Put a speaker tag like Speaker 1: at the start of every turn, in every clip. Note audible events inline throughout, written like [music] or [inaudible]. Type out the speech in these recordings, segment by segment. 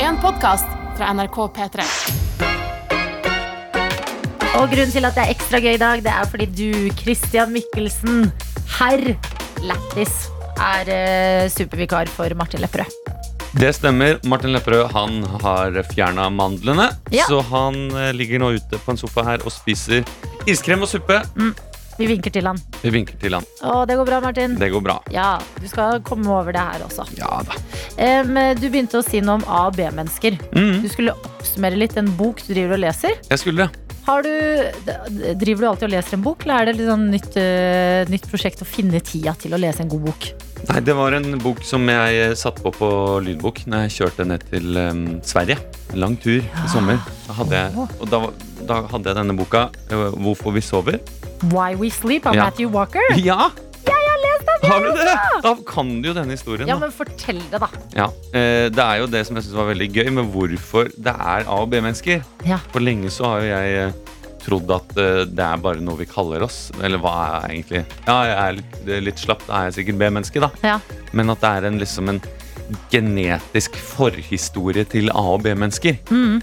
Speaker 1: en podkast fra NRK P3.
Speaker 2: Og grunnen til at det er ekstra gøy i dag, det er fordi du, Christian Mikkelsen, herr Lættis, er eh, supervikar for Martin Lepperød.
Speaker 3: Det stemmer. Martin Lepperød han har fjerna mandlene.
Speaker 2: Ja.
Speaker 3: Så han eh, ligger nå ute på en sofa her og spiser iskrem og suppe.
Speaker 2: Vi vinker til han.
Speaker 3: Vi vinker til han.
Speaker 2: Å, det går bra, Martin.
Speaker 3: Det går bra.
Speaker 2: Ja, du skal komme over det her også.
Speaker 3: Ja da.
Speaker 2: Em, du begynte å si noe om A- og B-mennesker.
Speaker 3: Mm,
Speaker 2: Du skulle oppsummere litt en bok du driver og leser.
Speaker 3: jeg skulle det.
Speaker 2: Har du, d- driver du alltid og leser en bok, eller er det litt sånn nytt, eh, nytt prosjekt å finne tida til å lese en god bok?
Speaker 3: Nei, det var en bok som jeg eh, satte på på lydbok når jeg kjørte ned til eh, Sverige. En lang tur i sommer. Da hadde jeg, og da, var- da hadde jeg denne boka, eh, 'Hvorfor vi sover'.
Speaker 2: Why We Sleep av
Speaker 3: Ja.
Speaker 2: Matthew Walker.
Speaker 3: Ja! Jeg har lest den! Har du det? Da kan du jo denne historien.
Speaker 2: Ja,
Speaker 3: da.
Speaker 2: men fortell det, da.
Speaker 3: Ja, eh, Det er jo det som jeg synes var veldig gøy med hvorfor det er A- og B-mennesker.
Speaker 2: Ja.
Speaker 3: For lenge så har jo jeg eh, trodd at eh, det er bare noe vi kaller oss. Eller hva er jeg egentlig? Ja, jeg er litt, det er litt slapp, da er jeg sikkert B-menneske, da.
Speaker 2: Ja.
Speaker 3: Men at det er en, liksom en genetisk forhistorie til A- og B-mennesker.
Speaker 2: Mhm.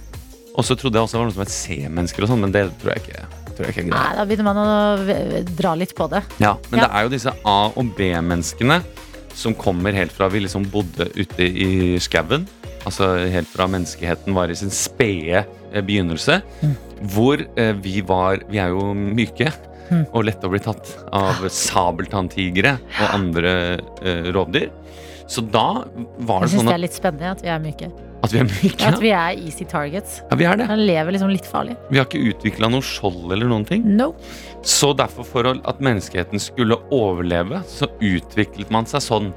Speaker 3: Og så trodde jeg også det var noe som het C-mennesker og sånn, men det tror jeg ikke. Tror jeg ikke er greit.
Speaker 2: Nei, da begynner man å v- v- dra litt på det.
Speaker 3: Ja, men
Speaker 2: Ja.
Speaker 3: det er jo disse A- og B-menneskene som kommer helt fra vi liksom bodde ute i skauen. Altså helt fra menneskeheten var i sin spede eh, begynnelse. Hvor eh, vi var Vi er jo myke
Speaker 2: Mm.
Speaker 3: og lette å bli tatt av sabeltanntigre og andre eh, rovdyr. Så da var
Speaker 2: Jeg
Speaker 3: det
Speaker 2: syns
Speaker 3: sånn
Speaker 2: det
Speaker 3: at,
Speaker 2: er litt spennende at vi er myke.
Speaker 3: at vi er myke.
Speaker 2: At vi er easy targets.
Speaker 3: Ja, vi er det.
Speaker 2: Man lever liksom litt farlig.
Speaker 3: Vi har ikke utvikla noe skjold eller noen ting.
Speaker 2: No.
Speaker 3: Så derfor for å- at menneskeheten skulle overleve, så utviklet man seg sånn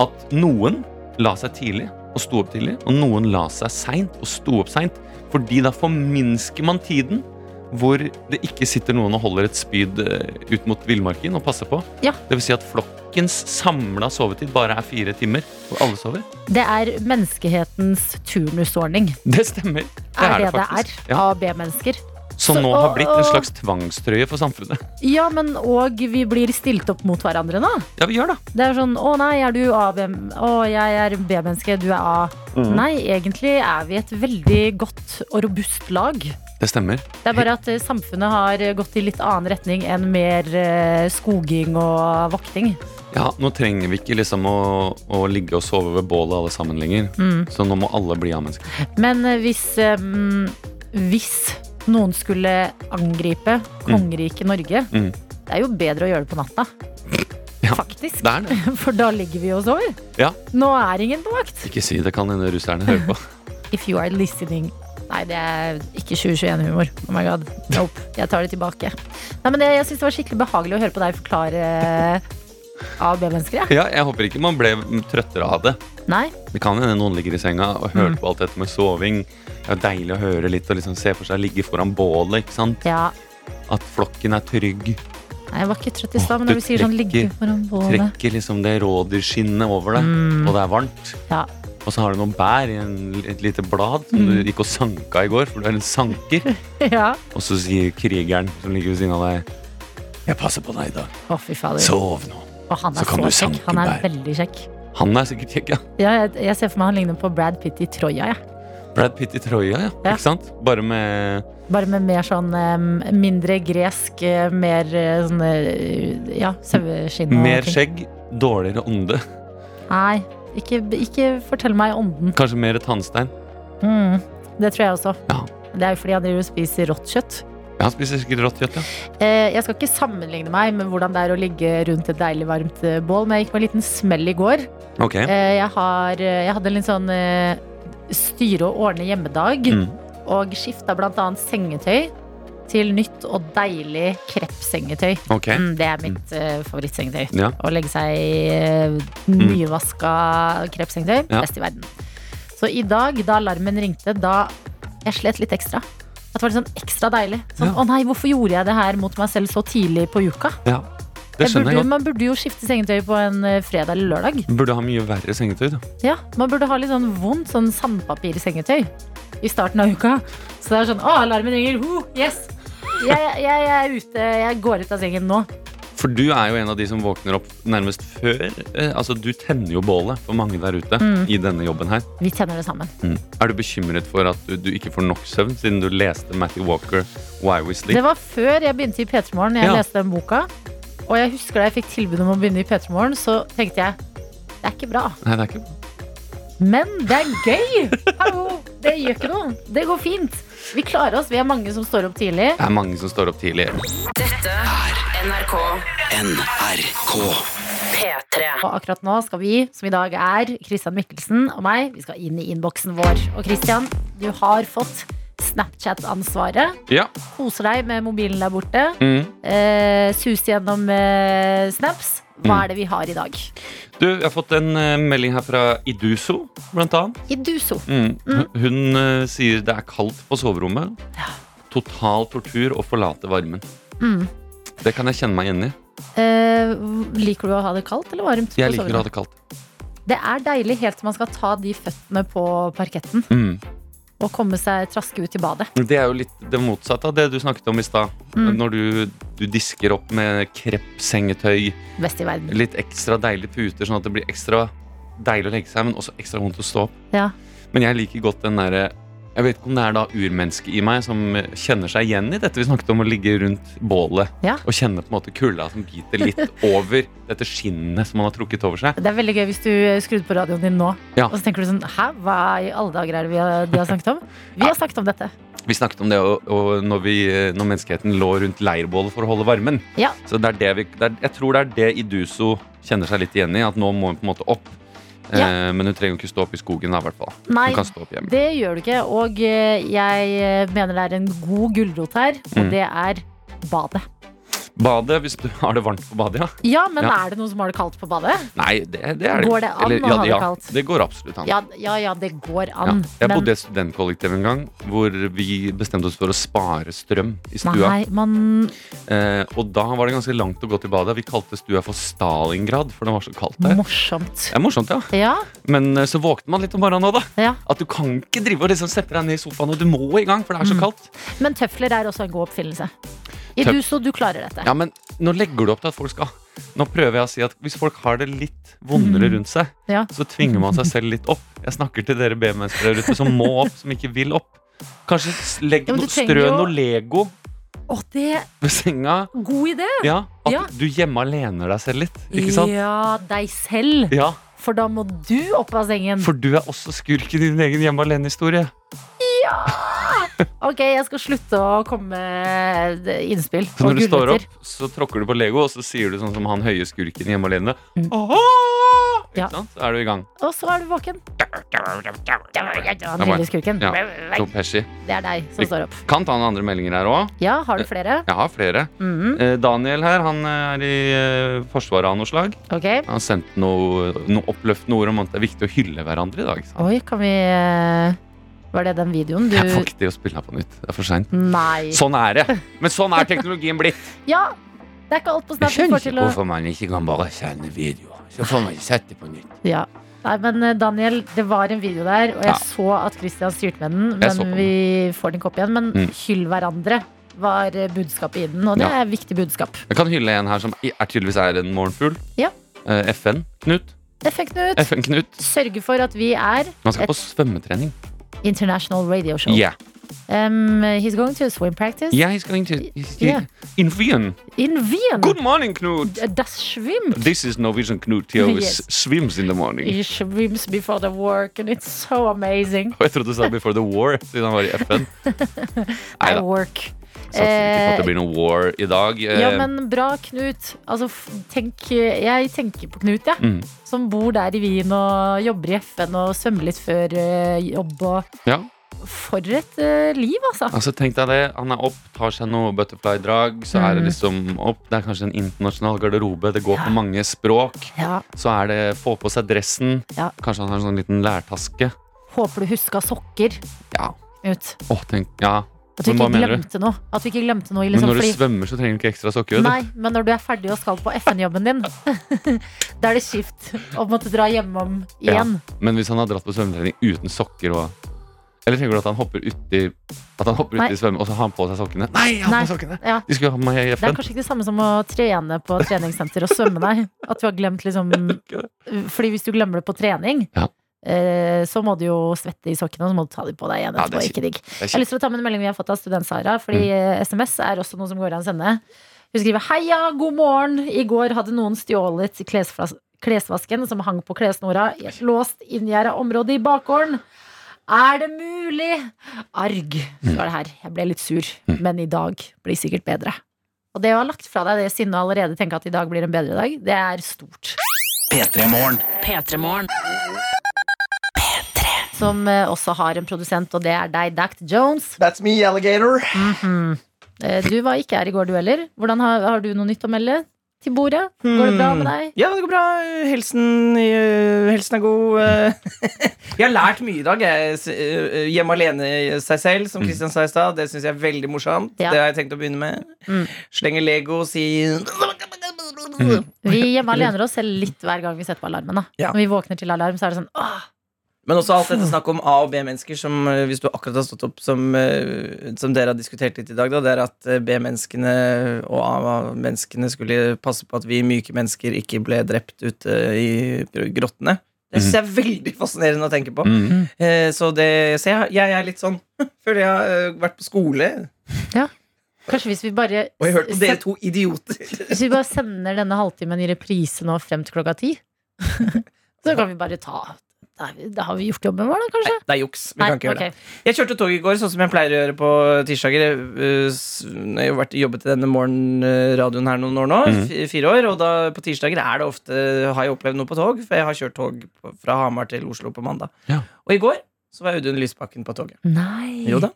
Speaker 3: at noen la seg tidlig og sto opp tidlig, og noen la seg seint og sto opp seint. Fordi da forminsker man tiden hvor det ikke sitter noen og holder et spyd eh, ut mot villmarken og passer på.
Speaker 2: Ja.
Speaker 3: Det vil si at flokkens samla sovetid bare er fire timer, hvor alle sover.
Speaker 2: Det er menneskehetens turnusordning.
Speaker 3: Det stemmer. Det
Speaker 2: Er det det,
Speaker 3: faktisk.
Speaker 2: er?
Speaker 3: Ja.
Speaker 2: A- og B-mennesker.
Speaker 3: Som
Speaker 2: Så-
Speaker 3: nå har
Speaker 2: og-
Speaker 3: blitt
Speaker 2: og-
Speaker 3: en slags tvangstrøye for samfunnet.
Speaker 2: Ja, men og vi blir stilt opp mot hverandre nå.
Speaker 3: Ja, vi gjør det.
Speaker 2: Det er sånn 'Å nei, er du A-B... Å, jeg er B-menneske, du er A'.
Speaker 3: Mm.
Speaker 2: Nei, egentlig er vi et veldig godt og robust lag.
Speaker 3: Det stemmer.
Speaker 2: Det er bare at eh, samfunnet har eh, gått i litt annen retning enn mer eh, skoging og vokting.
Speaker 3: Ja, nå trenger vi ikke liksom å, å ligge og sove ved bålet alle sammen lenger.
Speaker 2: Mm.
Speaker 3: Så nå må alle bli A-mennesker.
Speaker 2: Men eh, hvis, eh, mm, hvis noen skulle angripe kongeriket Norge,
Speaker 3: Mm.
Speaker 2: det er jo bedre å gjøre det på natta.
Speaker 3: Ja.
Speaker 2: Faktisk.
Speaker 3: Det er
Speaker 2: [laughs]
Speaker 3: det.
Speaker 2: For da ligger vi og sover.
Speaker 3: Ja.
Speaker 2: Nå er ingen på vakt.
Speaker 3: Ikke si det, kan hende russerne hører på.
Speaker 2: If you are listening Nei, det er ikke 2021-humor. Oh my god. Nope. Jeg tar det tilbake. Nei, men det, jeg syns det var skikkelig behagelig å høre på deg forklare eh, A- og B-mennesker. jeg.
Speaker 3: [laughs] Ja, jeg håper ikke man ble trøttere av det.
Speaker 2: Nei?
Speaker 3: Det kan hende noen ligger i senga og hører på alt dette med soving. Det er deilig å høre litt og liksom se for seg ligge foran bålet. ikke sant?
Speaker 2: Ja.
Speaker 3: At flokken er trygg.
Speaker 2: Nei, jeg var ikke trøtt i stad,
Speaker 3: Åh,
Speaker 2: men når
Speaker 3: du
Speaker 2: du sier sånn ligge
Speaker 3: trekker-
Speaker 2: foran bålet
Speaker 3: Trekker liksom det rådyrskinnet over deg, og det er varmt.
Speaker 2: ja. [laughs]
Speaker 3: Og så har du noen bær i en, et lite blad som du gikk og sanka i går, for du er en sanker.
Speaker 2: ja.
Speaker 3: Og så sier krigeren som ligger ved siden av deg, 'Jeg passer på deg i dag'.
Speaker 2: Å, fy fader.
Speaker 3: Sov nå.
Speaker 2: og han er
Speaker 3: så kan
Speaker 2: så,
Speaker 3: du
Speaker 2: kjekk.
Speaker 3: sanke
Speaker 2: Han er
Speaker 3: bær.
Speaker 2: veldig kjekk.
Speaker 3: Han er sikkert kjekk, ja.
Speaker 2: Ja, jeg, jeg ser for meg han ligner på Brad Pitt i Troja, jeg.
Speaker 3: Brad Pitt i trøya, ja.
Speaker 2: Ja.
Speaker 3: Ikke sant? Bare med
Speaker 2: Bare med mer sånn eh, mindre gresk, eh, mer eh, sånn eh, ja, saueskinn og
Speaker 3: mer
Speaker 2: ting.
Speaker 3: skjegg, dårligere ånde. [laughs]
Speaker 2: Nei, ikke, ikke fortell meg ånden.
Speaker 3: Kanskje mer tannstein.
Speaker 2: Mm, det tror jeg også.
Speaker 3: Ja.
Speaker 2: Det er jo fordi han driver og spiser rått kjøtt.
Speaker 3: Ja, han spiser sikkert rått kjøtt, ja.
Speaker 2: Eh, jeg skal ikke sammenligne meg med hvordan det er å ligge rundt et deilig varmt eh, bål, men jeg gikk på en liten smell i går.
Speaker 3: Ok.
Speaker 2: Eh, jeg, har, eh, jeg hadde en litt sånn eh, styre og ordne hjemmedag,
Speaker 3: Mm.
Speaker 2: og skifta bl.a. sengetøy til nytt og deilig kreppsengetøy.
Speaker 3: Ok.
Speaker 2: Mm, det er mitt eh, favorittsengetøy.
Speaker 3: Ja. Mm.
Speaker 2: Å legge seg i eh, nyvaska kreppsengetøy.
Speaker 3: Ja.
Speaker 2: Best i verden. Så i dag, da alarmen ringte, da jeg slet litt ekstra. At det var litt sånn ekstra deilig. Sånn,
Speaker 3: Ja.
Speaker 2: Å nei, hvorfor gjorde jeg det her mot meg selv så tidlig på uka?
Speaker 3: Ja.
Speaker 2: Jeg
Speaker 3: Det skjønner
Speaker 2: burde,
Speaker 3: jeg godt.
Speaker 2: man burde jo skifte sengetøy på en eh, fredag eller lørdag.
Speaker 3: Burde ha mye verre sengetøy, da.
Speaker 2: Ja, Man burde ha litt sånn vondt sånn sandpapirsengetøy i starten av uka. Så det er sånn Å, alarmen ringer! Ho, yes! Jeg, jeg, jeg er ute. Jeg går ut av sengen nå.
Speaker 3: For du er jo en av de som våkner opp nærmest før. Eh, altså, du tenner jo bålet for mange der ute
Speaker 2: Mm.
Speaker 3: i denne jobben her.
Speaker 2: Vi tenner det sammen.
Speaker 3: Er du bekymret for at du, du ikke får nok søvn, siden du leste Matty Walker Why We Sleep?
Speaker 2: Det var før jeg begynte i P3 Morgen. Jeg
Speaker 3: Ja.
Speaker 2: leste den boka. Og jeg husker da jeg fikk tilbud om å begynne i P3 Morgen, så tenkte jeg det er ikke bra.
Speaker 3: Nei, det er ikke
Speaker 2: Men det er gøy! Hallo! Det gjør ikke noe. Det går fint. Vi klarer oss. Vi er mange som står opp tidlig.
Speaker 3: Det er mange som står opp tidlig.
Speaker 4: NRK
Speaker 5: NRK.
Speaker 4: P3
Speaker 2: Og akkurat nå skal vi, som i dag er Christian Mikkelsen og meg, vi skal inn i innboksen vår. Og Christian, du har fått Snapchat-ansvaret.
Speaker 3: Ja.
Speaker 2: Koser deg med mobilen der borte.
Speaker 3: Mm.
Speaker 2: Eh, suser gjennom eh, snaps.
Speaker 3: Mm.
Speaker 2: Hva er det vi har i dag?
Speaker 3: Du, jeg har fått en eh, melding her fra Iduso, blant annet.
Speaker 2: Iduso.
Speaker 3: Mm. Hun- Hun eh, sier det er kaldt på soverommet. Total tortur å forlate varmen.
Speaker 2: Mm.
Speaker 3: Det kan jeg kjenne meg igjen i.
Speaker 2: Eh, liker du å ha det kaldt eller varmt?
Speaker 3: Jeg
Speaker 2: på
Speaker 3: liker å ha det kaldt.
Speaker 2: soverommet? Det er deilig helt til man skal ta de føttene på parketten
Speaker 3: Mm.
Speaker 2: og komme seg traske ut i badet.
Speaker 3: Det er jo litt det motsatte av det du snakket om i stad.
Speaker 2: Mm.
Speaker 3: Når du, du disker opp med kreppsengetøy,
Speaker 2: Best i verden.
Speaker 3: litt ekstra deilige puter, sånn at det blir ekstra deilig å legge seg, men også ekstra vondt å stå opp.
Speaker 2: Ja.
Speaker 3: Men jeg liker godt den derre jeg vet ikke om det er da urmennesket i meg som eh, kjenner seg igjen i dette vi snakket om å ligge rundt bålet
Speaker 2: Ja.
Speaker 3: og kjenne på en måte kulda som biter
Speaker 2: [laughs]
Speaker 3: litt over dette skinnet som man har trukket over seg.
Speaker 2: Det er veldig gøy hvis du eh, skrudde på radioen din nå
Speaker 3: Ja.
Speaker 2: og så tenker du sånn Hæ, hva i alle dager er det vi har, de har snakket
Speaker 3: [laughs]
Speaker 2: om? Vi har snakket om dette.
Speaker 3: Vi snakket om det og, og når, vi, eh, når menneskeheten lå rundt leirbålet for å holde varmen.
Speaker 2: Ja.
Speaker 3: Så det er det vi, det er, jeg tror det er det Iduso kjenner seg litt igjen i. At nå må hun på en måte opp.
Speaker 2: Ja.
Speaker 3: Eh, men hun trenger jo ikke stå opp i skogen. Da, i hvert fall.
Speaker 2: Nei,
Speaker 3: Hun kan stå opp hjemme.
Speaker 2: det gjør du ikke. Og eh, jeg mener det er en god gulrot her, og
Speaker 3: Mm.
Speaker 2: det er badet.
Speaker 3: Badet, hvis du [laughs] har det varmt på badet, ja.
Speaker 2: Ja, men
Speaker 3: Ja.
Speaker 2: er det noen som har det kaldt på badet?
Speaker 3: Nei, det, det er det
Speaker 2: Går det
Speaker 3: ikke.
Speaker 2: an å ha det
Speaker 3: ja,
Speaker 2: kaldt?
Speaker 3: Det går absolutt an.
Speaker 2: Ja, ja, ja det går
Speaker 3: Ja.
Speaker 2: an.
Speaker 3: Jeg
Speaker 2: men-
Speaker 3: bodde i et studentkollektiv en gang hvor vi bestemte oss for å spare strøm i stua.
Speaker 2: Nei, man
Speaker 3: Eh, og da var det ganske langt å gå til badet. Vi kalte stua for Stalingrad, for det var så kaldt der.
Speaker 2: Morsomt.
Speaker 3: Det er morsomt, ja.
Speaker 2: Ja,
Speaker 3: Men eh, så våkner man litt om morgenen òg, da.
Speaker 2: ja.
Speaker 3: At du kan ikke drive og liksom sette deg ned i sofaen, og du må i gang, for
Speaker 2: Mm.
Speaker 3: det er så kaldt.
Speaker 2: Men tøfler er også en god oppfinnelse. I
Speaker 3: Tøf-
Speaker 2: du, så du klarer dette.
Speaker 3: Ja, men nå legger du opp til at folk skal Nå prøver jeg å si at hvis folk har det litt vondere rundt seg,
Speaker 2: Mm. Ja.
Speaker 3: så tvinger man seg selv litt opp. Jeg snakker til dere B-mennesker der ute som må opp, som ikke vil opp. Kanskje s- legg
Speaker 2: Ja, men
Speaker 3: no,
Speaker 2: du
Speaker 3: strø
Speaker 2: trenger jo-
Speaker 3: noe Lego
Speaker 2: Å, det er
Speaker 3: ved senga.
Speaker 2: en god idé!
Speaker 3: Ja, at
Speaker 2: Ja.
Speaker 3: du hjemme alener deg selv litt. Ikke sant?
Speaker 2: Ja, deg selv.
Speaker 3: Ja,
Speaker 2: For da må du opp av sengen.
Speaker 3: For du er også skurk i din egen hjemme alene-historie.
Speaker 2: Ok, jeg skal slutte å komme med innspill.
Speaker 3: Så
Speaker 2: og
Speaker 3: når du står
Speaker 2: gulrøtter.
Speaker 3: opp, så tråkker du på Lego, og så sier du sånn som han høye skurken i hjemme alene.
Speaker 2: Mm.
Speaker 3: Åh! Ikke
Speaker 2: Ja.
Speaker 3: sant? Så er du i gang.
Speaker 2: Og så er du våken. Han
Speaker 3: var jeg.
Speaker 2: lille skurken.
Speaker 3: Ja. To Pesci.
Speaker 2: Det er deg som står opp.
Speaker 3: Kan ta noen andre meldinger her òg.
Speaker 2: Ja, har du flere?
Speaker 3: Jeg har flere.
Speaker 2: Mhm,
Speaker 3: Eh, Daniel her, han er i eh, Forsvaret av noe slag.
Speaker 2: ok.
Speaker 3: Han har sendt noe, noe oppløftende ord om at det er viktig å hylle hverandre i dag. sa han.
Speaker 2: Oi, kan vi eh, Var det den videoen du
Speaker 3: Jeg får ikke til å spille her på nytt. Det er for seint.
Speaker 2: Nei.
Speaker 3: Sånn er det. Men sånn er teknologien blitt.
Speaker 2: Ja! Det er ikke alt på Snap du får til å
Speaker 5: man ikke kan bare sende videoer. Så får man sette på nytt.
Speaker 2: Ja. Nei, men eh, Daniel, det var en video der, og jeg
Speaker 3: Ja.
Speaker 2: så at Christian styrte med den.
Speaker 3: Jeg så på
Speaker 2: Men vi får den ikke opp igjen. Men
Speaker 3: Mm.
Speaker 2: hyll hverandre var eh, budskapet i den, og det
Speaker 3: Ja.
Speaker 2: er viktig budskap.
Speaker 3: Jeg kan hylle en her som i- er tydeligvis er en morgenfugl.
Speaker 2: Ja.
Speaker 3: Eh, FN. Knut.
Speaker 2: Effektnytt.
Speaker 3: FN Knut.
Speaker 2: Sørge for at vi er
Speaker 3: Man skal
Speaker 2: et
Speaker 3: på svømmetrening.
Speaker 2: international radio show.
Speaker 3: Yeah.
Speaker 2: Um, he's going to swim practice
Speaker 3: Yeah, he's going to
Speaker 2: Yeah.
Speaker 3: in Wien.
Speaker 2: in Wien. Uh,
Speaker 3: Good morning, Knut.
Speaker 2: Das swim.
Speaker 3: This is Norwegian Knut. He always
Speaker 2: Yes.
Speaker 3: swims in the morning.
Speaker 2: He swims before the work, and it's so amazing.
Speaker 3: Og jeg trodde du sa Before the War, siden han var i
Speaker 5: [laughs]
Speaker 3: FN. Nei
Speaker 2: I
Speaker 3: da.
Speaker 2: work.
Speaker 3: Satser ikke på at det blir noe war i dag. Eh,
Speaker 2: Ja, men bra, Knut. Altså, f- tenk, jeg tenker på Knut, jeg.
Speaker 3: Mm.
Speaker 2: Som bor der i Wien og jobber i FN og svømmer litt før eh, jobb. Og
Speaker 3: ja,
Speaker 2: for et eh, liv, altså.
Speaker 3: altså tenk deg det. Han er opp, tar seg noe butterfly-drag, så er
Speaker 2: Mm.
Speaker 3: det liksom opp. Det er kanskje en internasjonal garderobe, det går på mange språk.
Speaker 2: Ja,
Speaker 3: Så er det få på seg dressen.
Speaker 2: Ja.
Speaker 3: Kanskje han har en sånn liten lærtaske.
Speaker 2: Håper du huska sokker,
Speaker 3: Ja.
Speaker 2: Knut.
Speaker 3: Åh, tenk, ja.
Speaker 2: At du
Speaker 3: Men
Speaker 2: ikke
Speaker 3: hva mener du?
Speaker 2: glemte noe. At du ikke glemte noe i
Speaker 3: Men
Speaker 2: liksom,
Speaker 3: når du
Speaker 2: fordi-
Speaker 3: svømmer, så trenger du ikke ekstra sokker. vet du.
Speaker 2: Nei, men når du er ferdig og skal på FN-jobben din, [laughs] da er det kjipt å måtte dra hjemom
Speaker 3: Ja.
Speaker 2: igjen.
Speaker 3: Men hvis han har dratt på svømmetrening uten sokker og Eller tenker du at han hopper uti At han hopper
Speaker 2: Nei.
Speaker 3: uti svømme, og så har han på seg sokkene? Nei, jeg har
Speaker 2: Nei.
Speaker 3: på sokkene!
Speaker 2: Ja.
Speaker 3: De skulle ha på meg i
Speaker 2: Det er
Speaker 3: FN.
Speaker 2: kanskje ikke det samme som å trene på treningssenter og svømme deg. At du har glemt liksom Fordi hvis du glemmer det på trening,
Speaker 3: Ja.
Speaker 2: eh, så må du jo svette i sokkene, og så må du ta de på deg igjen
Speaker 3: Ja,
Speaker 2: etterpå.
Speaker 3: det er
Speaker 2: ikke digg.
Speaker 3: er Mm.
Speaker 2: Jeg har lyst til å ta med en melding vi har fått av student Sara, fordi eh, SMS er også noe som går an å sende. Hun skriver 'Heia, god morgen'. I går hadde noen stjålet klesflas- klesvasken som hang på klessnora i et låst inngjerda område i bakgården. Er det mulig? Arg, står det her. Jeg ble litt sur,
Speaker 3: Mm.
Speaker 2: men i dag blir sikkert bedre. Og det å ha lagt fra deg det sinnet og allerede tenke at i dag blir en bedre dag, det er stort.
Speaker 4: P3-morgen.
Speaker 2: Som eh, også har en produsent, og det er deg, Dact Jones.
Speaker 6: That's me, alligator.
Speaker 2: Eh, Du var ikke her i går, du heller. Hvordan har, har du noe nytt å melde til bordet? Går det bra med deg?
Speaker 6: Ja, det går bra. Helsen, eh, helsen er god. [laughs] eh. Jeg har lært mye i dag. Jeg, s- eh, hjemme alene i seg selv, som Kristian sa i stad. Det syns jeg er veldig morsomt.
Speaker 2: Ja.
Speaker 6: Det har jeg tenkt å begynne med.
Speaker 2: Mm.
Speaker 6: Slenge Lego, si
Speaker 2: Vi hjemme lener oss selv litt hver gang vi setter på alarmen. Da.
Speaker 6: Ja.
Speaker 2: Når vi våkner til alarm, så er det sånn åh,
Speaker 6: Men også alt dette snakk om A- og B-mennesker, som eh, hvis du akkurat har stått opp, som, eh, som dere har diskutert litt i dag, da, det er at eh, B-menneskene og A-menneskene skulle passe på at vi myke mennesker ikke ble drept ute i grottene. Det syns jeg er veldig fascinerende å tenke på.
Speaker 3: Mm.
Speaker 6: Eh, Så, det, så jeg, jeg er litt sånn [laughs] Føler jeg har eh, vært på skole,
Speaker 2: Kanskje hvis vi bare
Speaker 6: og jeg hørte på dere
Speaker 2: se-
Speaker 6: to [laughs] idioter.
Speaker 2: Hvis vi bare sender denne halvtimen i reprise nå frem til klokka ti, [laughs] så kan vi bare ta Da er vi- da har vi gjort jobben vår, da, kanskje?
Speaker 6: Det er juks. Vi kan ikke gjøre det. Jeg kjørte tog i går, sånn som jeg pleier å gjøre på tirsdager. Jeg, øh, s- Jeg har vært, jobbet i denne morgenradioen her noen år nå,
Speaker 3: Mhm.
Speaker 6: fi- fire år, og da, på tirsdager er det ofte, har jeg opplevd noe på tog, for jeg har kjørt tog på- fra Hamar til Oslo på mandag.
Speaker 3: Ja.
Speaker 6: Og i går så var Audun Lysbakken på toget.
Speaker 2: Nei.
Speaker 6: Jo da.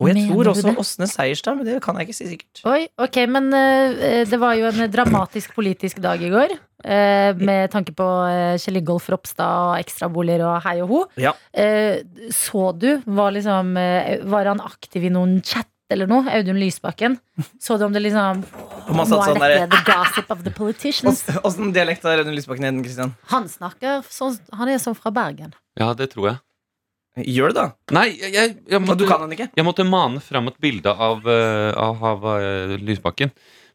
Speaker 6: Og jeg
Speaker 2: Mener
Speaker 6: tror
Speaker 2: du
Speaker 6: også
Speaker 2: det?
Speaker 6: Åsne Seierstad, men det kan jeg ikke si sikkert.
Speaker 2: Oi, ok, men eh, det var jo en dramatisk politisk dag i går. eh, med tanke på eh, Kjell Ingolf Ropstad og ekstraboliger og hei og ho.
Speaker 6: Ja.
Speaker 2: Eh, så du, var, liksom, eh, var han aktiv i noen chat eller noe? Audun Lysbakken? Så du om det liksom
Speaker 6: Om han
Speaker 2: Nå
Speaker 6: satt
Speaker 2: er
Speaker 6: sånn
Speaker 2: dette
Speaker 6: der,
Speaker 2: the gossip of the
Speaker 6: [laughs]
Speaker 2: politicians.
Speaker 6: Åssen dialekt har Audun Lysbakken igjen, Kristian?
Speaker 2: Han snakker sånn Han er sånn fra Bergen.
Speaker 3: Ja, det tror jeg.
Speaker 6: Gjør det, da.
Speaker 3: Nei, jeg, jeg, jeg,
Speaker 6: Men du kan
Speaker 3: måtte,
Speaker 6: han ikke.
Speaker 3: jeg måtte mane fram et bilde av, eh, av, av eh, Lysbakken.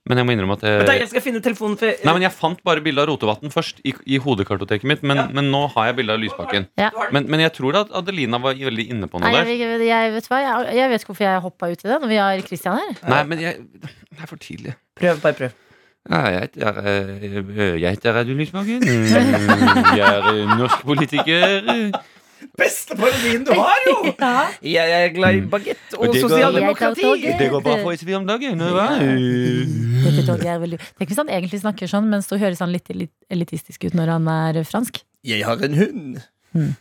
Speaker 3: Men jeg må innrømme at
Speaker 6: Vent, da,
Speaker 3: jeg,
Speaker 6: jeg skal finne telefonen for
Speaker 3: Eh, Nei, men Jeg fant bare bilde av Rotevatn først i, i hodekartoteket mitt, men,
Speaker 6: Ja.
Speaker 3: men nå har jeg bilde av Lysbakken.
Speaker 2: Ja.
Speaker 3: Men, men jeg tror at Adelina var veldig inne på
Speaker 2: Nei,
Speaker 3: noe der.
Speaker 2: jeg, jeg, jeg, vet du hva, jeg, jeg vet ikke hvorfor jeg hoppa ut i det når vi har Christian her.
Speaker 3: Nei, men jeg, det er for tidlig.
Speaker 6: Prøv, bare prøv.
Speaker 3: Ja, jeg heter, eh, jeg heter Audun Lysbakken. Jeg er eh, norsk politiker.
Speaker 6: Beste parodien du har, jo!
Speaker 2: [laughs]
Speaker 6: Jeg er glad i
Speaker 3: Mm.
Speaker 6: bagett
Speaker 3: Og
Speaker 6: og
Speaker 3: det går-
Speaker 6: sosialdemokrati.
Speaker 2: Jeg tar toget.
Speaker 3: Det går bra for SV om dagen. hva?
Speaker 2: Dette toget er veldig... Tenk hvis han egentlig snakker sånn, men så høres han litt elit- elitistisk ut når han er eh, fransk.
Speaker 6: Jeg har en hund.
Speaker 2: Mm.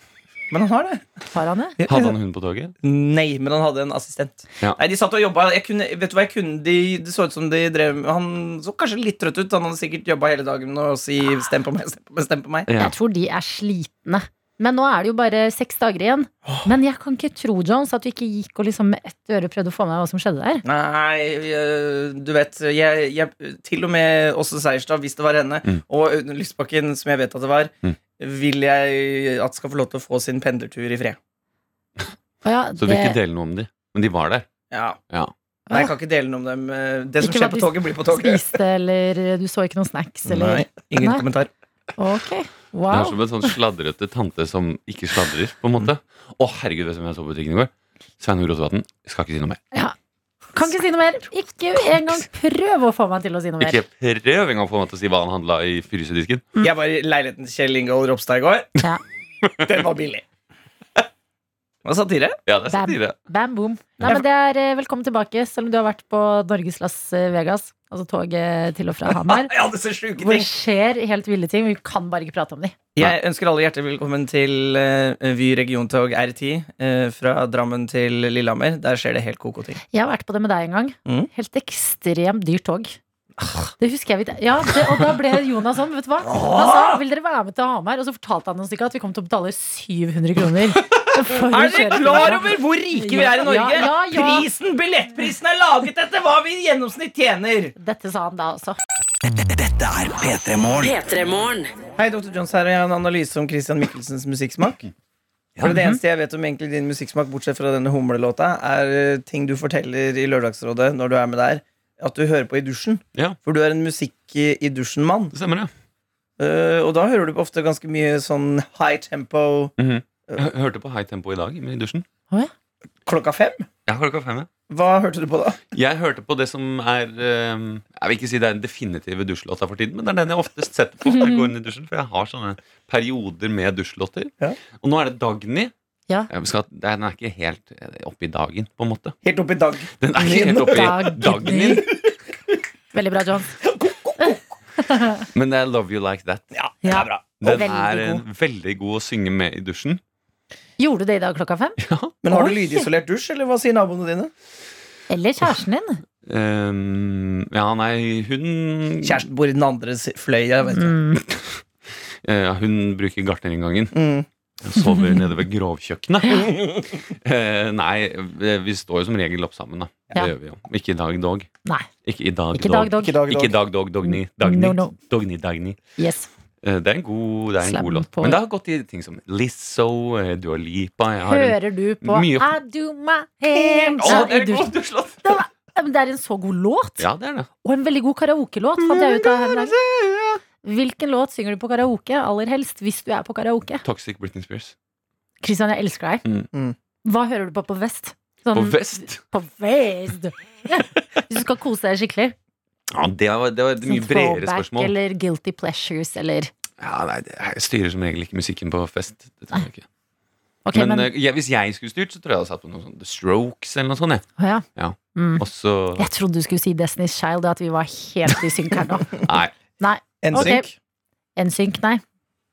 Speaker 6: Men han har det.
Speaker 2: Har han det?
Speaker 3: Hadde han hund på toget?
Speaker 6: Nei, men han hadde en assistent.
Speaker 3: Ja.
Speaker 6: Nei, De satt og jobba. Jeg kunne, vet du hva jeg kunne? De, det så ut som de drev Han så kanskje litt trøtt ut. Han hadde sikkert jobba hele dagen med å si 'stem på meg', stem på meg, stem på meg.
Speaker 3: Ja.
Speaker 2: Jeg tror de er slitne. Men nå er det jo bare seks dager igjen. Men jeg kan ikke tro, Jones, at du ikke gikk og liksom med ett øre prøvde å få med deg hva som skjedde der.
Speaker 6: Nei, øh, du vet jeg, jeg, Til og med Åse Seierstad, hvis det var henne,
Speaker 3: Mm.
Speaker 6: og Audun Lysbakken, som jeg vet at det var,
Speaker 3: Mm.
Speaker 6: vil jeg at skal få lov til å få sin pendlertur i fred.
Speaker 2: Å ja,
Speaker 3: Så du vil ikke dele noe om de Men de var der.
Speaker 6: Ja.
Speaker 3: Ja.
Speaker 6: Nei, jeg kan ikke dele noe om dem. øh, Det som
Speaker 2: Ikke hva
Speaker 6: skjer på
Speaker 2: de
Speaker 6: toget, blir på toget.
Speaker 2: spiste, eller eh, du så ikke noen snacks, eller
Speaker 6: Nei, ingen
Speaker 2: Nei.
Speaker 6: kommentar.
Speaker 2: Ok.
Speaker 3: Det
Speaker 2: Wow.
Speaker 3: er som en sånn sladrete tante som ikke sladrer, på en måte. Å, herregud, vet du hvem jeg så på butikken i går? Sveinung Rotevatn. Skal ikke si noe mer.
Speaker 2: Kan ikke si noe mer. Ikke engang prøv å få meg til å si noe mer.
Speaker 3: Ikke prøv engang på en måte å si hva han handla i frysedisken.
Speaker 6: Jeg var i leiligheten til Kjell Ingol Ropstad i går.
Speaker 2: Mm. Ja.
Speaker 6: Den var billig. Det var satire.
Speaker 3: Ja, det er satire.
Speaker 2: Bam boom. Nei, men det er eh, velkommen tilbake, selv om du har vært på Norgeslass eh, Vegas. Altså toget til og fra Hamar.
Speaker 6: Jeg hadde så sjuke
Speaker 2: Hvor det
Speaker 6: ting.
Speaker 2: skjer helt ville ting. Vi kan bare ikke prate om de.
Speaker 6: Jeg ønsker alle hjertelig velkommen til eh, Vy regiontog R10 eh, fra Drammen til Lillehammer. Der skjer det helt koko ting.
Speaker 2: Jeg har vært på det med deg en gang.
Speaker 6: Mhm.
Speaker 2: Helt ekstremt dyrt tog.
Speaker 6: Ah.
Speaker 2: Det husker jeg vidt. Ja, det, Og da ble Jonas sånn, vet du hva. Han sa
Speaker 6: Ah.
Speaker 2: vil dere være med til Hamar, og så fortalte han oss ikke at vi kom til å betale 700 kroner.
Speaker 6: [laughs]
Speaker 2: for å
Speaker 6: Er dere
Speaker 2: kjøre
Speaker 6: klar
Speaker 2: til
Speaker 6: over hvor rike vi er i Norge?
Speaker 2: Ja, ja, ja.
Speaker 6: Prisen, Billettprisen er laget etter hva vi i gjennomsnitt tjener.
Speaker 2: Hamar? Dette sa han da også.
Speaker 4: P3-morgen.
Speaker 6: Hei, Dr. Jones her, og jeg har en analyse om Christian Michelsens musikksmak. For Det eneste jeg vet om egentlig din musikksmak, bortsett fra denne humlelåta, er eh, ting du forteller i Lørdagsrådet når du er med der, at du hører på i dusjen.
Speaker 3: Ja.
Speaker 6: For du er en musikk i i dusjen-mann.
Speaker 3: Det stemmer, det.
Speaker 6: Eh, og da hører du ofte ganske mye sånn high tempo
Speaker 3: Jeg hø- hørte på High Tempo i dag i dusjen.
Speaker 6: klokka fem.
Speaker 3: Jeg, har klokka fem, ja.
Speaker 6: Hva hørte du på da?
Speaker 3: jeg hørte på det som er eh, Jeg vil ikke si det er den definitive dusjlåta for tiden, men det er den jeg oftest setter på når jeg går inn i dusjen. For jeg har sånne perioder med dusjlåter.
Speaker 6: Ja.
Speaker 3: Og nå er det Dagny.
Speaker 2: Ja.
Speaker 3: Jeg skal, den er ikke helt oppe i dagen, på en måte.
Speaker 6: Helt opp i dag.
Speaker 3: Den er ikke helt oppe i Dagny,
Speaker 2: Dagny. Veldig bra, John.
Speaker 3: men det er Love You Like That.
Speaker 2: Ja.
Speaker 3: Den
Speaker 2: Veldig
Speaker 3: er eh, veldig god å synge med i dusjen.
Speaker 2: Gjorde du det i dag klokka fem?
Speaker 6: Men har
Speaker 2: Oi.
Speaker 6: du lydisolert dusj, eller hva sier naboene dine?
Speaker 2: Eller kjæresten din?
Speaker 3: Eh, ja, nei, hun
Speaker 6: Kjæresten bor i den andre si- fløya. Vet du.
Speaker 2: Mm.
Speaker 3: Eh, hun bruker gartnerinngangen.
Speaker 6: Mm.
Speaker 3: og Sover nede ved
Speaker 2: [laughs]
Speaker 3: grovkjøkkenet. eh, nei, eh, vi står jo som regel opp sammen, da.
Speaker 2: Ja.
Speaker 3: Det gjør vi jo. Ikke i dag, dog.
Speaker 2: Nei.
Speaker 3: Ikke i dag,
Speaker 2: Ikke dag, dog.
Speaker 6: Ikke dag,
Speaker 3: Ikke i
Speaker 6: dag.
Speaker 3: dag, dog. Dogny. Dagny.
Speaker 2: No, no.
Speaker 3: Dogny, Dagny.
Speaker 2: Yes.
Speaker 3: Eh, det er en god, det er en
Speaker 2: Slam
Speaker 3: god låt.
Speaker 2: på.
Speaker 3: Men det har gått i ting som Lizzo, eh, Dua Lipa jeg har en...
Speaker 2: Hører du på
Speaker 3: mye-
Speaker 2: I do my hands
Speaker 3: Å,
Speaker 2: up
Speaker 3: det er
Speaker 2: i
Speaker 3: en god
Speaker 2: dusjen?
Speaker 3: dusjlåt!
Speaker 2: Ja, men Det er en så god låt,
Speaker 3: Ja, det er det.
Speaker 2: og en veldig god karaokelåt, fant jeg ut av her om dagen. Hvilken låt synger du på karaoke aller helst, hvis du er på karaoke?
Speaker 3: Toxic Britney Spears.
Speaker 2: Kristian, jeg elsker
Speaker 3: Mm.
Speaker 2: deg.
Speaker 6: Mm.
Speaker 2: Hva hører du på på fest? Sånn-
Speaker 3: På
Speaker 2: [laughs]
Speaker 3: vest!
Speaker 2: På fest. [laughs] Hvis du skal kose deg skikkelig.
Speaker 3: Ja, det var, det var et mye
Speaker 2: Sånn
Speaker 3: bredere
Speaker 2: throwback
Speaker 3: spørsmål.
Speaker 2: Eller guilty pleasures, eller
Speaker 3: Ja, nei, det- jeg styrer som regel ikke musikken på fest. Det tror jeg ikke.
Speaker 2: Ok, men,
Speaker 3: men eh, ja, hvis jeg skulle styrt, så tror jeg jeg hadde satt på noe sånn The Strokes eller noe sånt. jeg.
Speaker 2: Å ja.
Speaker 3: ja.
Speaker 2: Mm.
Speaker 3: Og så
Speaker 2: [laughs] Jeg trodde du skulle si Destiny's Child, og at vi var helt i synk her nå.
Speaker 3: [laughs] Nei.
Speaker 2: Nei.
Speaker 6: NSYNC.
Speaker 2: Ok. NSYNC, nei.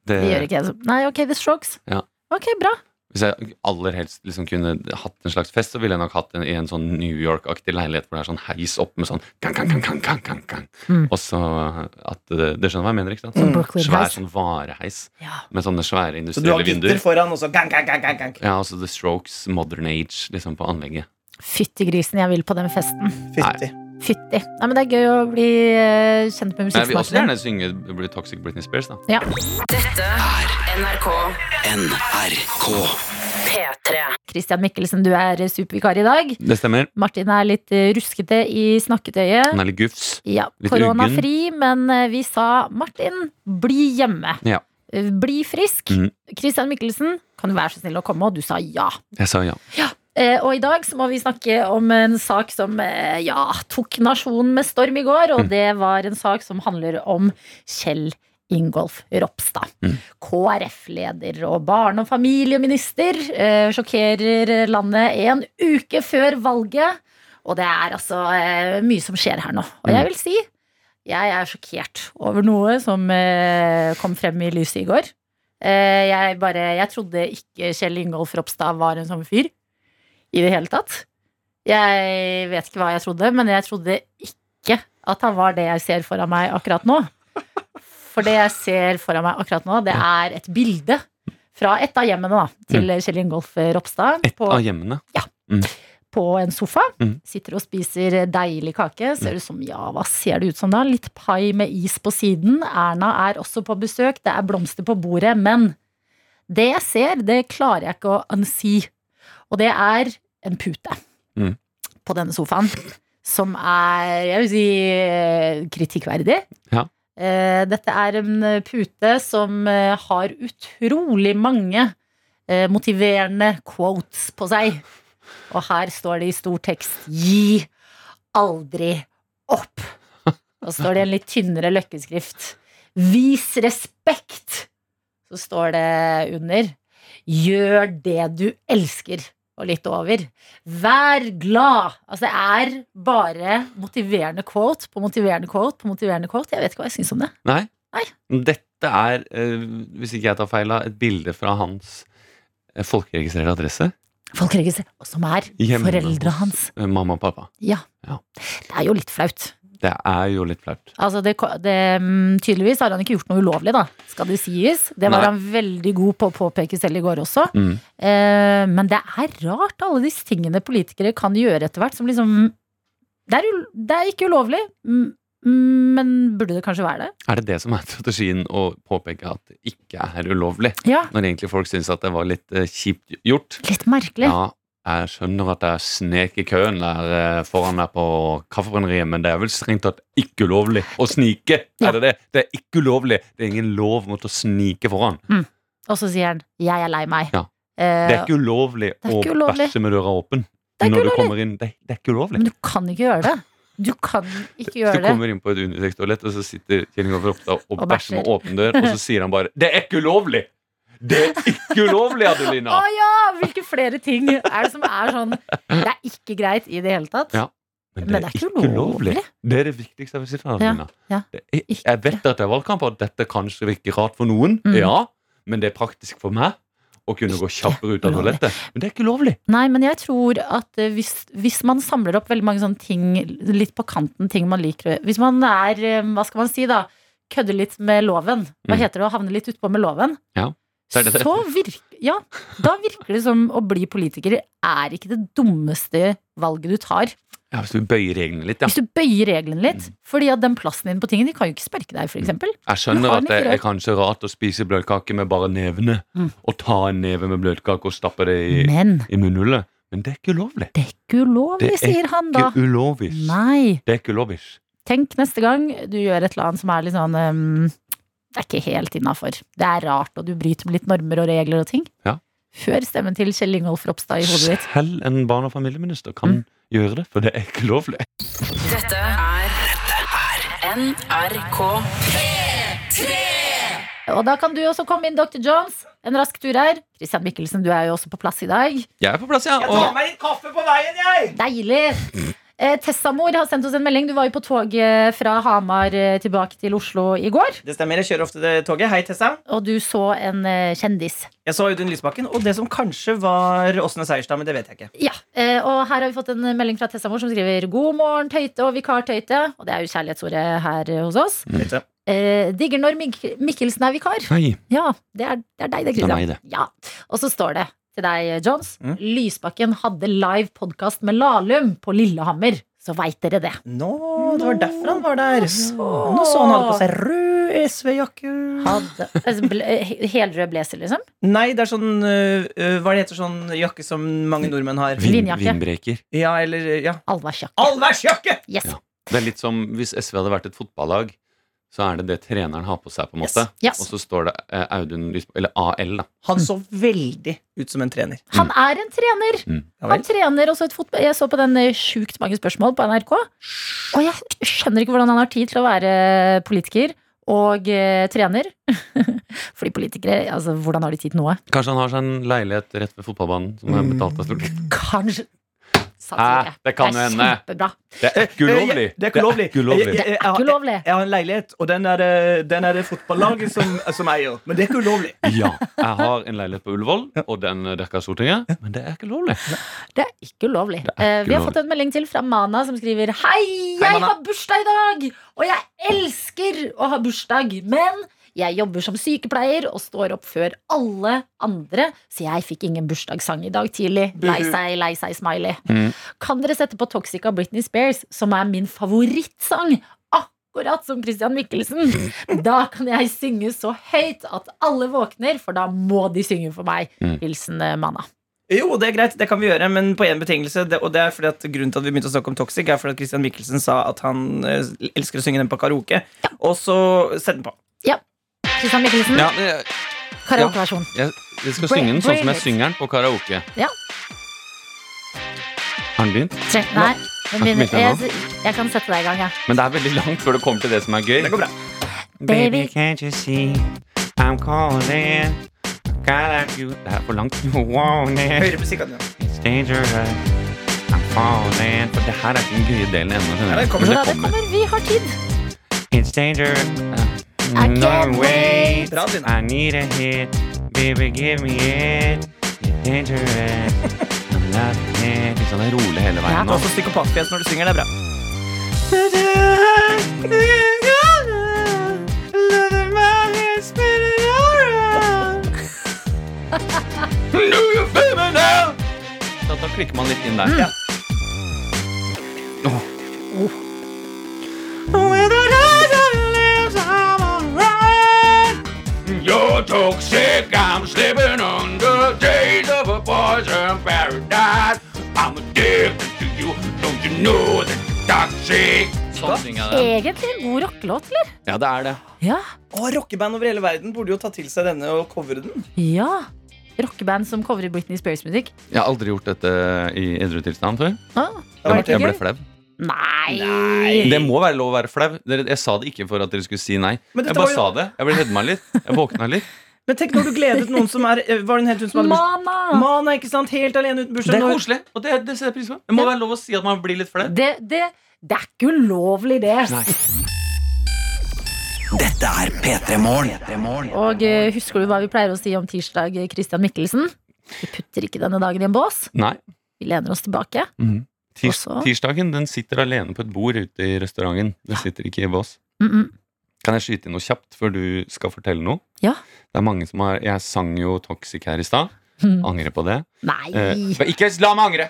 Speaker 3: Det,
Speaker 2: Det gjør ikke jeg. Nei, ok, The Strokes.
Speaker 3: Eh. Ja.
Speaker 2: Ok, bra.
Speaker 3: hvis jeg aller helst liksom kunne hatt en slags fest, så ville jeg nok hatt en i en sånn New York-aktig leilighet hvor det er sånn heis opp med sånn gang, gang, gang, gang, gang, gang, gang.
Speaker 2: Mm.
Speaker 3: Og så at eh, det, det skjønner hva jeg mener, ikke sant?
Speaker 2: Sånn
Speaker 6: Mm.
Speaker 2: Brooklyn
Speaker 3: Svær
Speaker 2: House.
Speaker 3: sånn vareheis
Speaker 2: Ja.
Speaker 3: med sånne svære
Speaker 6: Så du har
Speaker 3: industrielle
Speaker 6: gitter
Speaker 3: vinduer.
Speaker 6: foran, og så gang, gang, gang, gang, gang.
Speaker 3: Ja, altså The Strokes, Modern Age, liksom på anlegget.
Speaker 2: Fytti grisen, jeg vil på den festen.
Speaker 6: Fytti.
Speaker 2: Fytti. Nei, men det er gøy å bli eh, kjent med
Speaker 3: Men jeg vil også
Speaker 2: musikksmaken.
Speaker 3: gjerne synge bli Toxic Britney Spears, da.
Speaker 2: Ja.
Speaker 4: Dette er NRK
Speaker 5: NRK.
Speaker 4: P3.
Speaker 2: Christian Mikkelsen, du er eh, supervikar i dag.
Speaker 3: Det stemmer.
Speaker 2: Martin er litt eh, ruskete i snakketøyet.
Speaker 3: Hun er litt gufs.
Speaker 2: Ja,
Speaker 3: Litt
Speaker 2: koronafri, men eh, vi sa Martin, bli hjemme.
Speaker 3: Ja.
Speaker 2: Eh, Bli frisk.
Speaker 3: Mhm.
Speaker 2: Christian Mikkelsen, kan du være så snill å komme? Og du sa ja.
Speaker 3: Jeg sa ja.
Speaker 2: Eh, og i dag så må vi snakke om en sak som eh, ja, tok nasjonen med storm i går. Og det var en sak som handler om Kjell Ingolf Ropstad.
Speaker 3: Mm.
Speaker 2: KrF-leder og barne- og familieminister eh, sjokkerer landet en uke før valget. Og det er altså eh, mye som skjer her nå. Og
Speaker 3: Mm.
Speaker 2: jeg vil si jeg er sjokkert over noe som eh, kom frem i lyset i går. Eh, jeg, bare, jeg trodde ikke Kjell Ingolf Ropstad var en sånn fyr i det hele tatt. Jeg vet ikke hva jeg trodde, men jeg trodde ikke at han var det jeg ser foran meg akkurat nå. For det jeg ser foran meg akkurat nå, det er et bilde fra et av hjemmene da, til Kjell Ingolf Ropstad.
Speaker 3: Mm. Et av hjemmene.
Speaker 2: på en sofa.
Speaker 3: Mhm.
Speaker 2: Sitter og spiser deilig kake. Ser ut som, ja, hva ser det ut som da? Litt pai med is på siden. Erna er også på besøk. Det er blomster på bordet. Men det jeg ser, det klarer jeg ikke å unsee. Og det er en pute
Speaker 3: Mhm.
Speaker 2: på denne sofaen. Som er, jeg vil si, eh, kritikkverdig.
Speaker 3: Ja.
Speaker 2: Eh, Dette er en pute som eh, har utrolig mange eh, motiverende quotes på seg. Og her står det i stor tekst 'Gi aldri opp'. Og står det i en litt tynnere løkkeskrift 'Vis respekt'. Så står det under 'Gjør det du elsker'. Og litt over. Vær glad! Altså, det er bare motiverende quote på motiverende quote på motiverende quote. Jeg vet ikke hva jeg syns om det.
Speaker 3: Nei.
Speaker 2: Nei.
Speaker 3: Dette er, eh, hvis ikke jeg tar feil, av, et bilde fra hans eh, folkeregistrerte adresse.
Speaker 2: Folkeregisteret, og som er
Speaker 3: Hjemme
Speaker 2: foreldra
Speaker 3: hos,
Speaker 2: hans.
Speaker 3: eh, Mamma og pappa.
Speaker 2: Ja.
Speaker 3: Ja.
Speaker 2: Det er jo litt flaut.
Speaker 3: Det er jo litt flaut.
Speaker 2: Altså det, det, mm, tydeligvis har han ikke gjort noe ulovlig, da, skal det sies. Det var
Speaker 3: Nei.
Speaker 2: han veldig god på å påpeke selv i går også.
Speaker 3: Mm.
Speaker 2: Eh, men det er rart, alle disse tingene politikere kan gjøre etter hvert, som liksom Det er, ul- det er ikke ulovlig, mm, Men burde det kanskje være det?
Speaker 3: Er det det som er strategien, å påpeke at det ikke er ulovlig?
Speaker 2: Ja,
Speaker 3: Når egentlig folk syns at det var litt eh, kjipt gjort.
Speaker 2: litt merkelig.
Speaker 3: Ja, jeg skjønner at jeg snek i køen der eh, foran meg på kaffebrenneriet, men det er vel strengt tatt ikke ulovlig å snike.
Speaker 2: Ja.
Speaker 3: Er det det? Det er ikke ulovlig. Det er ingen lov mot å snike foran.
Speaker 2: Og så sier han 'jeg er lei meg'.
Speaker 3: Ja.
Speaker 2: Eh,
Speaker 3: Det er ikke ulovlig
Speaker 2: det er ikke
Speaker 3: å
Speaker 2: ulovlig.
Speaker 3: bæsje med døra åpen.
Speaker 2: Det er ikke
Speaker 3: når du
Speaker 2: ulovlig.
Speaker 3: kommer inn, det, det er ikke ulovlig.
Speaker 2: men du kan ikke gjøre det. Du kan ikke
Speaker 3: Hvis
Speaker 2: gjøre
Speaker 3: du
Speaker 2: det.
Speaker 3: kommer inn på et unisex-toalett, og så sitter Kjell Ingolf Ropstad og
Speaker 2: Og
Speaker 3: bæsjer med
Speaker 2: bæsjer.
Speaker 3: åpen dør,
Speaker 2: [laughs]
Speaker 3: og så sier han bare 'Det er ikke ulovlig!' Det er ikke ulovlig,
Speaker 2: Å
Speaker 3: Adelina!
Speaker 2: ja! Hvilke flere ting er det som er sånn Det er ikke greit i det hele tatt.
Speaker 3: Ja.
Speaker 2: Men det er ikke ulovlig.
Speaker 3: Det er det viktigste jeg vil si til deg,
Speaker 2: Ja,
Speaker 3: Adelina.
Speaker 2: ja.
Speaker 3: Det er- Jeg vet at det er valgkamp, og at dette kanskje virker rart for noen,
Speaker 2: Mm.
Speaker 3: ja, men det er praktisk for meg å kunne gå kjappere ut av
Speaker 2: ulovlig.
Speaker 3: toalettet. Men det er ikke ulovlig.
Speaker 2: Nei, men jeg tror at eh, hvis, hvis man samler opp veldig mange sånne ting litt på kanten, ting man liker Hvis man er, eh, hva skal man si da, kødder litt med loven. Hva
Speaker 3: Mm.
Speaker 2: heter det å havne litt utpå med loven?
Speaker 3: Ja, det er det det
Speaker 2: Så virker, ja, da virker det som å bli politiker er ikke det dummeste valget du tar.
Speaker 3: Ja, Hvis du bøyer reglene litt, ja. Mm.
Speaker 2: Hvis du bøyer reglene litt, fordi at den plassen din på tingene, de kan jo ikke sparke deg, for eksempel. Du
Speaker 3: Jeg skjønner
Speaker 2: har
Speaker 3: at
Speaker 2: den
Speaker 3: det
Speaker 2: ikke
Speaker 3: er
Speaker 2: rørt.
Speaker 3: kanskje rart å spise bløtkake med bare nevene.
Speaker 2: Mm.
Speaker 3: Og ta en neve med bløtkake og stappe det i,
Speaker 2: Men
Speaker 3: i munnhullet. Men det er ikke ulovlig.
Speaker 2: det er ikke ulovlig,
Speaker 3: Det er
Speaker 2: sier han da.
Speaker 3: Ikke ulovlig.
Speaker 2: Nei.
Speaker 3: Det er ikke ulovlig.
Speaker 2: Tenk neste gang du gjør et eller annet som er litt sånn ehm, Det er ikke helt innafor. Det er rart, og du bryter med litt normer og regler og ting.
Speaker 3: Ja.
Speaker 2: Hør stemmen til Kjell Ingolf Ropstad i hodet ditt. Mm.
Speaker 3: Selv en barne- og familieminister kan gjøre det, for det er ikke ulovlig.
Speaker 4: Dette er NRK
Speaker 2: Og da kan du også komme inn, Dr. Jones. En rask tur her. Christian Mikkelsen, du er jo også på plass i dag.
Speaker 3: Jeg er på plass, ja.
Speaker 6: Jeg tar
Speaker 3: Og
Speaker 6: meg litt kaffe på veien, jeg!
Speaker 2: Deilig! Eh, Tessamor har sendt oss en melding. Du var jo på toget fra Hamar eh, tilbake til Oslo i går,
Speaker 6: Det stemmer, jeg kjører ofte det toget. Hei, Tessa.
Speaker 2: og du så en eh, kjendis.
Speaker 6: Jeg så Audun Lysbakken, og det som kanskje var Åsne Seierstad, men det vet jeg ikke.
Speaker 2: Ja, eh, og her har vi fått en melding fra Tessamor som skriver 'God morgen, Tøyte og vikar Tøyte'. Og det er jo kjærlighetsordet her eh, hos oss.
Speaker 6: Vet du.
Speaker 2: Eh, digger når Mik Mikkelsen er vikar.
Speaker 3: Nei.
Speaker 2: Ja, det er, det er deg, det,
Speaker 3: Det er meg,
Speaker 2: Christian.
Speaker 3: det.
Speaker 2: Ja. Og så står det til deg, eh, Jones.
Speaker 6: Mm.
Speaker 2: Lysbakken hadde live podkast med Lahlum på Lillehammer. Så veit dere det.
Speaker 6: Nå, det var derfor han var der. Nå så han hadde på seg rød SV-jakke.
Speaker 3: [laughs]
Speaker 2: Hadde, altså, ble- he- Helrød blazer, liksom.
Speaker 6: Nei, det er sånn øh, øh, Hva er det heter sånn jakke som mange nordmenn har?
Speaker 3: Vin,
Speaker 2: Vinjakke.
Speaker 3: vinbreker.
Speaker 6: Ja, eller øh, ja.
Speaker 2: Allværsjakke.
Speaker 6: Allværsjakke!
Speaker 2: Yes.
Speaker 3: Ja. Det er litt som hvis SV hadde vært et fotballag, så er det det treneren har på seg, på en måte.
Speaker 2: Yes.
Speaker 3: Og så står det eh, Audun Lysbakken, eller AL, da.
Speaker 6: Han så veldig ut som en trener.
Speaker 3: mm.
Speaker 2: Han er en trener!
Speaker 6: Ja,
Speaker 2: Han
Speaker 6: vel.
Speaker 2: trener også et fotball... Jeg så på den eh, sjukt mange spørsmål på NRK. Og jeg skjønner ikke hvordan han har tid til å være politiker og eh, trener. [laughs] Fordi politikere, altså hvordan har de tid til noe?
Speaker 3: Kanskje han har seg en leilighet rett ved fotballbanen som
Speaker 6: Mm.
Speaker 3: er betalt av stort.
Speaker 2: Kanskje
Speaker 3: Hæ? Det kan jo hende.
Speaker 2: Kjempebra.
Speaker 3: Det er
Speaker 6: [laughs]
Speaker 3: ikke ulovlig.
Speaker 6: Det er ikke lovlig.
Speaker 3: ikke ulovlig.
Speaker 2: Det er ikke ulovlig.
Speaker 6: Jeg har en leilighet, og den er det, den er det fotballaget som, øh, som eier. Men det er ikke ulovlig.
Speaker 3: Ja, jeg har en leilighet på Ullevål, og den dekker Stortinget. Men det er ikke lovlig.
Speaker 2: Det er ikke ulovlig.
Speaker 3: er ikke
Speaker 2: Eh, Vi har
Speaker 3: ulovlig.
Speaker 2: fått en melding til fra Mana som skriver Hei,
Speaker 6: Hei,
Speaker 2: jeg
Speaker 6: Mana.
Speaker 2: har bursdag i dag! Og jeg elsker å ha bursdag, men jeg jobber som sykepleier og står opp før alle andre, så jeg fikk ingen bursdagssang i dag tidlig. Lei seg, lei seg, smiley.
Speaker 3: Mm.
Speaker 2: Kan dere sette på Toxic av Britney Spears, som er min favorittsang? Akkurat som Christian Michelsen.
Speaker 3: [laughs]
Speaker 2: Da kan jeg synge så høyt at alle våkner, for da må de synge for meg.
Speaker 3: Mm.
Speaker 2: Hilsen eh, Mana.
Speaker 6: Jo, det er greit, det kan vi gjøre, men på én betingelse. Det, og det er fordi at Grunnen til at vi begynte å snakke om Toxic, er fordi at Christian Michelsen sa at han eh, elsker å synge den på karaoke. Og så sett den på.
Speaker 2: Christian Michelsen,
Speaker 3: Ja, men jeg,
Speaker 2: karaokeversjon.
Speaker 3: jeg, jeg skal
Speaker 2: Bring-
Speaker 3: synge den sånn som
Speaker 2: bring
Speaker 3: jeg
Speaker 2: it.
Speaker 3: synger den på karaoke.
Speaker 2: Ja.
Speaker 3: Har den begynt?
Speaker 2: Tre- Nei, den begynner.
Speaker 3: Har ikke begynt
Speaker 2: Jeg, jeg kan sette deg i gang, jeg.
Speaker 3: Men det er veldig langt før det kommer til det som er gøy.
Speaker 6: Det går bra.
Speaker 2: Baby,
Speaker 3: can't you see I'm calling Gotta you Det er for langt. You want it.
Speaker 6: Høyere musikk. kan du gjøre.
Speaker 3: It's dangerous. I'm falling. For det her er ikke den gøye delen ennå. skjønner
Speaker 6: Ja,
Speaker 3: jeg.
Speaker 6: den kommer.
Speaker 3: Men
Speaker 2: Ja, det kommer. Vi har tid.
Speaker 3: It's danger.
Speaker 2: I can't wait.
Speaker 6: Bra, Tina.
Speaker 3: I need a hit. Baby, give me it. It's dangerous. I'm loving it. Litt sånn rolig hele
Speaker 2: Ja.
Speaker 3: veien
Speaker 6: Du
Speaker 3: nå.
Speaker 6: har også psykopatfjes når du synger. Det er bra.
Speaker 3: Så da klikker man litt inn der. Åh.
Speaker 5: You're toxic, I'm slipping under days of a poison paradise. I'm addicted to you, don't you know that you're toxic?
Speaker 3: Sånn synger jeg det.
Speaker 2: Egentlig en god rockelåt, eller?
Speaker 3: Ja, det er det.
Speaker 2: Ja.
Speaker 6: Og rockeband over hele verden burde jo ta til seg denne og covre den.
Speaker 2: ja. Rockeband som coverer Britney Spears-musikk.
Speaker 3: Jeg har aldri gjort dette i edru tilstand før.
Speaker 2: Ah,
Speaker 3: Jeg
Speaker 6: Var det
Speaker 3: ble, jeg
Speaker 6: ikke
Speaker 3: ble
Speaker 6: gøy?
Speaker 3: flau.
Speaker 2: nei.
Speaker 3: Det må være lov å være flau. Dere- Jeg sa det ikke for at dere skulle si nei.
Speaker 6: Men
Speaker 3: Jeg
Speaker 6: dette
Speaker 3: bare
Speaker 6: var jo-
Speaker 3: sa det. Jeg ble hedma litt. Jeg våkna litt.
Speaker 6: Men tenk når du gledet noen som er eh, Var det en helt hun som hadde bursdag?
Speaker 2: Mana!
Speaker 6: Mana, ikke sant? Helt alene uten
Speaker 3: [laughs] Det
Speaker 6: bursdag.
Speaker 3: er
Speaker 6: Når-
Speaker 3: koselig, og det, det setter jeg pris på. Det må være lov å si at man blir litt flau.
Speaker 2: Det, det, det er ikke ulovlig, det.
Speaker 7: Dette er P3 Morgen.
Speaker 2: Og eh, husker du hva vi pleier å si om tirsdag, eh, Christian Mikkelsen? Vi putter ikke denne dagen i en bås.
Speaker 3: Nei. Mhm.
Speaker 2: Vi lener oss tilbake.
Speaker 3: Tirs
Speaker 2: Og så-
Speaker 3: tirsdagen den sitter alene på et bord ute i restauranten. Den sitter ikke i bås.
Speaker 2: Mm -mm.
Speaker 3: Kan jeg skyte inn noe kjapt før du skal fortelle noe?
Speaker 2: Ja.
Speaker 3: Det er mange som har Jeg sang jo Toxic her
Speaker 2: [laughs]
Speaker 3: i stad.
Speaker 2: Mm.
Speaker 3: Angrer på det.
Speaker 2: Nei,
Speaker 3: Eh,
Speaker 2: det
Speaker 3: men ikke la meg
Speaker 2: [laughs]
Speaker 3: angre!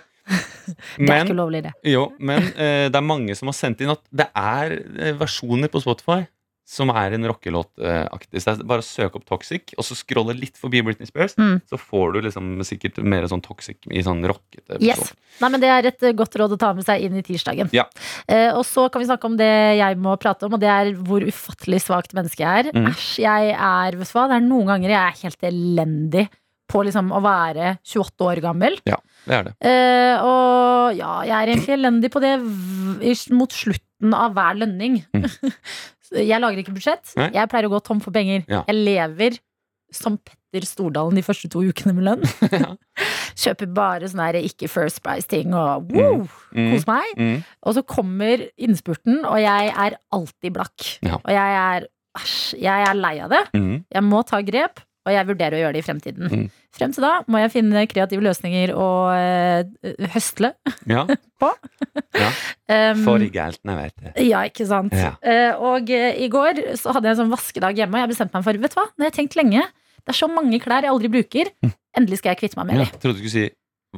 Speaker 2: er ikke
Speaker 3: Men,
Speaker 2: ulovlig, det.
Speaker 3: jo, men eh, det er mange som har sendt inn at det er eh, versjoner på Spotify som er en rockelåtaktig. Så det er bare å søke opp Toxic, og så scrolle litt forbi Britney Spears,
Speaker 2: Mm.
Speaker 3: så får du liksom sikkert mer sånn toxic i sånn rockete person.
Speaker 2: Yes. Nei, men Det er et eh, godt råd å ta med seg inn i tirsdagen.
Speaker 3: Ja.
Speaker 2: Eh, og så kan vi snakke om det jeg må prate om, og det er hvor ufattelig svakt mennesket jeg er.
Speaker 3: Mm.
Speaker 2: Æsj, jeg er vet du hva, Det er noen ganger jeg er helt elendig på liksom å være 28 år gammel.
Speaker 3: Det er det.
Speaker 2: Eh, og ja, jeg er egentlig elendig på det v- i- mot slutten av hver lønning.
Speaker 3: Mm.
Speaker 2: Så [laughs] jeg lager ikke budsjett.
Speaker 3: Nei.
Speaker 2: Jeg pleier å gå tom for penger.
Speaker 3: Ja.
Speaker 2: Jeg lever som Petter Stordalen de første to ukene med lønn.
Speaker 3: [laughs]
Speaker 2: [laughs] Kjøper bare sånne her ikke First Price-ting og wow,
Speaker 3: Mm.
Speaker 2: kos meg.
Speaker 3: Mm.
Speaker 2: Og så kommer innspurten, og jeg er alltid blakk.
Speaker 3: Ja.
Speaker 2: Og jeg er æsj, jeg er lei av det.
Speaker 3: Mm.
Speaker 2: Jeg må ta grep, og jeg vurderer å gjøre det i fremtiden.
Speaker 3: Mm.
Speaker 2: Frem til da må jeg finne kreative løsninger og eh, høstle.
Speaker 3: Ja.
Speaker 2: På.
Speaker 3: ja.
Speaker 2: Um,
Speaker 3: For i galten, jeg vet det.
Speaker 2: ja, ikke sant.
Speaker 3: Ja.
Speaker 2: Eh, og eh, i går så hadde jeg en sånn vaskedag hjemme, og jeg bestemte meg for Vet du hva, det har jeg tenkt lenge. Det er så mange klær jeg aldri bruker. Endelig skal jeg kvitte meg med
Speaker 3: Mm. Ja,
Speaker 2: dem.
Speaker 3: jeg trodde du skulle si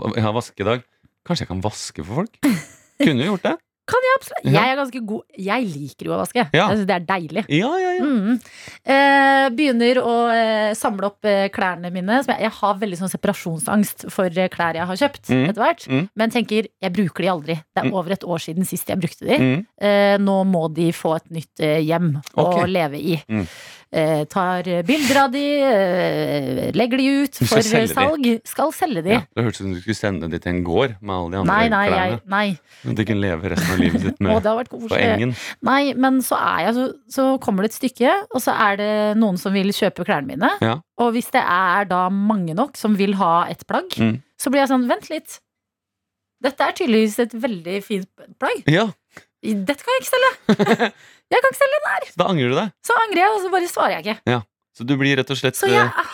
Speaker 3: "Hva- jeg har vaskedag. Kanskje jeg kan vaske for folk? Kunne du
Speaker 2: [laughs]
Speaker 3: gjort det?
Speaker 2: Jeg er ganske god Jeg liker jo å vaske.
Speaker 3: Ja.
Speaker 2: Jeg synes det er deilig.
Speaker 3: Ja, ja, ja.
Speaker 2: Mm. Eh, begynner å eh, samle opp eh, klærne mine. Som jeg, jeg har veldig sånn separasjonsangst for eh, klær jeg har kjøpt.
Speaker 3: Mm.
Speaker 2: etter hvert
Speaker 3: Mm.
Speaker 2: Men tenker jeg bruker de aldri. Det er
Speaker 3: Mm.
Speaker 2: over et år siden sist jeg brukte de.
Speaker 3: Mm.
Speaker 2: Eh, nå må de få et nytt eh, hjem
Speaker 3: Ok.
Speaker 2: å leve i.
Speaker 3: Mm.
Speaker 2: Eh, tar bilder av de, eh, legger de ut
Speaker 3: Du
Speaker 2: for
Speaker 3: skal selge de.
Speaker 2: salg. Skal selge de.
Speaker 3: ja. Det hørtes ut som du skulle sende det til en gård med alle de andre
Speaker 2: Nei, nei, jeg,
Speaker 3: klærne.
Speaker 2: nei.
Speaker 3: At de kunne leve resten av livet sitt
Speaker 2: Å,
Speaker 3: med
Speaker 2: det har vært
Speaker 3: på
Speaker 2: koselig.
Speaker 3: engen.
Speaker 2: Nei, men så er jeg, så, så kommer det et stykke, og så er det noen som vil kjøpe klærne mine.
Speaker 3: Ja.
Speaker 2: Og hvis det er da mange nok som vil ha et plagg,
Speaker 3: Mm.
Speaker 2: så blir jeg sånn, vent litt. Dette er tydeligvis et veldig fint plagg.
Speaker 3: Ja,
Speaker 2: Dette kan jeg ikke selge.
Speaker 3: [laughs]
Speaker 2: jeg kan ikke selge.
Speaker 3: så da angrer du deg.
Speaker 2: Så angrer jeg, og så bare svarer jeg ikke.
Speaker 3: Så du blir rett og slett
Speaker 2: Så jeg,
Speaker 3: eh,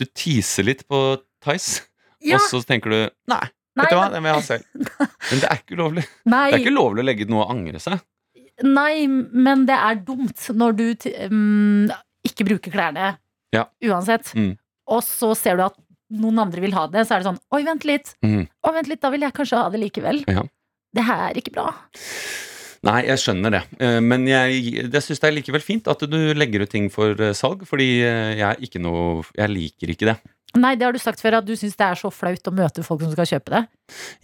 Speaker 3: Du teaser litt på Tice,
Speaker 2: ja,
Speaker 3: og så tenker du Nei,
Speaker 2: nei,
Speaker 3: vet du hva,
Speaker 2: men-
Speaker 3: den vil jeg ha
Speaker 2: [laughs]
Speaker 3: selv. Men det er ikke ulovlig. Det er
Speaker 2: nei,
Speaker 3: ikke lovlig å legge ut noe og angre seg.
Speaker 2: nei, men det er dumt når du t- mm, ikke bruker klærne
Speaker 3: Ja.
Speaker 2: uansett.
Speaker 3: Mm.
Speaker 2: Og så ser du at noen andre vil ha det, så er det sånn, oi, vent litt.
Speaker 3: Mm.
Speaker 2: Å, vent litt, da vil jeg kanskje ha det likevel.
Speaker 3: Ja.
Speaker 2: Det her er ikke bra.
Speaker 3: Nei, jeg skjønner det. Eh, Men jeg, jeg syns det er likevel fint at du legger ut ting for eh, salg, fordi eh, jeg er ikke noe Jeg liker ikke det.
Speaker 2: Nei, det har du sagt før, at du syns det er så flaut å møte folk som skal kjøpe det.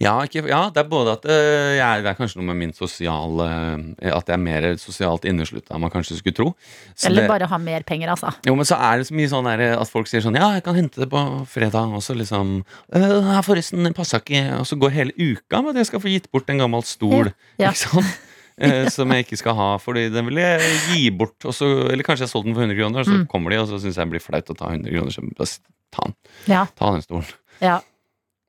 Speaker 3: Ja, ikke, ja det er både at eh, jeg er, det er kanskje noe med min sosiale eh, At jeg er mer sosialt inneslutta enn man kanskje skulle tro. Så
Speaker 2: Eller
Speaker 3: det,
Speaker 2: bare ha mer penger, altså.
Speaker 3: jo, men så er det så mye sånn der, eh, at folk sier sånn Ja, jeg kan hente det på fredag, og så liksom «Øh, ja, Forresten, den passa ikke. Og så går hele uka med at jeg skal få gitt bort en gammel stol.
Speaker 2: Ja, ja.
Speaker 3: Ikke sant?
Speaker 2: [laughs]
Speaker 3: Eh, Som jeg ikke skal ha, Fordi den vil jeg gi bort. Og så, eller kanskje jeg har solgt den for 100 kroner, og så
Speaker 2: Mm.
Speaker 3: kommer de, og så syns jeg det blir flaut å ta 100 kroner. Så bare s- ta den,
Speaker 2: Ja.
Speaker 3: ta den stolen.
Speaker 2: Ja.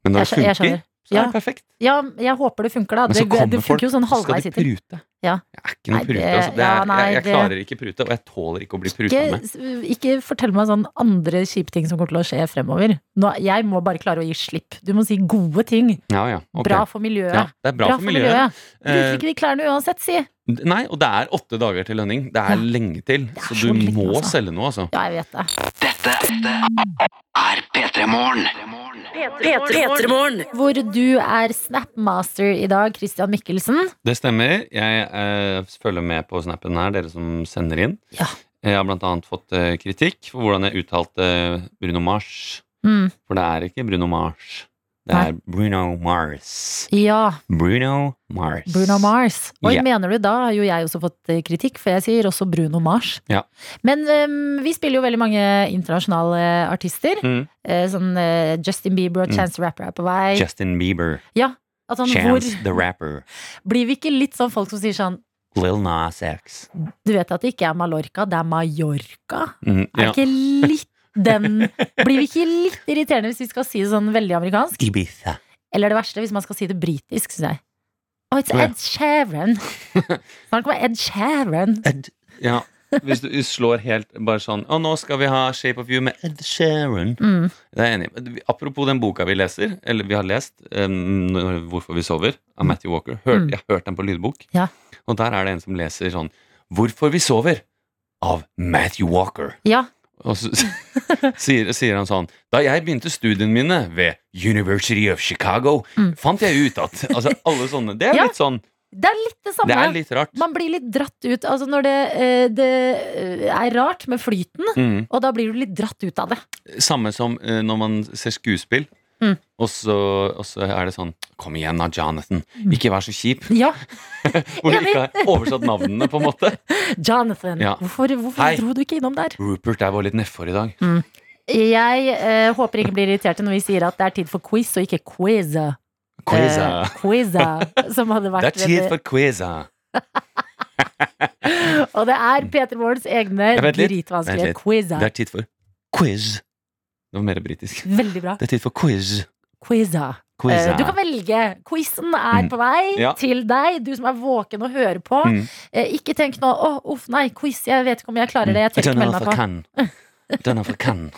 Speaker 3: Men når
Speaker 2: Jeg
Speaker 3: det
Speaker 2: skjø- jeg
Speaker 3: funker,
Speaker 2: skjønner.
Speaker 3: så er
Speaker 2: Ja.
Speaker 3: det perfekt.
Speaker 2: Ja, jeg håper det funker, da.
Speaker 3: Men
Speaker 2: Det,
Speaker 3: så kommer
Speaker 2: det
Speaker 3: folk,
Speaker 2: funker jo sånn
Speaker 3: og så
Speaker 2: halvveis
Speaker 3: skal de
Speaker 2: hit.
Speaker 3: prute.
Speaker 2: Ja.
Speaker 3: Jeg er ikke noen
Speaker 2: Nei,
Speaker 3: prute.
Speaker 2: det-
Speaker 3: Altså. Det
Speaker 2: ja,
Speaker 3: er,
Speaker 2: nei,
Speaker 3: jeg, jeg
Speaker 2: det-
Speaker 3: klarer ikke prute, og jeg tåler ikke å bli pruta med.
Speaker 2: Ikke, ikke fortell meg sånn andre kjipe ting som kommer til å skje fremover. Nå, jeg må bare klare å gi slipp. Du må si gode ting.
Speaker 3: Ja, ja. ok.
Speaker 2: Bra for miljøet.
Speaker 3: Ja, det er bra, for miljøet.
Speaker 2: Bruker ikke de klærne uansett, si.
Speaker 3: Eh, nei, og det er åtte dager til lønning. Det er
Speaker 2: Ja.
Speaker 3: lenge til.
Speaker 2: er
Speaker 3: Så
Speaker 2: så
Speaker 3: du
Speaker 2: lenge,
Speaker 3: må
Speaker 2: altså.
Speaker 3: selge noe, altså.
Speaker 2: Ja, jeg vet det.
Speaker 7: Dette er P3 Morgen.
Speaker 4: P3morgen.
Speaker 2: hvor du er Snapmaster i dag, Christian Mikkelsen.
Speaker 3: Det stemmer. Jeg eh, følger med på snappen her, dere som sender inn.
Speaker 2: Ja.
Speaker 3: Jeg har blant annet fått eh, kritikk for hvordan jeg uttalte Bruno Mars.
Speaker 2: Mm.
Speaker 3: For det er ikke Bruno Mars. Det
Speaker 2: Nei.
Speaker 3: er Bruno Mars.
Speaker 2: Ja,
Speaker 3: Bruno Mars.
Speaker 2: Bruno Mars. Oi,
Speaker 3: Ja.
Speaker 2: mener du da? Har jo jeg også fått eh, kritikk, for jeg sier også Bruno Mars.
Speaker 3: Ja.
Speaker 2: Men eh, vi spiller jo veldig mange internasjonale artister.
Speaker 3: Mm.
Speaker 2: Eh, sånn eh, Justin Bieber og
Speaker 3: Mm.
Speaker 2: Chance the Rapper er på vei.
Speaker 3: Justin Bieber.
Speaker 2: At sånn,
Speaker 3: Chance
Speaker 2: hvor,
Speaker 3: the Rapper.
Speaker 2: blir vi ikke litt sånn folk som sier sånn
Speaker 3: Lil Nas X.
Speaker 2: Du vet at det ikke er Mallorca, det er Mallorca.
Speaker 3: Mm,
Speaker 2: Er
Speaker 3: ja.
Speaker 2: ikke litt den Blir vi ikke litt irriterende hvis vi skal si det sånn veldig amerikansk?
Speaker 3: Ibiza.
Speaker 2: Eller det verste, hvis man skal si det britisk, syns jeg. Oh, it's
Speaker 3: Å, ja.
Speaker 2: Ed
Speaker 3: [laughs]
Speaker 2: Sheeran. Snart kommer Ed Sheeran.
Speaker 3: Ja. Hvis du slår helt bare sånn Å, nå skal vi ha Shape of You med Ed Sheeran.
Speaker 2: Mm.
Speaker 3: Det er jeg enig. i. Apropos den boka vi leser, eller vi har lest, eh, når- 'Hvorfor vi sover', av Matthew Walker. Hør,
Speaker 2: Mm.
Speaker 3: Jeg har hørt den på lydbok.
Speaker 2: Ja.
Speaker 3: Og der er det en som leser sånn 'Hvorfor vi sover' av Matthew Walker.
Speaker 2: Ja.
Speaker 3: Og så [laughs] sier, sier han sånn Da jeg begynte studiene mine ved University of Chicago,
Speaker 2: Mm.
Speaker 3: fant jeg ut at Altså, alle sånne Det er
Speaker 2: Ja,
Speaker 3: litt sånn
Speaker 2: Det er litt det samme.
Speaker 3: Det er litt rart.
Speaker 2: Man blir litt dratt ut. Altså når det, eh, det eh, er rart med flyten,
Speaker 3: Mm.
Speaker 2: og da blir du litt dratt ut av det.
Speaker 3: Samme som eh, når man ser skuespill.
Speaker 2: Mm.
Speaker 3: Og, så, og så er det sånn Kom igjen da, Jonathan.
Speaker 2: Mm.
Speaker 3: Ikke vær så kjip.
Speaker 2: Ja,
Speaker 3: Hvor de
Speaker 2: Enig.
Speaker 3: ikke har oversatt navnene, på en måte.
Speaker 2: Jonathan.
Speaker 3: Ja.
Speaker 2: Hvorfor, hvorfor
Speaker 3: Hei.
Speaker 2: dro du ikke innom der?
Speaker 3: Rupert er vår litt nedfor i dag.
Speaker 2: Jeg eh, håper ingen blir irriterte når vi sier at det er tid for quiz og ikke quiz.
Speaker 3: Quiza.
Speaker 2: Eh, quiza som hadde vært
Speaker 3: det er tid for quiza.
Speaker 2: Og det er Peter Morgens egne
Speaker 3: Ja, vent litt. Vent
Speaker 2: dritvanskelige
Speaker 3: litt.
Speaker 2: quiza.
Speaker 3: Det er tid for quiz. Det var mer britisk.
Speaker 2: Veldig bra.
Speaker 3: Det er tid for quiz.
Speaker 2: Quiza.
Speaker 3: Quiza.
Speaker 2: Eh, Du kan velge. Quizen er
Speaker 3: Mm.
Speaker 2: på vei
Speaker 3: Ja.
Speaker 2: til deg, du som er våken og hører på.
Speaker 3: Mm.
Speaker 2: Eh, Ikke tenk nå 'Å, uff, nei, quiz, jeg vet ikke om jeg klarer det'. Jeg
Speaker 3: I
Speaker 2: tør
Speaker 3: don't
Speaker 2: ikke
Speaker 3: know
Speaker 2: melde
Speaker 3: if
Speaker 2: meg
Speaker 3: I
Speaker 2: på.
Speaker 3: can. I don't know if I
Speaker 2: [laughs]
Speaker 3: can.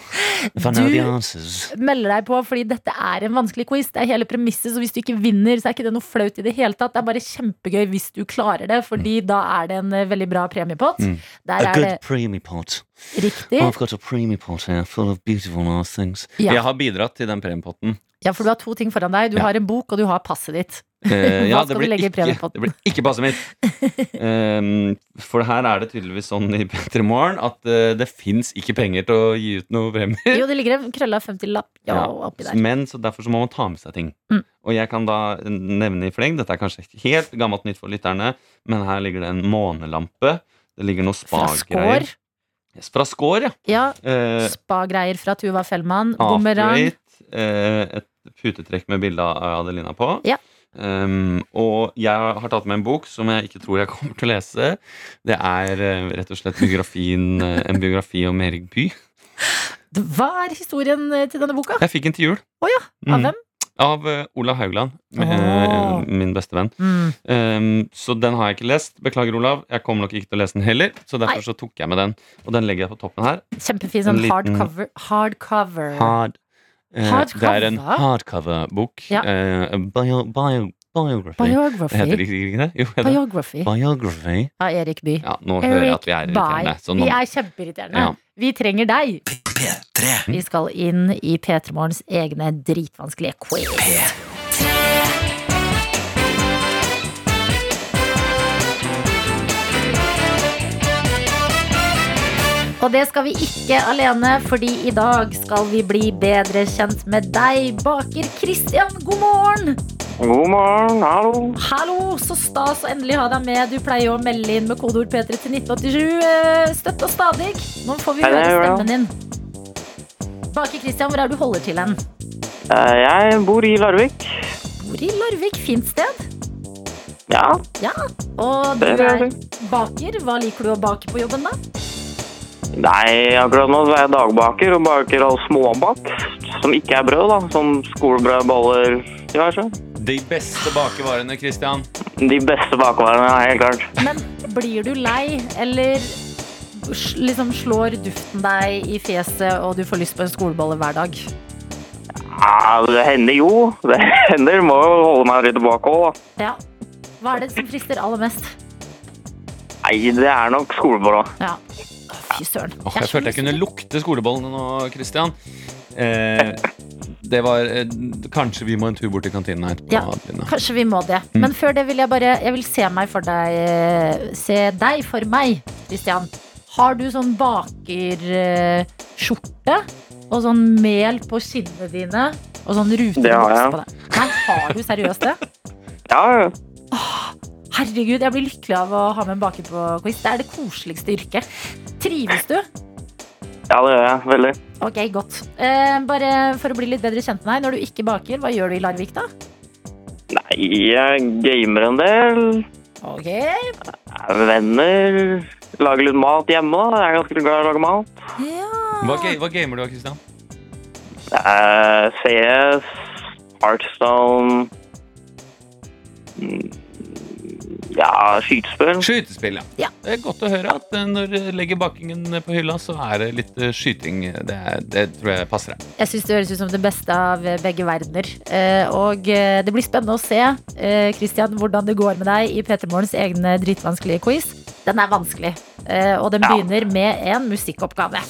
Speaker 3: If I
Speaker 2: Du-
Speaker 3: know the answers.
Speaker 2: Meld deg på, fordi dette er en vanskelig quiz. Det er hele premisset, så hvis du ikke vinner, så er ikke det noe flaut i det hele tatt. Det er bare kjempegøy hvis du klarer det, fordi da er det en eh, veldig bra premiepott.
Speaker 3: Mm.
Speaker 2: Der
Speaker 3: A
Speaker 2: er
Speaker 3: good
Speaker 2: det
Speaker 3: preemie pot.
Speaker 2: riktig.
Speaker 3: I've got a preemie pot here full of beautiful nice things.
Speaker 2: Ja.
Speaker 3: Jeg har bidratt til den premiepotten.
Speaker 2: Ja, for du har to ting foran deg. Du
Speaker 3: Ja.
Speaker 2: har en bok, og du har passet ditt.
Speaker 3: Eh, ja,
Speaker 2: Hva skal
Speaker 3: det
Speaker 2: du
Speaker 3: blir,
Speaker 2: legge i
Speaker 3: ikke,
Speaker 2: premiepotten?
Speaker 3: det blir ikke passet mitt. Ehm, for her er det tydeligvis sånn i [laughs] P3 Morgen at eh, det fins ikke penger til å gi ut noe premier.
Speaker 2: Jo, det ligger en krølla 50-lapp ja,
Speaker 3: Ja,
Speaker 2: oppi der.
Speaker 3: Men så derfor så må man ta med seg ting.
Speaker 2: Mm.
Speaker 3: Og jeg kan da nevne i fleng, dette er kanskje ikke helt gammelt nytt for lytterne, men her ligger det en månelampe. Det ligger noe
Speaker 2: Fra
Speaker 3: spa-greier.
Speaker 2: Skår.
Speaker 3: Yes, Fra skår, ja.
Speaker 2: Ja,
Speaker 3: Eh,
Speaker 2: spa-greier fra Tuva Fellmann. Bumerang.
Speaker 3: Afterweight. Eh, et putetrekk med bilde av Adelina på.
Speaker 2: Ja.
Speaker 3: Ehm, og jeg har tatt med en bok som jeg ikke tror jeg [laughs] kommer til å lese. Det er eh, rett og slett biografien, eh, en biografi om Erik Bye.
Speaker 2: Hva er historien eh, til denne boka?
Speaker 3: Jeg fikk den til jul.
Speaker 2: Å
Speaker 3: Mm.
Speaker 2: Av hvem?
Speaker 3: Av eh, Olav Haugland, med,
Speaker 2: Åh.
Speaker 3: min beste venn.
Speaker 2: Mm.
Speaker 3: Ehm, så den har jeg ikke lest. Beklager, Olav. Jeg kommer nok ikke til å lese den heller. Så
Speaker 2: Nei.
Speaker 3: derfor så tok jeg med den. Og den legger jeg på toppen her.
Speaker 2: Kjempefin
Speaker 3: En
Speaker 2: sånn
Speaker 3: liten-
Speaker 2: hardcover. hardcover.
Speaker 3: Hard. Eh,
Speaker 2: Hardcover?
Speaker 3: det er en hardcover-bok.
Speaker 2: Ja.
Speaker 3: Eh, bio, bio, biography. Det heter
Speaker 2: Biography.
Speaker 3: det ikke det? Jo, heter det.
Speaker 2: Biography
Speaker 3: Biography.
Speaker 2: av Erik Bye.
Speaker 3: Ja, nå hører jeg at vi er irriterende. Så nå,
Speaker 2: Vi er kjempeirriterende.
Speaker 3: Ja.
Speaker 2: Vi trenger deg.
Speaker 7: P3.
Speaker 2: Vi skal inn i P3 Morgens egne dritvanskelige quiz. Og det skal vi ikke alene, fordi i dag skal vi bli bedre kjent med deg, baker Christian. God morgen!
Speaker 8: God morgen, hallo.
Speaker 2: Hallo, så stas å endelig ha deg med. Du pleier jo å melde inn med kodeord P3 til 1987 eh, støtt og stadig. Nå får vi
Speaker 8: Hei,
Speaker 2: høre
Speaker 8: det gjør jeg.
Speaker 2: stemmen din. Baker Christian, hvor er du holder til hen?
Speaker 8: Eh, Jeg bor i Larvik.
Speaker 2: Bor i Larvik, fint sted.
Speaker 8: Ja,
Speaker 2: Og du
Speaker 8: det gjør
Speaker 2: er
Speaker 8: jeg.
Speaker 2: baker. Hva liker du å bake på jobben, da?
Speaker 8: Nei, akkurat nå så er jeg dagbaker og baker all småbakk, som ikke er brød da, som skolebrød, boller, diverse.
Speaker 3: de beste bakevarene, Christian.
Speaker 8: De beste bakvarene, ja, helt klart.
Speaker 2: Men blir du lei, eller s- liksom slår duften deg i fjeset, og du får lyst på en skolebolle hver dag?
Speaker 8: Ja, det hender jo. [laughs] Det hender, må jo holde meg litt tilbake også. da.
Speaker 2: Ja. Hva er det som frister aller mest?
Speaker 8: Nei, det er nok skolebrød.
Speaker 2: Ja. Å, Fy søren.
Speaker 3: Åh, jeg
Speaker 2: er så
Speaker 3: følte jeg
Speaker 2: misunnelig.
Speaker 3: kunne lukte skolebollene nå, Christian. Eh, det var eh, Kanskje vi må en tur bort til kantinen her. etterpå,
Speaker 2: Ja.
Speaker 3: Adeline.
Speaker 2: Kanskje vi må det.
Speaker 3: Mm.
Speaker 2: Men før det vil jeg bare Jeg vil se meg for deg eh, Se deg for meg, Kristian. Har du sånn bakerskjorte og sånn mel på skinnene dine? Og sånn rute
Speaker 8: Det har jeg.
Speaker 2: på deg? Nei, har du seriøst det?
Speaker 8: Ja, ja.
Speaker 2: Herregud, jeg blir lykkelig av å ha med en baker på quiz. Det er det koseligste yrket. Trives du?
Speaker 8: ja, det gjør jeg. Veldig.
Speaker 2: Ok, godt. Eh, bare for å bli litt bedre kjent med deg. Når du ikke baker, hva gjør du i Larvik da?
Speaker 8: Nei, jeg gamer en del.
Speaker 2: Ok,
Speaker 8: er med Venner. Lager litt mat hjemme, da. Jeg er ganske glad i å lage mat.
Speaker 3: Hva, ga- hva gamer du da, Kristian?
Speaker 8: Eh, CS, Heartstone Mm, Ja, skytespill.
Speaker 3: Skytespill, ja.
Speaker 2: Ja.
Speaker 3: Det er godt å høre at eh, når du legger bakingen på hylla, så er det litt eh, skyting. Det, er, det tror jeg passer deg.
Speaker 2: Jeg syns det høres ut som det beste av begge verdener. Eh, Og eh, det blir spennende å se eh, Christian, hvordan det går med deg i P3 Morgens egne dritvanskelige quiz. Den er vanskelig, eh, og den
Speaker 8: Ja.
Speaker 2: begynner med en musikkoppgave.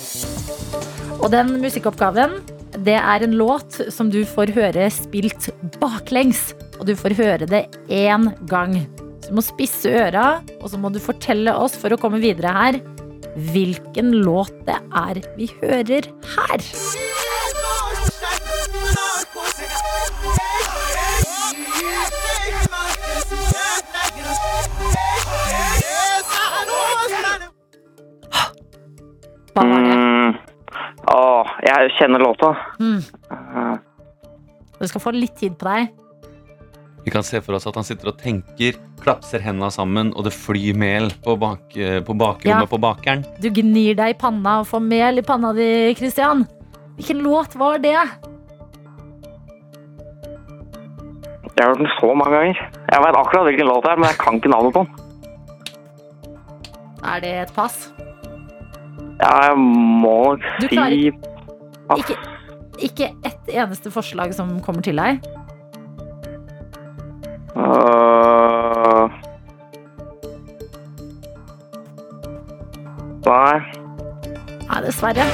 Speaker 2: Og den musikkoppgaven, det er en låt som du får høre spilt baklengs. Og du får høre det én gang. Så du må spisse øra, og så må du fortelle oss for å komme videre her hvilken låt det er vi hører her. Hva var det?
Speaker 8: Mm. Åh, jeg kjenner låta.
Speaker 2: Mm.
Speaker 8: Eh,
Speaker 2: Du skal få litt tid på deg.
Speaker 3: Vi kan se for oss at han sitter og tenker, klapser hendene sammen, og det flyr mel på, bak, eh, på bakrommet
Speaker 2: Ja.
Speaker 3: på bakeren.
Speaker 2: Du gnir deg i panna og får mel i panna di, Christian. Hvilken låt var det?
Speaker 8: Jeg har hørt den så mange ganger. Jeg vet akkurat hvilken låt det er, men jeg kan ikke navnet på den.
Speaker 2: Er det et pass?
Speaker 8: Ja, Jeg må
Speaker 2: Du
Speaker 8: si Ah.
Speaker 2: klarer-
Speaker 3: Ah.
Speaker 8: Pass.
Speaker 2: Ikke, ikke ett eneste forslag som kommer til deg?
Speaker 8: Eh, Nei.
Speaker 2: Nei, dessverre.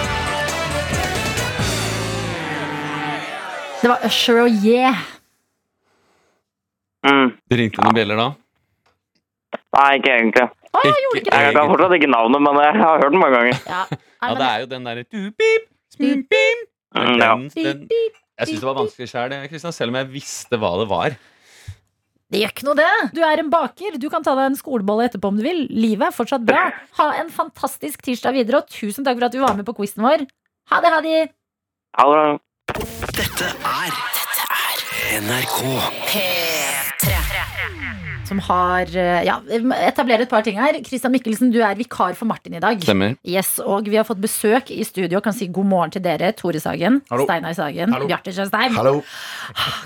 Speaker 2: Det var Usher og Yeah.
Speaker 8: Mm.
Speaker 3: Det ringte noen bjeller da.
Speaker 8: Nei, ikke egentlig.
Speaker 2: Å, jeg
Speaker 3: Ikke
Speaker 2: gjorde ikke det!
Speaker 8: Jeg kan fortsatt ikke navnet, men jeg har hørt den mange ganger.
Speaker 2: Ja, Nei,
Speaker 3: Ja, det
Speaker 2: men,
Speaker 3: er jo den derre tu-pip, smu-pip.
Speaker 8: Mm, ja.
Speaker 3: Den, den, jeg syns det var vanskelig sjøl, selv om jeg visste hva det var.
Speaker 2: det gjør ikke noe, det. Du er en baker. Du kan ta deg en skolebolle etterpå om du vil. Livet er fortsatt bra. Ha en fantastisk tirsdag videre, og tusen takk for at du var med på quizen vår. Ha det, ha det.
Speaker 8: Ja, det var-
Speaker 7: NRK.
Speaker 2: Som har eh, ja, etablerer et par ting her. Christian Mikkelsen, du er vikar for Martin i dag.
Speaker 3: Stemmer.
Speaker 2: Yes, og vi har fått besøk i studio. Kan si god morgen til dere, Tore Sagen, Steinar Sagen, Bjarte Tjøstheim.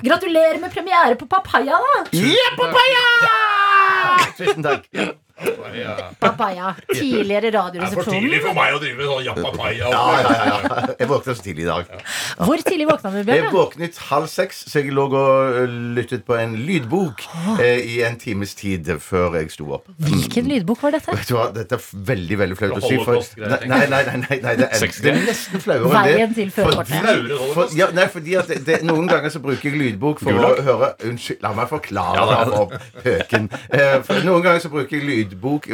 Speaker 2: Gratulerer med premiere på Papaya, da!
Speaker 9: Tusen takk.
Speaker 2: Papaya, Tidligere Radioresepsjonen.
Speaker 5: for meg å drive med sånn jappapaia.
Speaker 9: Ja, ja, ja, ja. Jeg våknet så tidlig i dag.
Speaker 2: Hvor tidlig våkna du,
Speaker 9: Jeg
Speaker 2: Bjørn?
Speaker 9: våknet halv seks, så jeg lå og ø, lyttet på en lydbok eh, i en times tid før jeg sto opp.
Speaker 2: Hvilken lydbok var dette?
Speaker 9: Vet du hva, Dette er veldig veldig flaut å si.
Speaker 5: Holocaust-greier,
Speaker 9: nei, nei, nei, nei, nei, det, er, det er nesten flauere enn det.
Speaker 2: Veien til førerkortet.
Speaker 9: Fordi- for, ja, nei, fordi at det, det, Noen ganger så bruker jeg lydbok for å høre Unnskyld, la meg forklare det for høken. Eh, for noen ganger så bruker jeg lydbok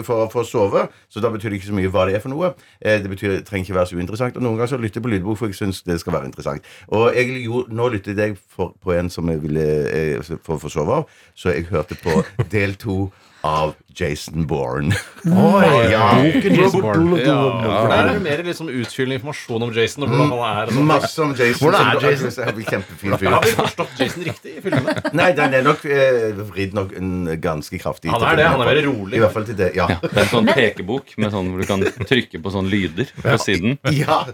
Speaker 9: for, for å sove, så da betyr det ikke så mye hva det er for noe. Eh, det betyr, det trenger ikke være så uinteressant. Og noen ganger så lytter jeg på lydbok, for jeg syns det skal være interessant. Og jeg, jo, nå lyttet jeg for, på en som jeg ville eh, for, for å sove av, så jeg hørte på del to av Jason Bourne. [laughs] Oi, ja.
Speaker 10: Der er det mer liksom utfyllende informasjon om Jason. Og hvordan han er og sånt.
Speaker 9: Masse om Jason.
Speaker 10: Hvordan er
Speaker 9: som-
Speaker 10: Jason?
Speaker 9: Jeg blir Kjempefin fyr.
Speaker 10: Har vi forstått Jason riktig i filmene?
Speaker 9: Nei, den er nok eh, vridd nok en ganske kraftig.
Speaker 10: Han er det, han er veldig rolig.
Speaker 9: I hvert fall til det, ja.
Speaker 3: Det er en sånn pekebok med sånn hvor du kan trykke på sånne lyder på siden.
Speaker 9: ja.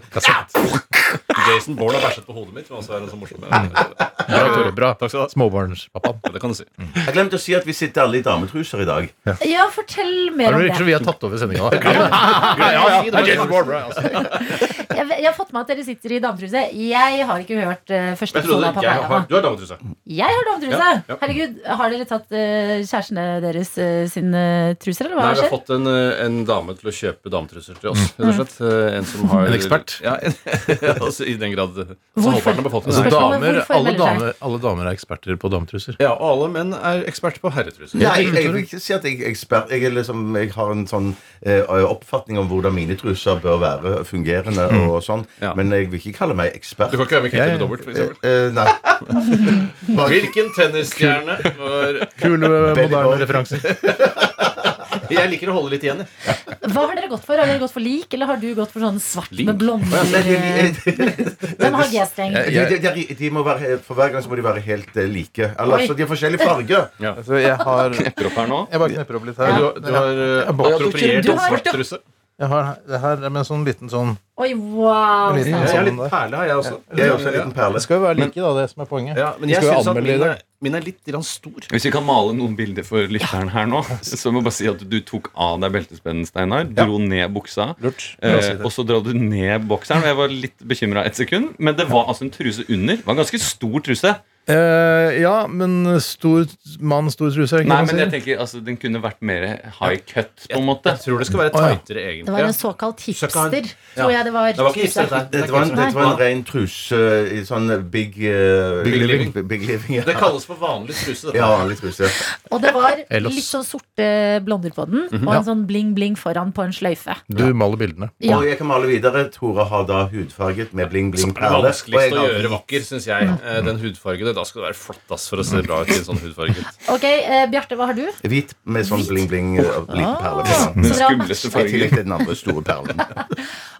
Speaker 10: Jason Bourne har bæsjet på hodet mitt. som også er en sånn morsom
Speaker 9: Bra, Tore,
Speaker 10: Bra. Takk skal du ha.
Speaker 11: Småbarnspappa.
Speaker 10: Ja, Det kan du si.
Speaker 9: Jeg glemte å si at vi sitter alle i dametruser i dag.
Speaker 2: Ja, fortell mer
Speaker 11: Det
Speaker 2: om
Speaker 11: virker som
Speaker 2: det.
Speaker 11: vi har tatt over sendinga. Ja, ja, ja. Det er Jason Bourne, bra, altså.
Speaker 2: jeg, jeg har fått med at dere sitter i dametruse. Jeg har ikke hørt eh, første
Speaker 10: Jeg trodde
Speaker 2: episode av
Speaker 10: det, jeg
Speaker 2: Papaya.
Speaker 10: har, du har dametruse.
Speaker 2: Jeg har dametruse!
Speaker 10: Ja, ja.
Speaker 2: Herregud, har dere tatt eh, kjærestene deres eh, sin eh, truser, eller
Speaker 10: Nei,
Speaker 2: hva har
Speaker 10: vi har
Speaker 2: skjedd? Mm.
Speaker 10: fått en, eh, en dame til å kjøpe dametruser til oss, rett og slett. Eh, En som har
Speaker 11: En ekspert?
Speaker 10: [laughs] Ja, altså, I den grad eh, Så
Speaker 11: Hvorfor-
Speaker 10: halvparten av befolkningen
Speaker 11: Altså,
Speaker 10: er
Speaker 11: damer-
Speaker 10: ekspert.
Speaker 11: alle, damer, alle damer er eksperter på dametruser.
Speaker 10: Ja, og alle menn er eksperter på herretruser.
Speaker 9: Nei, jeg, jeg vil ikke si at jeg er ekspert. Jeg, er liksom, jeg har en sånn eh, oppfatning om hvordan mine truser bør være fungerende og sånn. Men jeg vil ikke kalle meg ekspert.
Speaker 10: Mm. Du kan ikke være med Kate
Speaker 9: Jeg-
Speaker 10: Dobbelt, for eksempel.
Speaker 9: Eh, eh, nei.
Speaker 10: Hvilken tennisstjerne var
Speaker 11: Kule,
Speaker 9: Baby
Speaker 11: moderne
Speaker 9: Boy.
Speaker 11: [laughs] referanser.
Speaker 10: Jeg liker å holde litt igjen, jeg.
Speaker 2: Hva har dere gått for? Har dere gått for lik, eller har du gått for sånn svart med
Speaker 9: Nei,
Speaker 2: blonder?
Speaker 9: de-
Speaker 2: eh, Hvem har G-streng?
Speaker 9: de, de, de, de må være, helt- for hver gang så må de være helt eh, like. Eller,
Speaker 2: Oi.
Speaker 9: altså, de har forskjellig farge.
Speaker 11: Altså, jeg har
Speaker 3: Knepper opp her nå.
Speaker 11: Jeg bare knepper opp litt her.
Speaker 10: Du, du har eh, appropriert
Speaker 2: du
Speaker 10: en
Speaker 2: har-
Speaker 10: svart truse.
Speaker 11: Jeg har det her med en sånn liten sånn
Speaker 2: Oi, wow!
Speaker 11: En liten- sånn-
Speaker 10: Jeg
Speaker 2: Sandra.
Speaker 10: har litt perle, har jeg også.
Speaker 9: Jeg har også en liten perle.
Speaker 11: Det skal jo være like, da. Det som er poenget.
Speaker 10: Ja, men
Speaker 11: Vi
Speaker 10: jeg
Speaker 11: skal jo
Speaker 10: syns at
Speaker 11: anmelde
Speaker 10: min
Speaker 11: det.
Speaker 10: er, min er litt grann stor.
Speaker 3: Hvis vi kan male noen bilder for lytteren her nå, så må jeg bare si at du tok av deg beltespennen, Steinar. Dro ned buksa.
Speaker 11: Lurt.
Speaker 3: Eh, og så dro du ned bokseren. Og jeg var litt bekymra et sekund, men det var altså en truse under. Det var en ganske stor truse.
Speaker 11: Eh, ja, men stor mann, stor truse, er
Speaker 3: Nei,
Speaker 11: det ikke det
Speaker 3: men jeg
Speaker 11: man sier?
Speaker 3: tenker altså, Den kunne vært mer high cut, på en måte.
Speaker 10: Jeg tror det skal være
Speaker 11: Å, ja.
Speaker 10: tightere, egentlig.
Speaker 2: Det var
Speaker 10: Ja.
Speaker 2: en såkalt
Speaker 10: Søkka
Speaker 2: hipster,
Speaker 10: han.
Speaker 2: tror jeg det var.
Speaker 10: Det var ikke hipster, dette her.
Speaker 9: Dette var en,
Speaker 10: Det er ikke
Speaker 9: dette var en ren truse i sånn big eh,
Speaker 10: Big living.
Speaker 9: Big, big living
Speaker 10: Det
Speaker 9: ja.
Speaker 10: kalles for vanlig truse. dette.
Speaker 9: ja, litt truse.
Speaker 2: Og det
Speaker 10: [laughs]
Speaker 2: var
Speaker 11: Ellers.
Speaker 2: litt sånn sorte blonder på den, og en sånn bling-bling foran på en sløyfe.
Speaker 11: Du maler bildene.
Speaker 2: Ja.
Speaker 9: Og jeg kan male videre. Tore har da hudfarget med bling, bling,
Speaker 10: Det er
Speaker 9: perle. Og jeg
Speaker 10: vanskeligst å
Speaker 9: har-
Speaker 10: gjøre vakker, syns jeg. Eh, Den hudfargede. Da skal det være flott ass, for å se bra ut i en sånn hudfarget.
Speaker 2: Ok, eh, Bjarte, hva har du?
Speaker 9: Hvit med sånn bling, bling eh, og liten perle. på
Speaker 2: Ah.
Speaker 9: den.
Speaker 2: Så dere har
Speaker 3: Skumleste
Speaker 9: I tillegg
Speaker 3: fargen.
Speaker 9: til den andre store
Speaker 10: [laughs]
Speaker 9: perlen.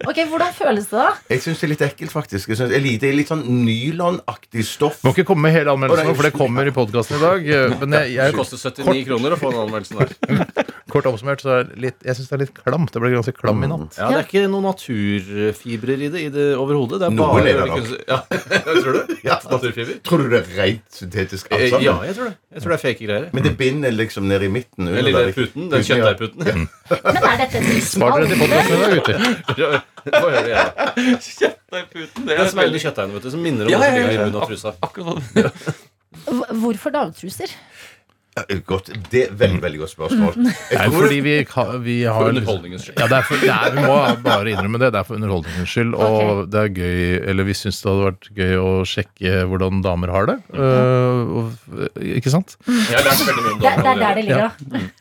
Speaker 2: Ok, Hvordan føles det, da?
Speaker 9: Jeg syns det er litt ekkelt, faktisk. Jeg synes, jeg liker litt sånn nylonaktig stoff.
Speaker 11: Må ikke komme med hele
Speaker 9: Å,
Speaker 11: anmeldelsen, nå,
Speaker 9: nei,
Speaker 11: for det kommer i podkasten i dag. eh, Men jeg,
Speaker 10: Det
Speaker 11: jeg,
Speaker 10: koster 79 kroner å få den anmeldelsen der.
Speaker 11: kort oppsummert, så er det litt, jeg syns det er litt klamt. Det ble ganske klam i natt.
Speaker 10: Ja, Det er ikke noen naturfibrer i det, i det overhodet. Det er
Speaker 9: Noe
Speaker 10: bare
Speaker 9: lever av.
Speaker 10: kunst- [laughs] Ja, tror du?
Speaker 9: Ja.
Speaker 10: Naturfiber?
Speaker 9: Tror du det er rent syntetisk alt
Speaker 10: Eh,
Speaker 9: sammen?
Speaker 10: Ja, jeg tror det. Jeg tror det er fake greier.
Speaker 9: Men det binder liksom ned i midten. under
Speaker 10: Den lille
Speaker 9: der.
Speaker 10: puten. Mm. Den
Speaker 9: ja.
Speaker 10: kjøttdeigputen. [laughs]
Speaker 2: Men er dette en
Speaker 11: Spar
Speaker 2: smal
Speaker 11: dere til podkasten i dag, gutter.
Speaker 10: Hva gjør det?
Speaker 3: Kjøttdeigputen. Det
Speaker 10: Den som
Speaker 3: er
Speaker 10: er under
Speaker 3: veldig
Speaker 10: kjøttdeigen, vet du. Som minner om
Speaker 3: Ja,
Speaker 10: det som
Speaker 3: ja, ja,
Speaker 10: ligger i
Speaker 3: ja.
Speaker 10: bunnen av trusa.
Speaker 3: akkurat det.
Speaker 2: Hv- Hvorfor dametruser?
Speaker 9: Ja, Godt. Det er veldig, veldig godt spørsmål.
Speaker 11: Det
Speaker 9: Jeg
Speaker 11: er
Speaker 9: tror
Speaker 11: fordi vi, ka- vi har
Speaker 10: For underholdningens skyld.
Speaker 11: Ja, det er for, det er, vi må bare innrømme det. Det er for underholdningens skyld. Og
Speaker 2: Ok.
Speaker 11: det er gøy Eller vi syns det hadde vært gøy å sjekke hvordan damer har det. øh, og, ikke sant?
Speaker 10: Mhm. Jeg har lært veldig mye om
Speaker 2: Mm. Det, er- det er
Speaker 10: damer
Speaker 2: der det
Speaker 10: allerede.
Speaker 2: ligger, da.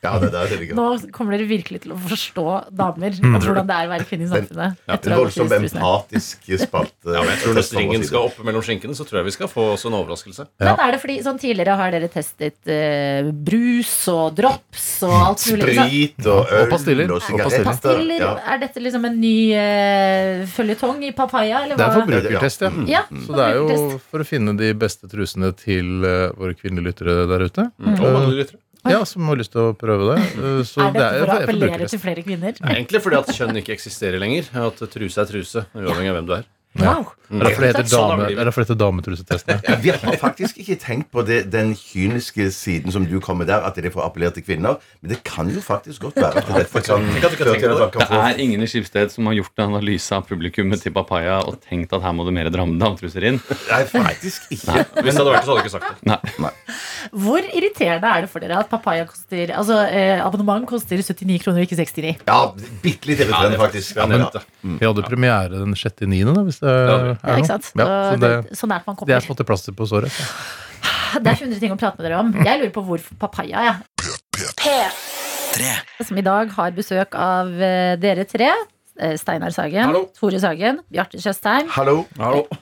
Speaker 9: Ja, det er der det ligger.
Speaker 2: Nå kommer dere virkelig til å forstå damer og hvordan det er å være kvinne i samfunnet. etter å
Speaker 9: En
Speaker 2: ha
Speaker 9: voldsomt
Speaker 2: gått i trusene.
Speaker 9: empatisk spalte.
Speaker 10: Ja, men jeg tror
Speaker 9: Sånn
Speaker 10: Når stringen
Speaker 9: å si det.
Speaker 10: skal opp mellom skinkene, så tror jeg vi skal få oss en overraskelse.
Speaker 11: Ja.
Speaker 2: Men er det fordi, sånn Tidligere har dere testet eh, brus og drops og alt mulig. sånn-
Speaker 9: Sprit og
Speaker 11: Og
Speaker 9: øl
Speaker 11: pastiller. Og
Speaker 9: sigaretter.
Speaker 2: Pastiller,
Speaker 9: Ja.
Speaker 2: er dette liksom en ny uh, føljetong i papaya? Eller
Speaker 11: Det er Mm.
Speaker 2: hva?
Speaker 11: forbrukertest, ja.
Speaker 2: Ja,
Speaker 10: Mm.
Speaker 11: Så det er jo
Speaker 2: forbrukertest.
Speaker 11: for å finne de beste trusene til øh, våre kvinnelige lyttere der ute.
Speaker 10: Og mannlige lyttere.
Speaker 11: Ja, som har lyst til å prøve det. Øh, Så
Speaker 2: Er
Speaker 11: det
Speaker 2: dette
Speaker 11: er,
Speaker 2: for å
Speaker 11: det er
Speaker 2: appellere
Speaker 11: forbrukertest.
Speaker 2: til flere kvinner?
Speaker 10: Egentlig fordi at kjønn ikke eksisterer lenger. At truse er truse, uavhengig av hvem du er.
Speaker 2: Wow.
Speaker 11: Det er derfor det heter
Speaker 10: Sånn er
Speaker 11: dame-
Speaker 10: livet.
Speaker 11: det er derfor det heter dametrusetestene.
Speaker 9: Ja, Vi har faktisk ikke tenkt på det, den kyniske siden som du kommer der, at det er for å appellere til kvinner. Men det kan jo faktisk godt være at dette kan
Speaker 10: Tenk at du ikke har tenkt på det.
Speaker 9: føre til
Speaker 3: Det
Speaker 9: at man kan
Speaker 3: er ingen i Skipsted som har gjort en analyse av publikummet til Papaya og tenkt at her må det mer dram- dametruser inn.
Speaker 9: få- Nei, faktisk ikke.
Speaker 10: Hvis det hadde vært det, så hadde jeg ikke sagt det.
Speaker 3: Nei.
Speaker 2: Hvor irriterende er det for dere at papaya koster Altså eh, abonnement koster 79 kroner, ikke 69?
Speaker 9: Ja, bitte litt
Speaker 10: Ja, det
Speaker 9: irriterende,
Speaker 10: er faktisk
Speaker 9: faktisk.
Speaker 10: ja,
Speaker 9: Ja,
Speaker 10: nevnt, det.
Speaker 11: Vi hadde premiere den 6.9., da, hvis det er
Speaker 10: Ja,
Speaker 2: Ja,
Speaker 11: noe.
Speaker 2: ikke sant?
Speaker 11: Ja,
Speaker 2: Så
Speaker 11: så det,
Speaker 2: det- så nært man kommer.
Speaker 11: det er på en måte plaster på såret.
Speaker 2: Det er 100 ting å prate med dere om. Jeg lurer på hvorfor papaya, jeg. Som i dag har besøk av eh, dere tre. Eh, Steinar Sagen,
Speaker 10: Hallo.
Speaker 2: Tore Sagen, Bjarte Tjøstheim.
Speaker 9: Hallo.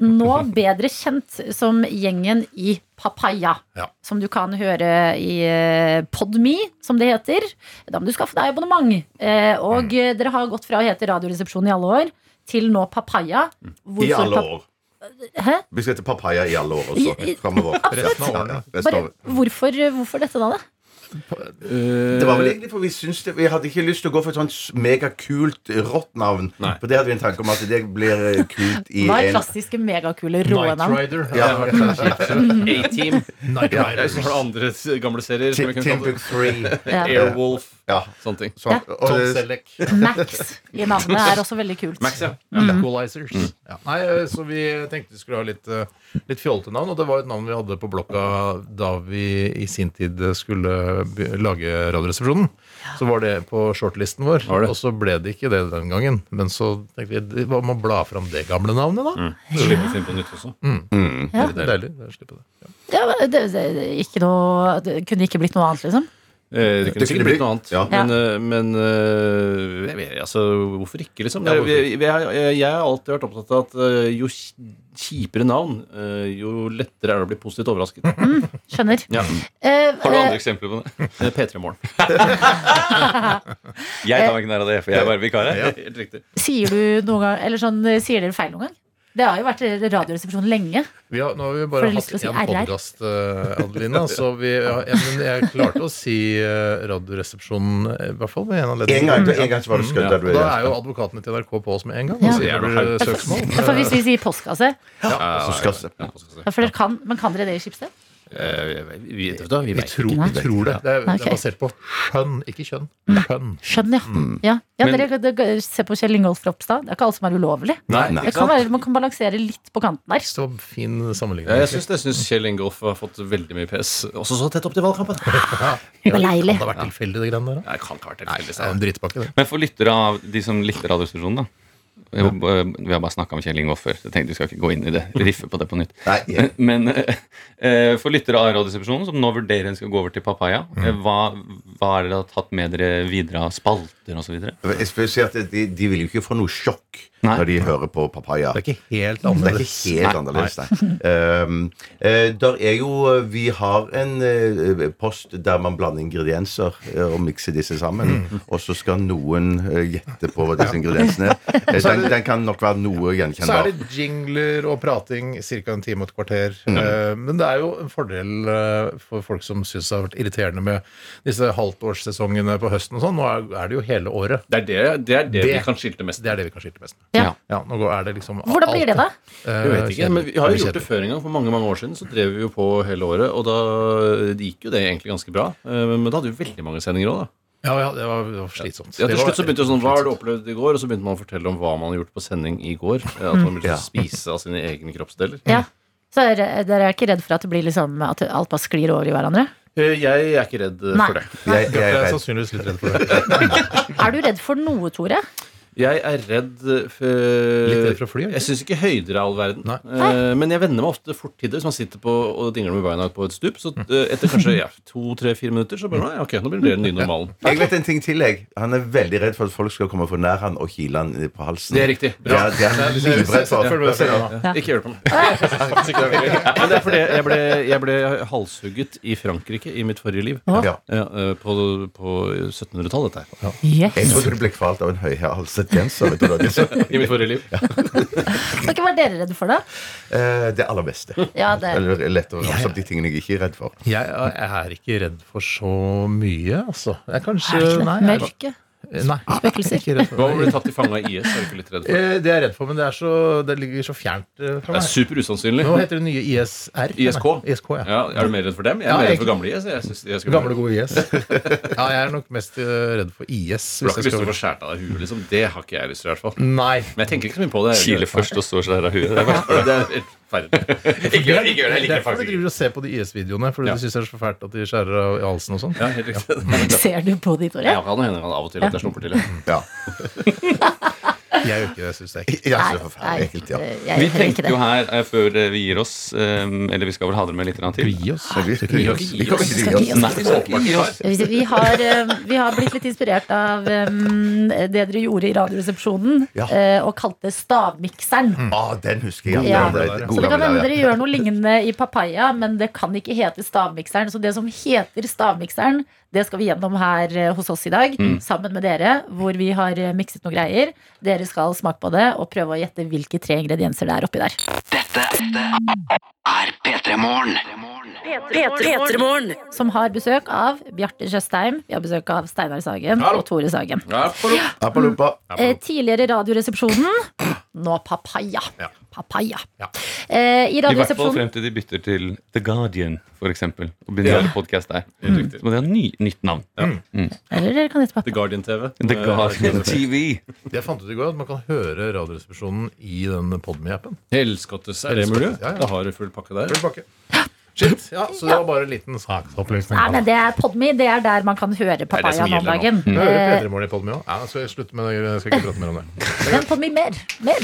Speaker 2: Nå bedre kjent som gjengen i Papaya.
Speaker 11: Ja.
Speaker 2: Som du kan høre i eh, Podme, som det heter. Da må du skaffe deg abonnement. Eh, Og
Speaker 9: Mm.
Speaker 2: eh, dere har gått fra å hete Radioresepsjonen i alle år til nå Papaya. Hvorfor
Speaker 9: I alle
Speaker 2: pap-
Speaker 9: år.
Speaker 2: Hæ?
Speaker 9: Vi skal hete Papaya i alle år også. Fremover.
Speaker 11: Resten av årene.
Speaker 9: Ja, resten av
Speaker 2: Bare,
Speaker 9: året.
Speaker 2: hvorfor, eh, hvorfor dette da? da?
Speaker 9: Eh, Det var vel egentlig for vi syns det, vi hadde ikke lyst til å gå for et sånt megakult rått navn.
Speaker 10: Nei.
Speaker 9: For det hadde vi en tanke om at det blir eh, kult
Speaker 2: [laughs]
Speaker 9: i
Speaker 2: Hva er
Speaker 9: en
Speaker 2: klassiske megakule
Speaker 11: Night
Speaker 2: råenavn?
Speaker 11: Rider.
Speaker 9: Ja.
Speaker 10: A-Team.
Speaker 11: Night
Speaker 2: [laughs] Mm.
Speaker 10: Jeg
Speaker 11: Rider.
Speaker 10: har andre gamle serier som vi kan
Speaker 9: Tim-
Speaker 10: kalle det.
Speaker 9: Timbuk 3.
Speaker 2: Ja.
Speaker 10: Airwolf.
Speaker 9: Ja.
Speaker 10: Sånne ting.
Speaker 2: Ja.
Speaker 9: og eh,
Speaker 11: Tom
Speaker 9: det-
Speaker 11: Selleck.
Speaker 2: Max i navnet er også veldig kult.
Speaker 11: Max, ja.
Speaker 2: Mm.
Speaker 11: Equalizers. Ja. Nei, eh, så vi tenkte vi skulle ha litt, eh, litt fjollete navn, og det var et navn vi hadde på blokka da vi i sin tid skulle be- lage Radioresepsjonen. Så var det på shortlisten vår, og så ble det ikke det den gangen. Men så tenkte vi det var- må bla fram det gamle navnet, da.
Speaker 10: Slippes inn på nytt også.
Speaker 11: Mm.
Speaker 2: Ja.
Speaker 11: Det er deilig. Det er slipp det.
Speaker 2: Ja, men det, det, det, ikke noe, det kunne ikke blitt noe annet, liksom.
Speaker 10: Eh, Det kunne sikkert blitt noe annet.
Speaker 9: Ja.
Speaker 10: Men, eh, men eh, jeg vet, altså, hvorfor ikke, liksom?
Speaker 11: Ja, hvorfor
Speaker 10: jeg, jeg, jeg, jeg har alltid vært opptatt av at eh, jo kj- kjipere navn, eh, jo lettere er det å bli positivt overrasket.
Speaker 2: Skjønner.
Speaker 10: Ja.
Speaker 2: Eh,
Speaker 3: Har du
Speaker 2: eh,
Speaker 3: andre eksempler på det?
Speaker 10: Eh, P3 Morgen.
Speaker 3: [laughs] Jeg tar meg ikke nær av det, for jeg er bare vikar her.
Speaker 10: Helt riktig.
Speaker 2: sier du noen gang Eller sånn, eh, sier dere feil noen gang? Det har jo vært Radioresepsjonen lenge.
Speaker 11: Vi har, nå har vi
Speaker 2: Får
Speaker 11: bare
Speaker 2: jeg lyst
Speaker 11: hatt
Speaker 2: til å si
Speaker 11: én
Speaker 2: RR?
Speaker 11: podkast, Adelina. Så vi, ja, ja, men jeg klarte å si eh, Radioresepsjonen, eh, i hvert fall ved en anledning.
Speaker 9: En gang, en gang så var det skudd der du
Speaker 11: Da er jo advokatene til NRK på oss med en gang.
Speaker 2: Ja.
Speaker 11: Og sier det blir søksmål.
Speaker 2: Ja, For hvis vi sier postkasse
Speaker 9: Så skal se.
Speaker 2: ja, for dere kan, Men kan dere det i Schibsted?
Speaker 10: Eh, vi- Vi vet ikke, vi
Speaker 11: Vi
Speaker 10: vet.
Speaker 11: tror, vi tror det. Det er, det
Speaker 2: Ok. Mm.
Speaker 11: er basert på skjønn, ikke kjønn. Skjønn.
Speaker 2: Skjønn, ja. ja. ja
Speaker 3: Men-
Speaker 2: dere, dere, se på Kjell Ingolf Ropstad. Det er ikke alt som er ulovlig.
Speaker 9: Nei, nei.
Speaker 2: Det kan være, man kan balansere litt på kanten der.
Speaker 11: Så fin
Speaker 10: Ja,
Speaker 11: sammenligning.
Speaker 10: jeg syns det. Jeg synes Kjell Ingolf har fått veldig mye PS. Også så tett opp til valgkampen.
Speaker 2: Beleilig.
Speaker 11: Kan det ha vært tilfeldig, det greiene der? da?
Speaker 10: Nei, kan ikke ha vært
Speaker 11: Nei, det er en drittpakke, det.
Speaker 3: Men for lyttere av de som likte Radioresepsjonen, da. Jo, eh, Vi har bare snakka om Kjell Ingolf før. så Jeg tenkte vi skal ikke gå inn i det. Riffe på det på nytt.
Speaker 9: Nei,
Speaker 3: Eh, Men eh, eh, for lyttere av Radioresepsjonen, som nå vurderer en skal gå over til Papaya,
Speaker 10: Mm.
Speaker 3: eh, hva, hva er det dere har tatt med dere videre av spalter osv.?
Speaker 9: jeg vil si at de, de vil jo ikke få noe sjokk
Speaker 3: Nei.
Speaker 9: når de hører på Papaya.
Speaker 11: Det er ikke helt
Speaker 9: Det er
Speaker 11: annerledes.
Speaker 9: ikke helt annerledes, nei. Um, eh, der er jo Vi har en eh, post der man blander ingredienser eh, og mikser disse sammen. Og så skal noen eh, gjette på hva disse ingrediensene er. Eh, Den, den kan nok være noe
Speaker 11: Så er
Speaker 9: gjenkjennbar.
Speaker 11: det jingler og prating ca. en time og et kvarter.
Speaker 10: Mm.
Speaker 11: Eh, Men det er jo en fordel eh, for folk som syns det har vært irriterende med disse halvtårssesongene på høsten og sånn. Nå er- er det jo hele året.
Speaker 10: Det er det, det, er det,
Speaker 11: Det-
Speaker 10: vi kan skilte mest.
Speaker 11: Det er det vi kan skilte mest med.
Speaker 2: Ja.
Speaker 11: Ja, nå går- er det liksom Eh,
Speaker 2: Hvordan blir det, da?
Speaker 10: Jeg vet ikke, men Vi har jo gjort det før en gang. For mange mange år siden så drev vi jo på hele året. Og da det gikk jo det egentlig ganske bra. Eh, Men da hadde vi veldig mange sendinger òg, da.
Speaker 11: Ja, ja, det var, det var slitsomt.
Speaker 10: Ja, til
Speaker 11: var-
Speaker 10: slutt så begynte jo sånn Hva har du opplevd i går? Og så begynte man å fortelle om hva man har gjort på sending i går. eh, At man begynte å spise av sine egne kroppsdeler.
Speaker 2: Ja. Så er, dere er ikke redd for at det blir liksom At alt bare sklir over i hverandre?
Speaker 10: Eh, Jeg er ikke redd eh,
Speaker 2: Nei.
Speaker 10: for det.
Speaker 9: Jeg, jeg,
Speaker 11: Jeg
Speaker 9: er
Speaker 11: er
Speaker 9: redd.
Speaker 11: sannsynligvis litt redd for det.
Speaker 2: Er du redd for noe, Tore?
Speaker 10: Jeg er redd eh, for
Speaker 11: Litt redd for fly, eller?
Speaker 10: Jeg syns ikke høyder er all verden.
Speaker 11: Nei.
Speaker 10: Eh, Men jeg venner meg ofte fort til det. Hvis man sitter på og dingler med beina på et stup, så eh, etter kanskje ja, to-tre-fire minutter, så bare, nei, ok, nå blir Mm. det den nye normalen.
Speaker 9: jeg vet en ting til, jeg. Han er veldig redd for at folk skal komme for nær han og kile han på halsen.
Speaker 10: Det er riktig.
Speaker 9: Det er, det er han livredd for.
Speaker 11: Følg med på det, da.
Speaker 10: Ikke gjør det på meg. Men det er fordi jeg ble, jeg ble halshugget i Frankrike i mitt forrige liv.
Speaker 9: Ja.
Speaker 10: Ja, eh, på på 1700-tallet, dette her.
Speaker 9: Jeg
Speaker 2: Yes.
Speaker 9: trodde du ble kvalt av en høyhalset genser. vet du hva det er.
Speaker 10: I mitt forrige liv.
Speaker 2: Kan ikke være dere redde for det?
Speaker 9: Eh, Det aller beste.
Speaker 2: Ja, det
Speaker 9: Eller lettere å ramse opp de tingene jeg ikke er redd for.
Speaker 11: Jeg er- jeg er ikke redd for så mye, altså. Jeg er kanskje
Speaker 2: er ikke det.
Speaker 11: nei, jeg er-
Speaker 2: Mørke.
Speaker 11: Nei.
Speaker 2: Spøkelser.
Speaker 11: Ikke redd for
Speaker 10: Hva om du ble tatt til fange av IS? Er du ikke litt redd for det?
Speaker 11: Eh, Det er jeg redd for, men det, er så, det ligger så fjernt eh, fra
Speaker 10: Det er
Speaker 11: meg.
Speaker 10: super usannsynlig.
Speaker 11: Nå heter det nye ISR.
Speaker 10: ISK?
Speaker 11: Nei, ISK ja.
Speaker 10: Ja, er du mer redd for dem? Jeg er
Speaker 11: Ja,
Speaker 10: mer
Speaker 11: jeg-
Speaker 10: redd for gamle IS. Jeg synes, jeg skulle-
Speaker 11: Gamle, gode
Speaker 10: [laughs]
Speaker 11: IS. Ja, jeg er nok mest eh, redd for IS.
Speaker 10: Du har
Speaker 11: Hvis
Speaker 10: ikke lyst
Speaker 11: jeg
Speaker 10: til
Speaker 11: skal...
Speaker 10: å få skjært av deg huet, liksom. Det har ikke jeg lyst til, i hvert
Speaker 3: Mm.
Speaker 10: fall.
Speaker 11: Nei.
Speaker 10: Men jeg tenker ikke så mye på det.
Speaker 3: Kile først og så skjære av huet. Det er verst.
Speaker 10: Det er helt feil.
Speaker 3: [laughs]
Speaker 10: Ikke gjør det. Ikke gjør det. Jeg liker det
Speaker 11: Derfor du
Speaker 10: faktisk ikke.
Speaker 11: driver og ser på de IS-videoene, for
Speaker 10: Ja.
Speaker 11: du syns det er så fælt at de skjærer av i halsen og sånn.
Speaker 10: Ja, helt riktig.
Speaker 2: Ser du på de, Tore?
Speaker 10: Ja, kan hende kan av og til at jeg slumper til.
Speaker 3: [laughs]
Speaker 10: ja.
Speaker 9: Ja.
Speaker 11: Jeg gjør ikke det, syns jeg. ikke.
Speaker 9: Ja,
Speaker 2: Nei,
Speaker 9: så forferdelig ekkelt, ja.
Speaker 2: eh, jeg
Speaker 3: Vi
Speaker 2: gjør ikke
Speaker 3: tenkte
Speaker 2: det.
Speaker 3: jo her, eh, før eh, vi gir oss eh, Eller vi skal vel ha dere med litt grann til.
Speaker 11: Gi oss.
Speaker 9: Nei, vi- vi-
Speaker 10: har ikke
Speaker 9: vi kommer ikke til å
Speaker 2: gi
Speaker 9: gi
Speaker 2: oss.
Speaker 9: oss.
Speaker 3: Nei, vi skal ikke gi oss.
Speaker 2: Vi, vi, har, eh, vi har blitt litt inspirert av eh, det dere gjorde i Radioresepsjonen,
Speaker 9: Ja.
Speaker 2: eh, og kalte Stavmikseren.
Speaker 9: Ah, den husker jeg.
Speaker 2: Ja.
Speaker 9: Den ble-
Speaker 2: Så
Speaker 9: god
Speaker 2: det kan
Speaker 9: gammel,
Speaker 2: hende
Speaker 9: ja.
Speaker 2: dere gjør noe lignende i Papaya, men det kan ikke hete Stavmikseren. Så det som heter Stavmikseren, det skal vi gjennom her eh, hos oss i dag, sammen med dere, hvor vi har eh, mikset noen greier. Dere skal smake på det og prøve å gjette hvilke tre ingredienser det er oppi der.
Speaker 7: Er P3 Morgen.
Speaker 4: P3morgen.
Speaker 2: Som har besøk av Bjarte Tjøstheim, vi har besøk av Steinar Sagen og Tore Sagen.
Speaker 10: Ja, for å-
Speaker 9: Appaloopa.
Speaker 2: Eh, tidligere Radioresepsjonen, nå Papaya.
Speaker 11: Ja.
Speaker 2: Papaya. Eh, I
Speaker 3: I hvert fall
Speaker 2: Radioresepsjonen
Speaker 3: frem til de bytter til The Guardian, for eksempel. Og begynner å lage podcast der. Så må de ha ny, nytt navn. Mm.
Speaker 2: Eller dere kan gjette på
Speaker 10: The Guardian TV.
Speaker 3: The Guardian TV.
Speaker 11: Jeg fant ut i går at man kan høre Radioresepsjonen i den Podme-appen.
Speaker 10: Helskottes, er det mulig?
Speaker 11: Ja, ja.
Speaker 10: Da har du full pakke der.
Speaker 11: Full pakke. Shit, ja, Så det var bare en liten saksopplysning.
Speaker 2: Nei, men det er Podme. Det er der man kan høre papaya nå om dagen.
Speaker 11: Jeg hører
Speaker 2: Eh,
Speaker 11: P3 Morgen i Podme òg. Ja, skal jeg slutte med det? Jeg skal ikke prate mer om det.
Speaker 2: Men Podme mer. Mer.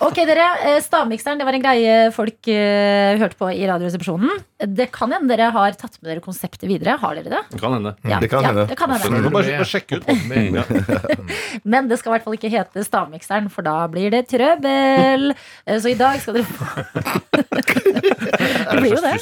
Speaker 2: Ok, dere. eh, Stavmikseren det var en greie folk eh, hørte på i Radioresepsjonen. Det kan hende dere har tatt med dere konseptet videre. Har dere det?
Speaker 10: Det kan hende.
Speaker 2: Ja, Mm, Det kan ja, hende. det kan hende.
Speaker 10: Du må bare, bare sjekke ut. Ja.
Speaker 2: Men det skal i hvert fall ikke hete Stavmikseren, for da blir det trøbbel. Eh, Så i dag skal dere få [laughs] Det blir jo det.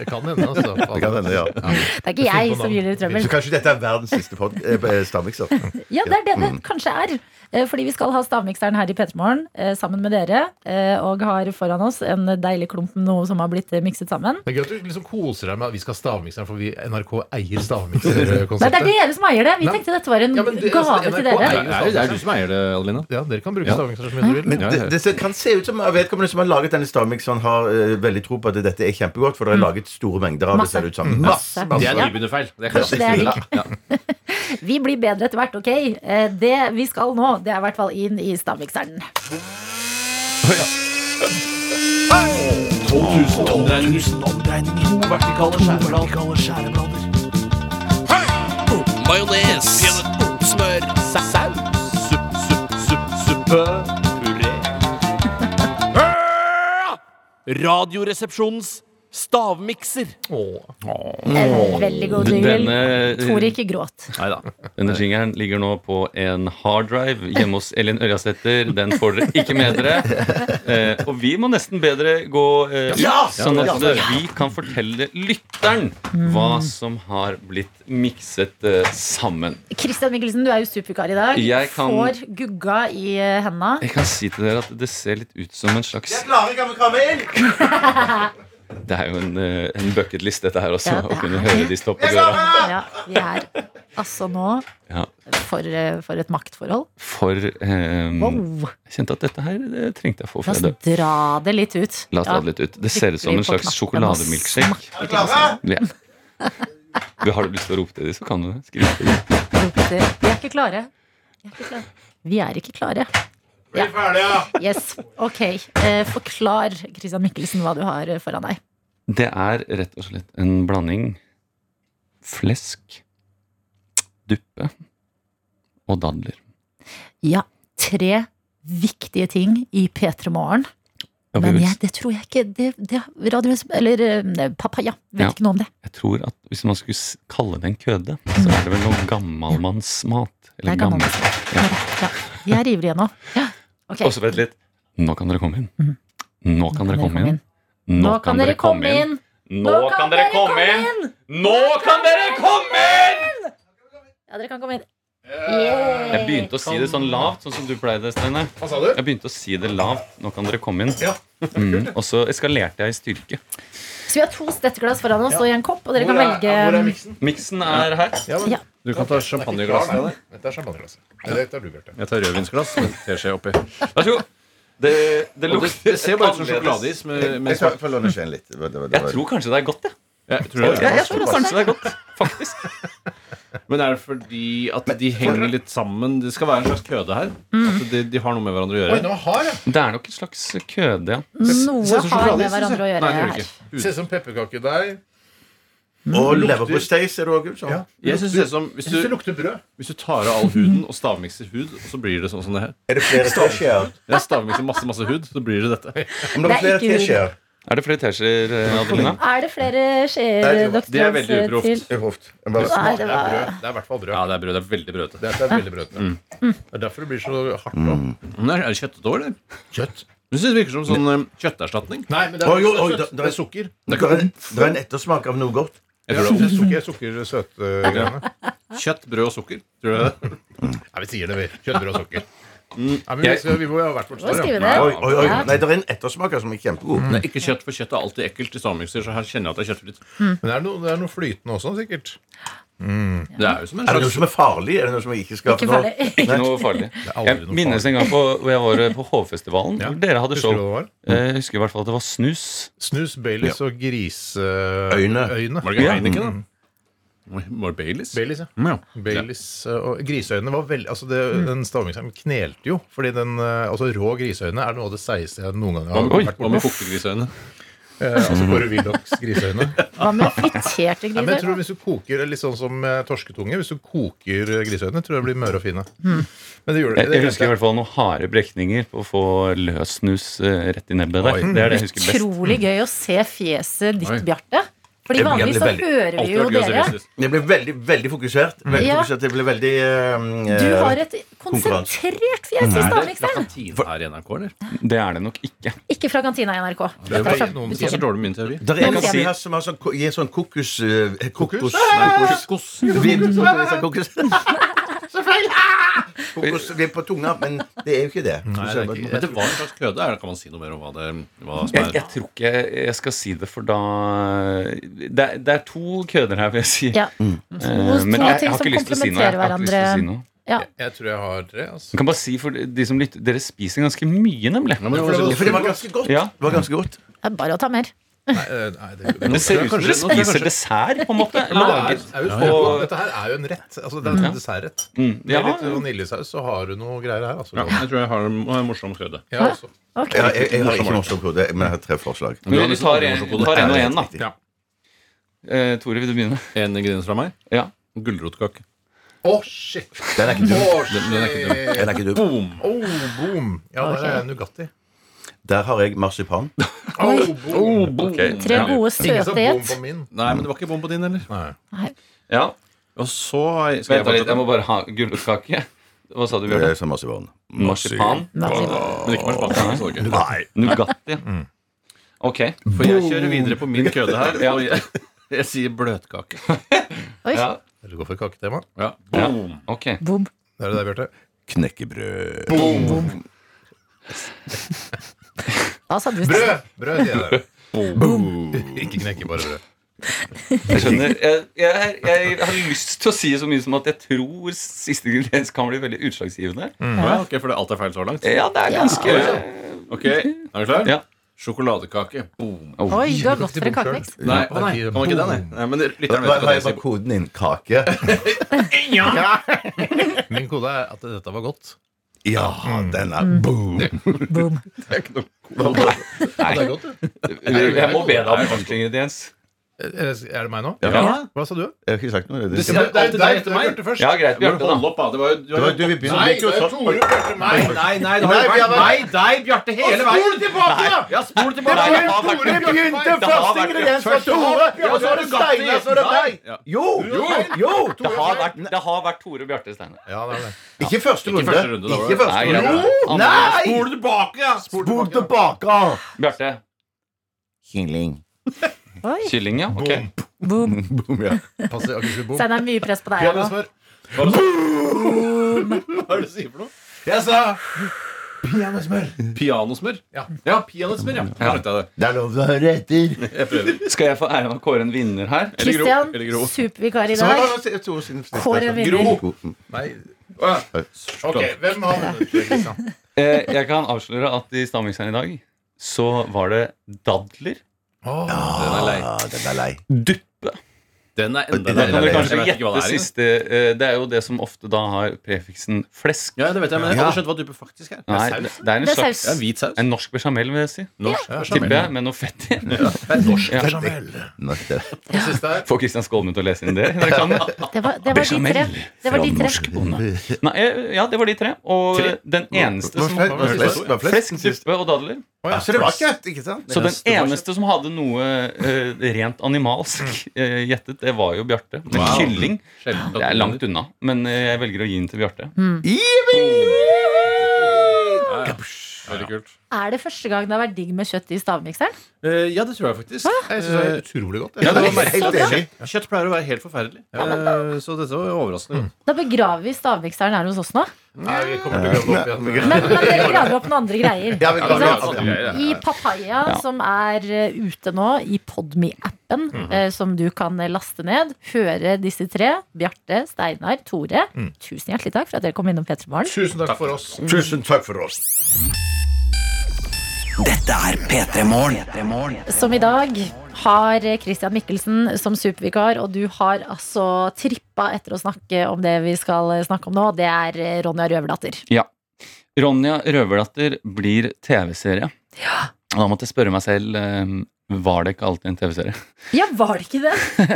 Speaker 11: Det kan hende, altså.
Speaker 9: Det kan hende, ja.
Speaker 2: Det er ikke jeg som gir dere trøbbel.
Speaker 9: Så kanskje dette er verdens siste pod- eh, eh, stavmikser.
Speaker 2: Ja, det er det det
Speaker 11: Mm.
Speaker 2: kanskje er. Eh, Fordi vi skal ha stavmikseren her i P3morgen eh, sammen med dere. eh, Og har foran oss en deilig klump med noe som har blitt eh, mikset sammen.
Speaker 11: Det er gøy at du liksom koser deg med at vi skal ha stavmikseren, for vi NRK eier
Speaker 2: Nei, det
Speaker 11: stavmikserkonseptet.
Speaker 2: er dere som eier det. Vi
Speaker 11: Nei.
Speaker 2: tenkte dette var en
Speaker 11: Ja, men det-
Speaker 2: gave
Speaker 11: altså,
Speaker 2: til
Speaker 11: NRK
Speaker 2: dere.
Speaker 11: eier-
Speaker 10: Det er jo- det er du som eier det, Adelina.
Speaker 11: Ja, dere kan bruke
Speaker 10: Ja.
Speaker 11: stavmikseren så mye dere vil.
Speaker 9: Men det, det ser- kan se ut som vedkommende som har laget denne stavmikseren, har eh, veldig tro på at dette er kjempegodt, for det er laget store mengder av det.
Speaker 2: Masse.
Speaker 9: ser det ut som.
Speaker 2: Mm.
Speaker 10: Det
Speaker 2: Masse.
Speaker 9: Masse, masse.
Speaker 10: er nybegynnerfeil. Det kan
Speaker 2: Kanskje det er
Speaker 10: jeg
Speaker 2: ikke. [laughs] Vi blir bedre etter hvert, ok? Eh, Det vi skal nå, det er i hvert fall inn i stavmikseren.
Speaker 5: 12 000 omdreininger. To vertikale skjæreblader. Majones. Smør. Saus. Supp, supp, supp, suppe. Puré. Radioresepsjonens stavmikser.
Speaker 2: En veldig god jingle.
Speaker 11: eh,
Speaker 3: Denne-
Speaker 2: Tor, ikke gråt.
Speaker 3: Denne jingeren ligger nå på en harddrive hjemme hos Elin Ørjasæter. Den får dere ikke
Speaker 2: [laughs]
Speaker 3: med dere. Eh, og vi må nesten be dere gå eh,
Speaker 5: Ja!
Speaker 3: sånn at
Speaker 5: Ja, ja, ja.
Speaker 3: vi kan fortelle lytteren hva
Speaker 2: Mm.
Speaker 3: som har blitt mikset eh, sammen.
Speaker 2: Christian Mikkelsen, du er jo supervikar i dag.
Speaker 3: Jeg kan-
Speaker 2: Får gugga i eh, henda.
Speaker 3: Jeg kan si til dere at det ser litt ut som en slags
Speaker 9: Jeg klarer ikke å komme inn!
Speaker 3: Det er jo en, eh, en bucketlist, dette her også.
Speaker 2: Ja, det
Speaker 3: Å kunne
Speaker 2: er
Speaker 3: høre de stå på døra.
Speaker 2: Ja, vi er altså nå
Speaker 3: Ja,
Speaker 2: for, eh, for et maktforhold.
Speaker 3: for eh,
Speaker 2: Wow.
Speaker 3: Jeg kjente at dette her det trengte jeg å få
Speaker 2: La
Speaker 3: fra
Speaker 2: oss
Speaker 3: deg.
Speaker 2: dra det litt ut.
Speaker 3: La oss
Speaker 2: Ja.
Speaker 3: dra det litt ut. Det ser ut som en
Speaker 2: Trykker vi på
Speaker 3: slags
Speaker 2: knappen og
Speaker 3: sjokolademilkshake.
Speaker 2: smakker til oss.
Speaker 3: Ja. Du Har du lyst til å rope til dem, så kan du det. Skriv til dem.
Speaker 2: Vi er ikke klare. Vi er ikke klare. Vi er ikke klare. Ja. Yes. Ok. Eh, Forklar, Christian Mikkelsen, hva du har eh, foran deg.
Speaker 3: Det er rett og slett en blanding flesk, duppe og dadler.
Speaker 2: Ja, tre viktige ting i P3 Morgen.
Speaker 3: Ja, vi
Speaker 2: Men
Speaker 3: vil-
Speaker 2: jeg, det tror jeg ikke det, det, radio, Eller eh, papaya. Vet
Speaker 3: Ja.
Speaker 2: ikke noe om det.
Speaker 3: Jeg tror at Hvis man skulle s- kalle det en køde, så er det vel noe gammalmannsmat. Eller
Speaker 2: Det er
Speaker 3: gammel... Ja.
Speaker 2: Ja. Jeg river igjen nå. Ja. Ok. Mhm.
Speaker 3: Og så vent litt. Nå kan dere komme inn. Nå kan dere komme inn.
Speaker 2: Nå kan dere komme inn!
Speaker 3: Nå kan dere komme inn! Nå kan dere komme inn!
Speaker 2: Ja, dere kan komme inn.
Speaker 3: Jeg begynte å si det sånn lavt, sånn som du pleide, Steine.
Speaker 11: Hva sa du?
Speaker 3: Jeg begynte å si det lavt. Nå kan dere komme inn.
Speaker 10: [laughs]
Speaker 11: Ja.
Speaker 3: Mm, og så eskalerte jeg i styrke.
Speaker 2: Så vi har to stettglass foran oss og en kopp, og dere
Speaker 11: Hvor
Speaker 2: kan
Speaker 11: er,
Speaker 2: velge
Speaker 11: hvor er miksen?
Speaker 3: Miksen er her.
Speaker 11: Ja, men,
Speaker 2: Ja.
Speaker 10: Du kan ta champagneglass til deg.
Speaker 11: Dette er champagneglasset. Eller dette er du, Bjarte.
Speaker 10: Jeg tar rødvinsglass med teskje oppi.
Speaker 3: Vær så god. Det, det
Speaker 10: Og det,
Speaker 3: lukter
Speaker 10: det ser bare ut som
Speaker 3: annerledes.
Speaker 10: sjokoladeis. Med, med
Speaker 9: Jeg tar- får låne skjeen litt. Det var- det var- det
Speaker 3: Jeg
Speaker 9: var-
Speaker 3: tror kanskje det er godt, jeg.
Speaker 10: Jeg tror det er
Speaker 3: Jeg, jeg tror kanskje det er godt, faktisk.
Speaker 10: [laughs] Men er det fordi at de henger litt sammen? Det skal være en slags køde her. At de, de har noe med hverandre å
Speaker 11: Oi,
Speaker 10: gjøre.
Speaker 11: nå har jeg!
Speaker 3: Mm. Det er nok en slags køde, ja.
Speaker 2: Noe
Speaker 10: ut som
Speaker 2: har med
Speaker 10: sjokoladeis, synes jeg.
Speaker 2: hverandre å gjøre
Speaker 10: Nei, det gjør det
Speaker 2: her.
Speaker 10: ikke.
Speaker 11: Ser ut som pepperkakedeig.
Speaker 9: Og leverpostei ser du òg ut som.
Speaker 11: Ja.
Speaker 10: Jeg synes det er som hvis
Speaker 11: Jeg syns det
Speaker 10: du,
Speaker 11: lukter brød.
Speaker 10: hvis du tar av all huden og stavmikser hud, så blir det sånn som det her.
Speaker 9: Er det flere teskjeer?
Speaker 10: Jeg stavmikser masse, masse hud, så blir det dette.
Speaker 9: Om det
Speaker 2: Det
Speaker 9: er
Speaker 2: er
Speaker 9: flere
Speaker 2: ikke-
Speaker 9: teskjeer
Speaker 3: Er det flere teskjeer, eh, Adelina?
Speaker 2: Er det flere
Speaker 9: Nei,
Speaker 2: skjeer
Speaker 9: det var-
Speaker 2: doktor
Speaker 10: det er veldig
Speaker 2: Hans,
Speaker 10: uproft.
Speaker 2: til?
Speaker 9: Jeg hoft. Jeg bare-
Speaker 2: Nei,
Speaker 11: Det
Speaker 2: det
Speaker 11: er
Speaker 2: var
Speaker 11: brød. Det er i hvert fall brød.
Speaker 10: Ja, det er brød. Det er veldig brødete.
Speaker 11: Det er, det er veldig brødete.
Speaker 10: Mm.
Speaker 11: Det er derfor det blir så hardt nå.
Speaker 10: Men Er er det kjøttet òg, eller?
Speaker 11: Kjøtt.
Speaker 10: Jeg synes det virker som sånn eh, kjøtterstatning.
Speaker 11: Nei, men det er,
Speaker 9: Oi, oi, oi,
Speaker 11: søtt.
Speaker 9: da- da-
Speaker 11: det er sukker.
Speaker 9: Det er en- det er en ettersmak av noe godt.
Speaker 10: Jeg
Speaker 11: Jeg
Speaker 10: tror det
Speaker 11: synes det er sukker, sukker søtgreiene.
Speaker 10: er Kjøtt, brød og sukker. Tror du det?
Speaker 11: Nei, vi sier det, vi. Kjøttbrød og sukker.
Speaker 3: Mm.
Speaker 11: Nei, men vi, skal, vi må jo ha hvert vårt
Speaker 2: Hva
Speaker 11: svar.
Speaker 2: skriver vi
Speaker 11: Ja.
Speaker 2: ned?
Speaker 9: Oi, oi, oi. Nei, det er en ettersmak her som er kjempegod.
Speaker 10: Mm. Nei, ikke kjøtt, for kjøtt er alltid ekkelt i stavmikser. Så her kjenner jeg at det er kjøttfritt.
Speaker 11: Men det er, noe, det er noe flytende også, sikkert.
Speaker 3: Det er jo som en
Speaker 9: Er det
Speaker 3: slags-
Speaker 9: noe som er farlig? Er det noe som jeg ikke skal
Speaker 3: Ikke
Speaker 9: få lov? [laughs]
Speaker 3: farlig. Ikke noe farlig. Jeg minnes en gang på, hvor jeg var eh, på Hovfestivalen. hvor Dere hadde
Speaker 11: Husker
Speaker 3: show.
Speaker 11: du hva det
Speaker 3: Jeg husker i hvert fall at det var snus.
Speaker 11: Snus, Baileys og eh,
Speaker 3: Øyne.
Speaker 11: griseøyne.
Speaker 3: Var det ikke
Speaker 11: Heineken,
Speaker 3: Heineken, da? Var det Baileys?
Speaker 11: Mm. Baileys,
Speaker 3: Mm,
Speaker 11: ja. Baileys eh, og Griseøyne var veldig altså det,
Speaker 2: Mm.
Speaker 11: Den stavingsheim knelte jo. Fordi den, eh, altså Rå griseøyne er noe av det seigeste jeg noen gang
Speaker 10: Hva
Speaker 11: har
Speaker 10: med-
Speaker 11: vært
Speaker 10: hva med kokte griseøyne?
Speaker 11: Eh, altså bare Willochs griseøyne.
Speaker 3: [laughs]
Speaker 2: Hva med friterte
Speaker 11: Nei, men jeg tror
Speaker 2: griser?
Speaker 11: Hvis du koker litt sånn som eh, torsketunge, hvis du koker eh, griseøyne, tror jeg det blir møre og fine.
Speaker 2: Mm.
Speaker 11: Men det gjorde
Speaker 3: Jeg,
Speaker 11: det
Speaker 3: jeg husker i
Speaker 11: glemte jeg.
Speaker 3: hvert fall noen harde brekninger på å få løs snus eh, rett i nebbet der. Det er det jeg husker best.
Speaker 2: Utrolig gøy å se fjeset
Speaker 3: Oi.
Speaker 2: ditt, Bjarte. Fordi
Speaker 9: Jeg blir
Speaker 2: vanligvis så
Speaker 9: veldig-
Speaker 2: hører vi jo dere.
Speaker 9: Jeg ble veldig, veldig fokusert. Veldig
Speaker 2: Ja.
Speaker 9: fokusert. Jeg ble veldig eh,
Speaker 2: Du har et
Speaker 9: konkurranse.
Speaker 2: konsentrert fjes i Stavmiksteren.
Speaker 3: her i NRK, eller? Det er det nok ikke.
Speaker 2: Ikke fra kantina i NRK.
Speaker 3: Det er
Speaker 2: Dette er
Speaker 3: jo
Speaker 2: fra
Speaker 3: noen
Speaker 2: butikken.
Speaker 3: som er dårlig med min teori.
Speaker 9: Det er en
Speaker 3: Noen
Speaker 9: av de
Speaker 3: sier-
Speaker 9: her som har sånn, ko- gir sånn kokos... eh, Kokos?
Speaker 10: Ah! [laughs]
Speaker 3: Kokos.
Speaker 9: Vibb
Speaker 2: [laughs]
Speaker 9: sånn kokos. Kokos vibb på tunga, men det er jo ikke det.
Speaker 10: Nei, det er ikke, men det var en slags kløde. Er det, kan man si noe mer om hva det hva som
Speaker 3: Jeg,
Speaker 10: er
Speaker 3: jeg tror ikke jeg skal si det, for da Det er, det er to køder her, vil jeg si.
Speaker 2: Ja.
Speaker 3: Eh, Men jeg, jeg har ikke lyst til å si noe. Jeg har ikke lyst til å si noe.
Speaker 2: Ja.
Speaker 11: Jeg tror jeg har tre. altså
Speaker 3: Jeg kan bare si for de som lytter Dere spiser ganske mye, nemlig.
Speaker 11: men det var så godt. For det var ganske godt.
Speaker 3: Ja.
Speaker 9: Det var ganske godt.
Speaker 2: Det er bare å ta mer.
Speaker 11: eh,
Speaker 3: Det ser ut som dere spiser dessert, på en måte. Laget
Speaker 11: Det er jo
Speaker 3: på-
Speaker 11: smågodt. Dette her er jo en rett. Altså, det er en
Speaker 3: Ja.
Speaker 11: dessertrett.
Speaker 3: Mm,
Speaker 11: Med
Speaker 3: ja.
Speaker 11: litt vaniljesaus, så har du noe greier her. Altså.
Speaker 10: Ja, jeg tror jeg har en har en morsom køde.
Speaker 11: Ja, altså.
Speaker 2: Ok.
Speaker 9: Ja, jeg, jeg har ikke morsom kode, men jeg har tre forslag.
Speaker 3: Men vi tar en, vi tar en og en, da.
Speaker 9: Ja.
Speaker 3: Eh, Tore, vil du begynne?
Speaker 10: En ingrediens fra meg?
Speaker 3: Ja.
Speaker 10: Gulrotkake.
Speaker 11: Å, shit!
Speaker 9: Den er ikke dum.
Speaker 11: Å,
Speaker 10: Den- den er ikke dum.
Speaker 11: shit.
Speaker 9: Den er ikke dum.
Speaker 10: Boom!
Speaker 11: Oh, boom! Ja, der er
Speaker 2: Ok.
Speaker 11: Nugatti.
Speaker 9: Der har jeg marsipan.
Speaker 11: Oh, boom.
Speaker 2: Tre gode, søte
Speaker 11: bom
Speaker 2: gjett.
Speaker 11: på min.
Speaker 10: Nei, men det var ikke bom på din, eller?
Speaker 3: Ja.
Speaker 10: Og så skal jeg
Speaker 3: Vent litt, jeg
Speaker 10: fortsette.
Speaker 3: må bare ha gulrotkake. Hva sa du,
Speaker 9: Det
Speaker 3: Bjørn?
Speaker 9: er Eh, som marsipan.
Speaker 3: Marsipan?
Speaker 10: Men ikke marsipan. så det ikke.
Speaker 9: Nei.
Speaker 3: Nugatti? Ok.
Speaker 10: For jeg kjører videre på min køde her, og jeg, jeg sier bløtkake.
Speaker 2: Oi.
Speaker 3: [laughs] Ja.
Speaker 11: Vil du gå for kaketema?
Speaker 10: Ja.
Speaker 3: Ja.
Speaker 10: Boom!
Speaker 3: Ok.
Speaker 2: Boom.
Speaker 11: Det er det der, Bjarte.
Speaker 9: Knekkebrød.
Speaker 2: Da sa du
Speaker 11: Brød! Brød, sier jeg der.
Speaker 10: Boom.
Speaker 11: Ikke knekke, bare brød.
Speaker 3: Jeg skjønner. Jeg, jeg, jeg har lyst til å si så mye som at jeg tror siste ingrediens kan bli veldig utslagsgivende.
Speaker 9: Mhm.
Speaker 10: Ja, ok, For det- alt er feil så langt?
Speaker 3: Ja, det er ganske
Speaker 10: Ok, Er du klar?
Speaker 3: Ja.
Speaker 10: Sjokoladekake. Boom.
Speaker 2: Oi, du har gått for en kakemiks.
Speaker 10: Nei, å nei, kan man ikke den? nei? Nei, men lytteren
Speaker 9: Hva
Speaker 10: vet
Speaker 9: har
Speaker 10: hva det
Speaker 9: jeg
Speaker 10: sier.
Speaker 9: bare koden din? Kake?
Speaker 11: Min kode er at dette var godt.
Speaker 9: Ja, den er boom!
Speaker 2: Boom.
Speaker 11: Ja, det er godt, det.
Speaker 3: Jeg må be deg om en ordentlig ingrediens.
Speaker 11: Er er det meg nå?
Speaker 10: Ja.
Speaker 11: Hva sa du?
Speaker 9: Jeg har ikke sagt noe. Det
Speaker 10: sier-
Speaker 11: Det er
Speaker 10: Alltid deg
Speaker 11: deg,
Speaker 10: etter meg.
Speaker 11: Bjarte, først.
Speaker 3: Ja, greit.
Speaker 10: Men
Speaker 3: Bjarte,
Speaker 10: hold
Speaker 3: da.
Speaker 10: opp, da. Det var jo du har
Speaker 9: det var
Speaker 10: jo
Speaker 9: du vi begynte vi gikk jo sånn.
Speaker 11: Tore, Bjarte, meg.
Speaker 10: Nei, nei, det har
Speaker 9: Nei, vi
Speaker 10: jo
Speaker 9: har
Speaker 10: vært meg, deg, Bjarte, hele veien.
Speaker 9: tilbake! da!
Speaker 10: Ja, spol tilbake.
Speaker 9: Det har vært- Det begynte første ingrediens var Tore, og så var det Steinar, så var det meg.
Speaker 10: Ja.
Speaker 9: Jo! Jo! jo.
Speaker 3: Det har vært, det har vært Tore Bjarte Steine.
Speaker 11: Ja, det er det.
Speaker 9: Ikke første runde.
Speaker 10: første runde, da var
Speaker 9: Ikke
Speaker 10: det-
Speaker 9: første
Speaker 3: Nei,
Speaker 9: runde.
Speaker 3: greit.
Speaker 9: Jo!
Speaker 3: Andre.
Speaker 9: Nei!
Speaker 10: Spol tilbake, ja.
Speaker 9: Spol tilbake!
Speaker 3: Bjarte.
Speaker 9: Kylling.
Speaker 2: Oi.
Speaker 3: Kylling, ja. Ok.
Speaker 2: Boom.
Speaker 9: Boom, [laughs] ja.
Speaker 11: Pass deg, Akershus Bom.
Speaker 2: Steinar, mye press på deg.
Speaker 11: Ja,
Speaker 2: her
Speaker 11: det
Speaker 2: nå.
Speaker 11: er smør.
Speaker 10: Hva er det du sier for noe?
Speaker 9: Jeg sa
Speaker 10: Pianosmør?
Speaker 11: Ja.
Speaker 10: ja pianosmør, ja. Da skjønte jeg det.
Speaker 9: Det er lov til å høre etter.
Speaker 10: Jeg prøver.
Speaker 3: Skal jeg få æren av å kåre en vinner her? Eller gro?
Speaker 2: Kristian,
Speaker 10: eller Gro.
Speaker 2: supervikar i
Speaker 9: Så
Speaker 2: dag.
Speaker 9: nå sier Tore sin siste.
Speaker 2: Kåre vinner.
Speaker 9: sånn Gro.
Speaker 11: Nei.
Speaker 10: Ok.
Speaker 11: Ok, hvem har vunnet? Kristian?
Speaker 3: Eh, jeg kan avsløre at i Stavmikseren i dag så var det dadler,
Speaker 11: Åh,
Speaker 10: Den er lei.
Speaker 9: Ah, den er lei.
Speaker 3: duppe
Speaker 10: Den er enda
Speaker 9: Den
Speaker 10: lei.
Speaker 9: er
Speaker 3: Da kan dere
Speaker 9: lei.
Speaker 3: kanskje
Speaker 10: Jeg vet ikke
Speaker 3: gjette
Speaker 10: hva det er.
Speaker 3: det
Speaker 10: engang.
Speaker 3: siste. eh, Det er jo det som ofte da har prefiksen flesk.
Speaker 10: Ja, det vet jeg, men jeg
Speaker 9: Ja.
Speaker 10: hadde skjønt hva dupe faktisk er.
Speaker 3: Nei, det det er en
Speaker 2: Det er
Speaker 3: slags
Speaker 2: saus.
Speaker 10: Det er hvit saus.
Speaker 3: En norsk bechamel, vil jeg si.
Speaker 10: Norsk.
Speaker 11: ja,
Speaker 3: Tipper
Speaker 11: Jamel.
Speaker 3: jeg, med noe fett i.
Speaker 11: Norsk
Speaker 3: Ja.
Speaker 11: Jamel.
Speaker 9: Nå, det er-
Speaker 11: Den siste her.
Speaker 3: Får Kristian Skolmen til å lese inn det? Dere kan.
Speaker 2: Det var, det var de tre. Det var de tre.
Speaker 3: Nei, eh, ja, det var de tre. Og
Speaker 10: Tre?
Speaker 3: den eneste
Speaker 9: Hva
Speaker 3: som
Speaker 9: fle- hva flesk? Hva
Speaker 3: Flesk,
Speaker 9: flesk?
Speaker 3: duppe og dadler.
Speaker 9: Ja, Så det var kjøtt, ikke sant?
Speaker 3: Så den
Speaker 10: Neste var
Speaker 3: eneste som hadde noe eh, rent animalsk eh, gjettet, det var jo Bjarte. Men
Speaker 10: Wow.
Speaker 3: kylling
Speaker 10: Sjelden
Speaker 3: det er langt unna. Men eh, jeg velger å gi den til Bjarte.
Speaker 10: Ja, ja. Veldig kult.
Speaker 2: Er det første gang det har vært digg med kjøtt i stavmikseren?
Speaker 3: Uh,
Speaker 10: Eh, Ja, det tror jeg faktisk.
Speaker 11: Jeg synes det er utrolig godt.
Speaker 10: Ja, det var
Speaker 9: Jeg er helt enig.
Speaker 10: Kjøtt pleier å være helt forferdelig. Eh, Så dette var overraskende.
Speaker 2: Da begraver vi stavmikseren her hos oss nå.
Speaker 11: Nei, vi kommer til å grave opp igjen.
Speaker 2: Men, men dere graver opp noen andre greier.
Speaker 9: Ja, vi
Speaker 10: Ja,
Speaker 9: kan
Speaker 10: det
Speaker 9: ja,
Speaker 10: var sånn greier, ja.
Speaker 2: I Papaya, som er eh, ute nå, i Podme-appen, appen eh, som du kan laste ned. Høre disse tre. Bjarte, Steinar, Tore.
Speaker 9: Mm.
Speaker 2: Tusen hjertelig takk for at dere kom innom P3 Morgen.
Speaker 11: Tusen takk for oss.
Speaker 9: Tusen takk for oss.
Speaker 12: Dette er P3 Morgen.
Speaker 2: Som i dag har Christian Mikkelsen som supervikar, og du har altså trippa etter å snakke om det vi skal snakke om nå. Det er Ronja Røverdatter.
Speaker 3: Ja. Ronja Røverdatter blir TV-serie. Og da måtte jeg spørre meg selv eh, Var det ikke alltid en TV-serie?
Speaker 2: Ja, var det ikke det?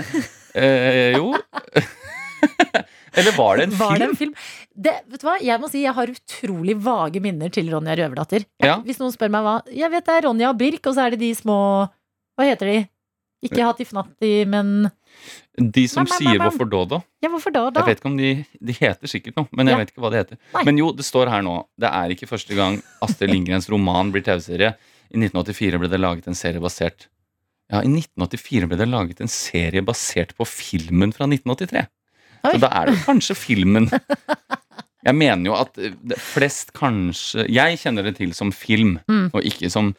Speaker 3: Eh, jo. [laughs] Eller var det en
Speaker 2: Var det
Speaker 3: film?
Speaker 2: en film? Det, vet du hva? Jeg må si jeg har utrolig vage minner til Ronja Røverdatter.
Speaker 3: Ja.
Speaker 2: Hvis noen spør meg hva Jeg vet det er Ronja og Birk, og så er det de små Hva heter de? Ikke Hatif Natti, men
Speaker 3: De som
Speaker 2: Mam, mam,
Speaker 3: sier
Speaker 2: mam, mam.
Speaker 3: hvorfor da, da?
Speaker 2: Ja, hvorfor da? da?
Speaker 3: Jeg vet ikke om de, de heter sikkert noe, men jeg
Speaker 2: Ja.
Speaker 3: vet ikke hva de heter.
Speaker 2: Nei.
Speaker 3: Men jo, det står her nå. Det er ikke første gang Astrid Lindgrens roman blir TV-serie. I 1984 ble det laget en serie basert Ja, i 1984 ble det laget en serie basert på filmen fra 1983. Så da er det kanskje filmen. Jeg mener jo at eh, det- flest kanskje Jeg kjenner det til som film,
Speaker 2: Mm.
Speaker 3: og ikke som,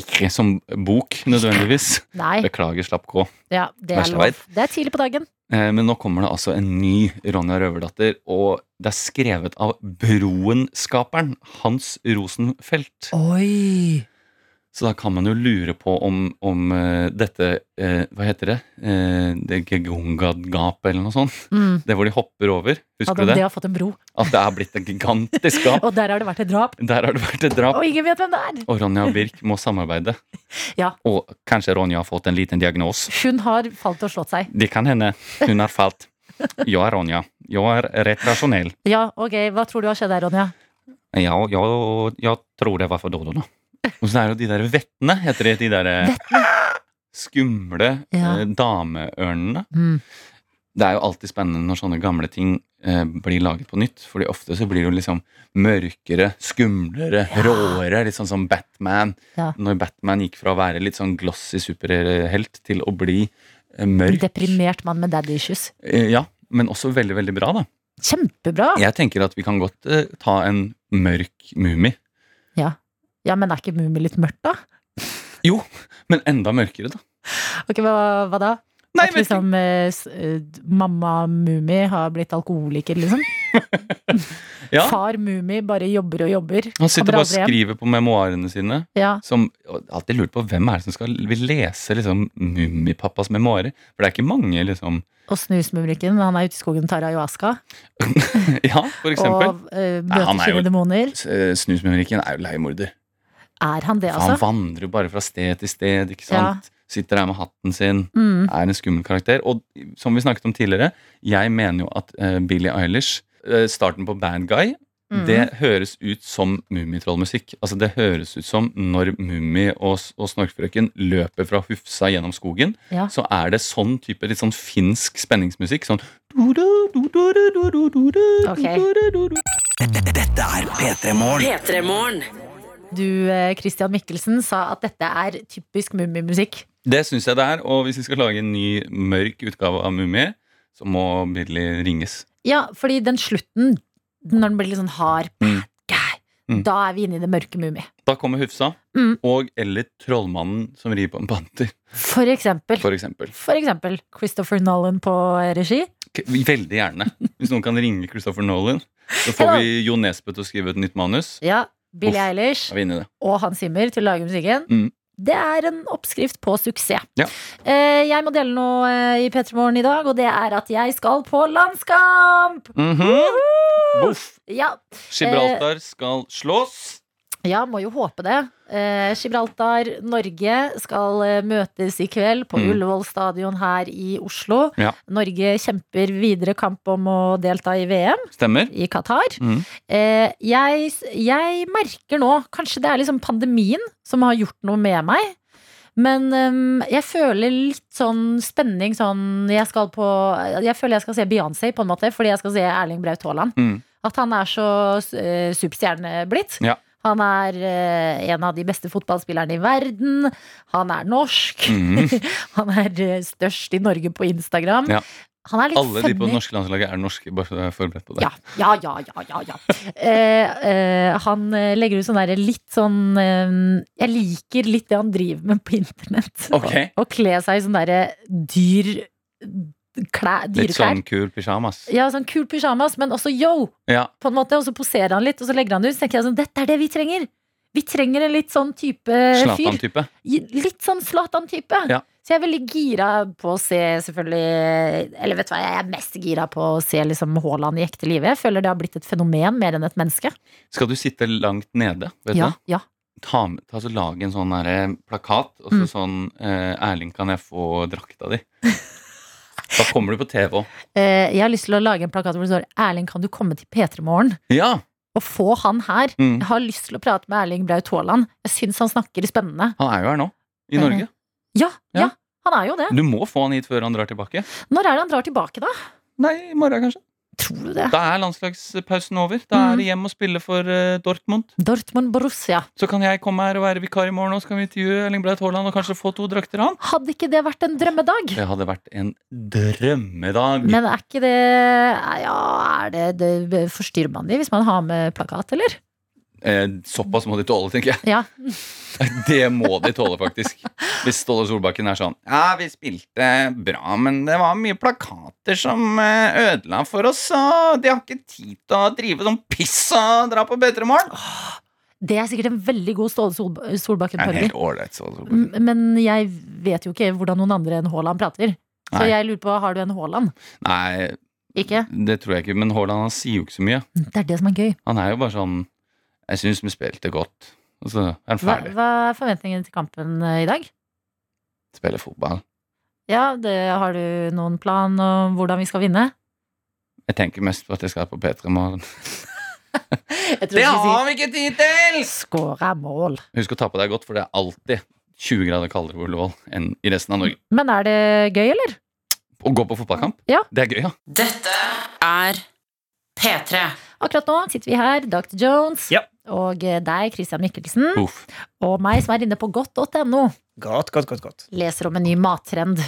Speaker 3: ikke som bok, nødvendigvis.
Speaker 2: Nei.
Speaker 3: Beklager, slapp gå.
Speaker 2: Ja, det er
Speaker 3: Vær så
Speaker 2: lov.
Speaker 3: veit.
Speaker 2: Det er tidlig på dagen.
Speaker 3: Eh, Men nå kommer det altså en ny Ronja Røverdatter, og det er skrevet av Broen-skaperen Hans Rosenfelt.
Speaker 2: Oi!
Speaker 3: Så da kan man jo lure på om, om eh, dette eh, Hva heter det? Uh, det Gegongad-gapet, eller noe sånt.
Speaker 2: Mm.
Speaker 3: Det hvor de hopper over.
Speaker 2: At
Speaker 3: Husker
Speaker 2: de
Speaker 3: du det?
Speaker 2: har fått en bro.
Speaker 3: At det er blitt et gigantisk
Speaker 2: [laughs]
Speaker 3: gap.
Speaker 2: Og der har det vært et drap.
Speaker 3: Der har det vært et drap.
Speaker 2: Og ingen vet hvem det er.
Speaker 3: Og Ronja og Birk må samarbeide.
Speaker 2: Ja.
Speaker 3: Og kanskje Ronja har fått en liten diagnos.
Speaker 2: Hun har falt og slått seg.
Speaker 3: Det kan hende hun har
Speaker 2: [laughs]
Speaker 3: falt. Jeg er Ronja. Jeg er rett rasjonell.
Speaker 2: Ja, ok, Hva tror du har skjedd der, Ronja?
Speaker 3: Ja, jeg, jeg tror det var for dodo, da. Og så er det jo de der vettene, heter det. De der eh, skumle
Speaker 2: Ja.
Speaker 3: eh, dameørnene.
Speaker 2: Mm.
Speaker 3: Det er jo alltid spennende når sånne gamle ting eh, blir laget på nytt. Fordi ofte så blir det jo liksom mørkere, skumlere, råere. Litt sånn som Batman.
Speaker 2: Ja.
Speaker 3: Når Batman gikk fra å være litt sånn glossy superhelt til å bli eh, mørk.
Speaker 2: Deprimert mann med daddy issues.
Speaker 3: Eh, ja, men også veldig, veldig bra, da.
Speaker 2: Kjempebra!
Speaker 3: Jeg tenker at vi kan godt eh, ta en mørk mumie.
Speaker 2: Ja. ja, men er ikke Mummi litt mørkt, da?
Speaker 3: Jo, men enda mørkere, da.
Speaker 2: Ok, Hva, hva da? At liksom eh, s- eh, mamma Mummi har blitt alkoholiker, liksom?
Speaker 3: Ja.
Speaker 2: Far Mummi bare jobber og jobber.
Speaker 3: Han sitter
Speaker 2: Kommer
Speaker 3: bare og
Speaker 2: aldri hjem.
Speaker 3: skriver på memoarene sine.
Speaker 2: Ja.
Speaker 3: Som, og jeg har alltid lurt på Hvem er det som skal vil lese liksom, Mummipappas memoarer? For det er ikke mange, liksom. [laughs]
Speaker 2: Og snusmumrikken, han er ute i skogen og tar ayahuasca.
Speaker 3: Ja, for eksempel.
Speaker 2: Og eh,
Speaker 3: Nei, han
Speaker 2: møter
Speaker 3: er jo-
Speaker 2: sine demoner.
Speaker 3: S- eh, Snusmumrikken er jo leiemorder.
Speaker 2: Er han det,
Speaker 3: For Han
Speaker 2: altså?
Speaker 3: vandrer jo bare fra sted til sted. ikke
Speaker 2: Ja.
Speaker 3: sant? Sitter der med hatten sin.
Speaker 2: Mm.
Speaker 3: Er en skummel karakter. Og som vi snakket om tidligere, jeg mener jo at eh, Billie Eilish, eh, starten på Bad Guy,
Speaker 2: Mm.
Speaker 3: det høres ut som Mummitrollmusikk. Altså, det høres ut som når Mummi og, s- og Snorkfrøken løper fra Hufsa gjennom skogen,
Speaker 2: Ja.
Speaker 3: så er det sånn type litt sånn finsk spenningsmusikk. Sånn
Speaker 12: Dette er P3
Speaker 8: P3 Morgen.
Speaker 2: Du, eh, Christian Mikkelsen, sa at dette er typisk mummimusikk.
Speaker 3: Det syns jeg det er. Og hvis vi skal lage en ny mørk utgave av Mummi, så må Billie ringes.
Speaker 2: Ja, fordi den slutten, når den blir litt sånn hard,
Speaker 3: Mm. Mm.
Speaker 2: da er vi inne i det mørke mummi.
Speaker 3: Da kommer Hufsa
Speaker 2: Mm.
Speaker 3: og eller Trollmannen som rir på en panter,
Speaker 2: For eksempel.
Speaker 3: for eksempel.
Speaker 2: For eksempel Christopher Nolan på regi.
Speaker 3: K- Veldig gjerne. Hvis noen kan ringe Christopher Nolan, så får vi Jo Nesbø til å skrive et nytt manus.
Speaker 2: Ja, Billie
Speaker 3: Uff,
Speaker 2: Eilish
Speaker 3: Er vi inne i det?
Speaker 2: og Hans Zimmer til å lage musikken.
Speaker 3: Mm.
Speaker 2: Det er en oppskrift på suksess.
Speaker 3: Ja.
Speaker 2: Eh, Jeg må dele noe eh, i P3 Morgen i dag, og det er at jeg skal på landskamp!
Speaker 3: Mhm. Voff.
Speaker 2: Ja,
Speaker 3: Gibraltar skal slås.
Speaker 2: Ja, må jo håpe det. Eh, Gibraltar, Norge skal eh, møtes i kveld på
Speaker 3: Mm.
Speaker 2: Ullevål stadion her i Oslo.
Speaker 3: Ja.
Speaker 2: Norge kjemper videre kamp om å delta i VM
Speaker 3: Stemmer.
Speaker 2: i Qatar.
Speaker 3: Mhm.
Speaker 2: Eh, jeg, jeg merker nå, kanskje det er liksom pandemien som har gjort noe med meg. Men ehm, jeg føler litt sånn spenning sånn Jeg, skal på, jeg føler jeg skal se Beyoncé, på en måte, fordi jeg skal se Erling Braut Haaland.
Speaker 3: Mm.
Speaker 2: At han er så eh, superstjerne blitt.
Speaker 3: Ja.
Speaker 2: Han er eh, en av de beste fotballspillerne i verden. Han er norsk.
Speaker 3: Mhm.
Speaker 2: [laughs] han er eh, størst i Norge på Instagram.
Speaker 3: Ja.
Speaker 2: Han er litt
Speaker 3: Alle de på
Speaker 2: funny.
Speaker 3: det norske landslaget er norske. Bare så jeg er forberedt på det.
Speaker 2: Ja, ja, ja, ja, ja, [laughs] ja. Eh, eh, han eh, legger ut sånn derre litt sånn eh, Jeg liker litt det han driver med på internett.
Speaker 3: [laughs] Ok.
Speaker 2: Å kle seg i sånn derre dyr klær,
Speaker 3: Litt
Speaker 2: dyreklær.
Speaker 3: sånn kul pysjamas.
Speaker 2: Ja, sånn kul pysjamas, men også yo!
Speaker 3: Ja.
Speaker 2: På en måte, og så poserer han litt, og så legger han det ut. Så tenker jeg sånn, dette er det vi trenger! Vi trenger en litt sånn type fyr.
Speaker 3: Zlatan-type.
Speaker 2: Litt sånn Zlatan-type.
Speaker 3: Ja.
Speaker 2: Så jeg er veldig gira på å se selvfølgelig Eller vet du hva, jeg er mest gira på å se liksom Haaland i ekte live. Jeg føler det har blitt et fenomen mer enn et menneske.
Speaker 3: Skal du sitte langt nede? Vet
Speaker 2: Ja,
Speaker 3: du?
Speaker 2: ja.
Speaker 3: Ta, med- ta så Lag en sånn derre plakat, og så
Speaker 2: Mm.
Speaker 3: sånn eh, 'Erling, kan jeg få drakta di?' Da kommer du på TV òg.
Speaker 2: Eh, Jeg har lyst til å lage en plakat hvor det står 'Erling, kan du komme til P3 Morgen?'
Speaker 3: Ja!
Speaker 2: Og få han her.
Speaker 3: Mm.
Speaker 2: Jeg har lyst til å prate med Erling Braut Haaland. Jeg syns han snakker spennende.
Speaker 3: Han er jo her nå. I
Speaker 2: Eh,
Speaker 3: Norge.
Speaker 2: Ja, ja, han er jo det.
Speaker 3: Du må få han hit før han drar tilbake.
Speaker 2: Når er det han drar tilbake, da?
Speaker 3: Nei, i morgen, kanskje.
Speaker 2: Tror du det?
Speaker 3: Da er landslagspausen over. Da
Speaker 2: Mm.
Speaker 3: er det hjem og spille for eh, Dortmund.
Speaker 2: Dortmund Borussia.
Speaker 3: Så kan jeg komme her og være vikar i morgen, og så kan vi intervjue Erling Braut Haaland og kanskje få to drakter av han.
Speaker 2: Hadde ikke det vært en drømmedag?
Speaker 3: Det hadde vært en drømmedag.
Speaker 2: Men er ikke det Ja, er det, det Forstyrrer man de hvis man har med plakat, eller?
Speaker 3: Eh, såpass må de tåle, tenker jeg.
Speaker 2: Ja.
Speaker 3: Det må de tåle, faktisk. Hvis Ståle Solbakken er sånn Ja, vi spilte bra, men det var mye plakater som eh, ødela for oss, og de har ikke tid til å drive sånn piss og dra på P3morgen.
Speaker 2: Det er sikkert en veldig god Ståle Solb
Speaker 3: Det er en
Speaker 2: Solbakken-parodi.
Speaker 3: helt ålreit Ståle Solbakken.
Speaker 2: M- Men jeg vet jo ikke hvordan noen andre enn Haaland prater. Så
Speaker 3: Nei.
Speaker 2: jeg lurer på, har du en Haaland?
Speaker 3: Nei,
Speaker 2: Ikke?
Speaker 3: det tror jeg ikke. Men Haaland han sier jo ikke så mye.
Speaker 2: Det er det som er gøy.
Speaker 3: Han er jo bare sånn Jeg syns vi spilte godt. Og så er han
Speaker 2: Hva,
Speaker 3: ferdig.
Speaker 2: hva er forventningene til kampen eh, i dag?
Speaker 3: Spiller fotball.
Speaker 2: Ja, det, har du noen plan om hvordan vi skal vinne?
Speaker 3: Jeg tenker mest på at jeg skal på P3 i morgen.
Speaker 2: Det har
Speaker 3: vi ikke tid til!
Speaker 2: Skåra mål.
Speaker 3: Husk å ta på deg godt, for det er alltid 20 grader kaldere på Ullevål enn i resten av Norge.
Speaker 2: Men er det gøy, eller?
Speaker 3: Å gå på fotballkamp,
Speaker 2: Ja.
Speaker 3: det er gøy, ja.
Speaker 13: Dette er P3.
Speaker 2: Akkurat nå sitter vi her, Dr. Jones, og eh, deg, Christian Mikkelsen,
Speaker 3: Uff.
Speaker 2: og meg som er inne på godt.no.
Speaker 6: Godt, godt, godt, godt.
Speaker 2: Leser om en ny mattrend.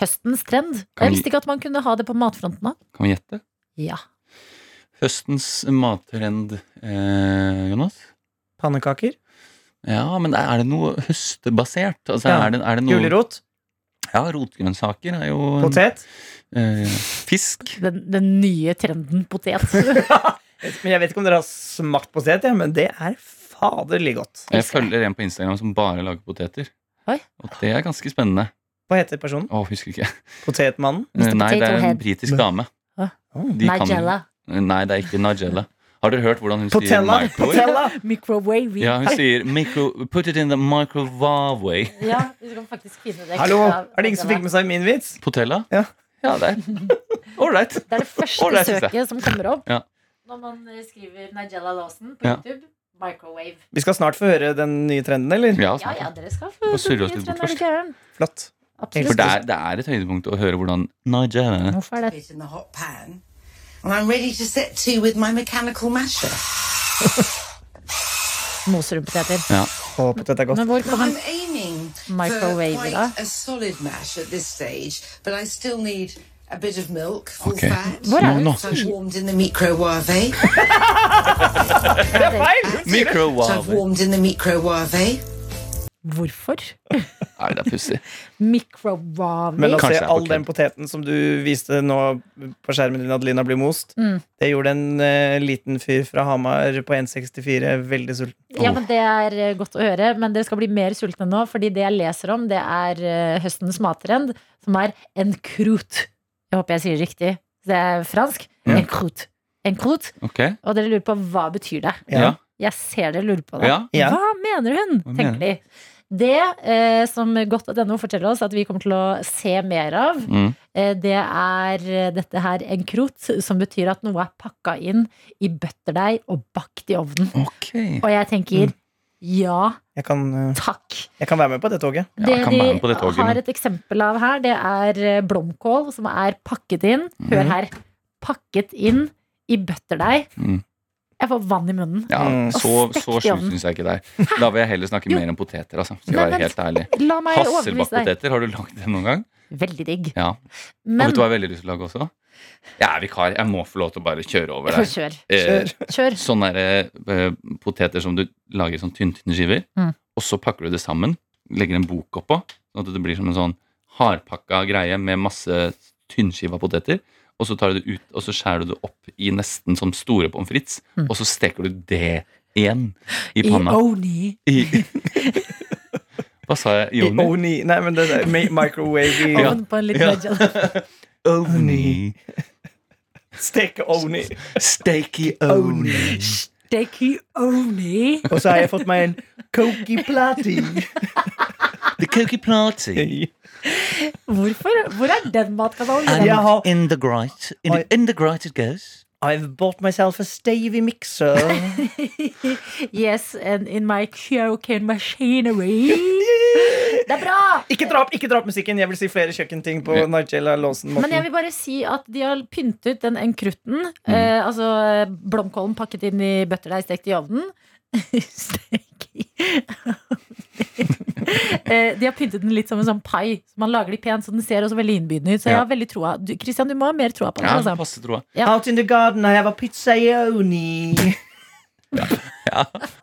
Speaker 2: Høstens trend. Jeg
Speaker 3: Kan vi-
Speaker 2: visste ikke at man kunne ha det på matfronten òg.
Speaker 3: Kan vi gjette?
Speaker 2: Ja.
Speaker 3: Høstens mattrend, eh, Jonas?
Speaker 6: Pannekaker?
Speaker 3: Ja, men er det noe høstebasert? Altså,
Speaker 6: Ja.
Speaker 3: er det, er det noe...
Speaker 6: Gulrot?
Speaker 3: Ja, rotgrønnsaker er jo en-
Speaker 6: Potet?
Speaker 3: Eh, fisk?
Speaker 2: Den, den nye trenden
Speaker 3: [laughs]
Speaker 2: potet.
Speaker 6: Men jeg vet ikke om dere har smakt potet, ja, men det er faderlig godt.
Speaker 3: Jeg følger en på Instagram som bare lager poteter.
Speaker 2: Oi.
Speaker 3: Og det er ganske spennende.
Speaker 6: Hva heter personen?
Speaker 3: Å, husker ikke.
Speaker 6: Potetmannen?
Speaker 3: Eh, Nei, det er en britisk dame.
Speaker 2: Hva?
Speaker 3: De kan-
Speaker 2: Nigella.
Speaker 3: Nei, det er ikke Nigella. Har dere hørt hvordan hun
Speaker 6: Potella?
Speaker 3: sier microwave?
Speaker 6: Potella?
Speaker 2: Microwave.
Speaker 3: Ja, hun sier micro, put it in the microwave.
Speaker 2: Ja, vi skal faktisk finne det.
Speaker 6: Hallo, er det ingen som fikk med seg min vits?
Speaker 3: Potella?
Speaker 6: Ja.
Speaker 3: Ja, det er Ålreit.
Speaker 2: Det er det første
Speaker 3: Ålreit, synes jeg.
Speaker 2: søket som kommer opp
Speaker 3: Ja.
Speaker 2: når man eh, skriver Nigella Lawson på
Speaker 3: Ja.
Speaker 2: YouTube. Microwave.
Speaker 6: Vi skal snart få høre den nye trenden, eller?
Speaker 3: Ja,
Speaker 2: Ja, ja, dere skal få
Speaker 3: Og surre oss litt bort først.
Speaker 6: Flott.
Speaker 3: For det er, det er et høydepunkt å høre hvordan Nigella
Speaker 14: In the hot pan, and I'm ready to set to with my mechanical masher.
Speaker 2: Moser hun poteter.
Speaker 3: Ja.
Speaker 6: Å, potet er godt.
Speaker 2: Men hvor kommer
Speaker 14: I'm aiming
Speaker 2: Oh. Microwave,
Speaker 14: for
Speaker 2: da.
Speaker 14: quite a solid mash at this stage, but I still need a bit of milk, full
Speaker 3: Okay.
Speaker 14: fat.
Speaker 3: What No, are- no.
Speaker 14: So I've warmed in the microwave. So I've
Speaker 3: Microwave.
Speaker 14: warmed in the microwave.
Speaker 2: Hvorfor?
Speaker 3: Nei, det er pussig.
Speaker 2: Microwave.
Speaker 6: Men altså- å
Speaker 3: Kanskje
Speaker 6: se
Speaker 3: det er
Speaker 6: all
Speaker 3: potet.
Speaker 6: den poteten som du viste nå på skjermen din, Adelina blir most,
Speaker 2: Mm.
Speaker 6: det gjorde en eh, liten fyr fra Hamar på 1,64 veldig sulten.
Speaker 2: Ja, men Det er eh, godt å høre, men dere skal bli mer sultne nå. Fordi det jeg leser om, det er eh, høstens mattrend, som er en croûte. Jeg håper jeg sier det riktig. Det er fransk.
Speaker 3: Ja.
Speaker 2: En croûte. En croûte.
Speaker 3: Ok.
Speaker 2: Og dere lurer på hva betyr det
Speaker 3: Ja.
Speaker 2: Jeg ser dere lurer på det.
Speaker 3: Ja. Ja.
Speaker 2: Hva mener hun,
Speaker 3: Hva
Speaker 2: tenker de. Det eh, som godt.no forteller oss at vi kommer til å se mer av,
Speaker 3: Mm.
Speaker 2: eh, det er eh, dette her en krot, som betyr at noe er pakka inn i butterdeig og bakt i ovnen.
Speaker 3: Ok.
Speaker 2: Og jeg tenker ja,
Speaker 6: Jeg kan, eh,
Speaker 2: takk.
Speaker 6: jeg kan være med på det toget.
Speaker 2: Det
Speaker 3: jeg kan være med på
Speaker 2: de
Speaker 3: det toget, men-
Speaker 2: har et eksempel av her, det er eh, blomkål som er pakket inn. Hør
Speaker 3: Mhm.
Speaker 2: her. Pakket inn i butterdeig.
Speaker 3: Mm.
Speaker 2: Jeg får vann i munnen.
Speaker 3: Ja,
Speaker 2: Og
Speaker 3: så,
Speaker 2: stekt
Speaker 3: så
Speaker 2: i
Speaker 3: sjukt
Speaker 2: ovnen.
Speaker 3: syns jeg ikke det er. Da vil jeg heller snakke mer om poteter, altså. Skal jeg
Speaker 2: Nei,
Speaker 3: være
Speaker 2: men-
Speaker 3: helt ærlig.
Speaker 2: La meg overbevise deg.
Speaker 3: Hasselbakkpoteter, har du lagd det noen gang?
Speaker 2: Veldig digg.
Speaker 3: Ja.
Speaker 2: Men-
Speaker 3: og vet du hva jeg har veldig lyst til å lage også? Jeg er vikar. Jeg må få lov til å bare kjøre over der.
Speaker 2: Kjør.
Speaker 3: Eh,
Speaker 2: Kjør.
Speaker 3: Sånne der, eh, poteter som du lager i sånn tynne, tynne skiver,
Speaker 2: Mm.
Speaker 3: og så pakker du det sammen, legger en bok oppå, sånn at det blir som en sånn hardpakka greie med masse tynnskiva poteter. Og så tar du det ut, og så skjærer du det opp i nesten som store pommes frites,
Speaker 2: Mm.
Speaker 3: og så steker du det igjen i
Speaker 2: I
Speaker 3: panna.
Speaker 2: Oni.
Speaker 3: I- [laughs] Hva sa jeg? I ovnen?
Speaker 6: Oni. Nei, men det er mi- microwave i-
Speaker 3: Ja. Ovn på en liten Ja. Oni.
Speaker 6: Steke Oni.
Speaker 3: Stakey
Speaker 6: Oni.
Speaker 2: Stakey Oni.
Speaker 6: Og så har jeg fått meg en Cokie Platy.
Speaker 3: The Cokie Platy.
Speaker 2: Hvorfor? Hvor er den matkanalen?
Speaker 6: Jeg har-
Speaker 3: In the grite.
Speaker 6: In the-
Speaker 3: it goes.
Speaker 6: I've bought myself a
Speaker 2: [laughs]
Speaker 6: Stavy mixer.
Speaker 2: Yes, and in my cocaine machinery. Det er bra!
Speaker 6: Ikke drap, ikke drap musikken! Jeg vil si flere kjøkkenting på Nigella Lawson.
Speaker 2: Men jeg vil bare si at de har pyntet den enkrutten. Eh, altså eh, blomkålen pakket inn i bøtterdeig stekt i ovnen. [laughs] Stek i eh, De har pyntet den litt som en sånn pai. Så man lager de pent, så den ser også veldig innbydende ut. Så jeg
Speaker 3: Ja.
Speaker 2: har veldig troa. Du, Christian, du må ha mer troa på det.
Speaker 3: Ja,
Speaker 2: altså.
Speaker 3: passe troa.
Speaker 6: Out in the garden, I have a pizzaioni.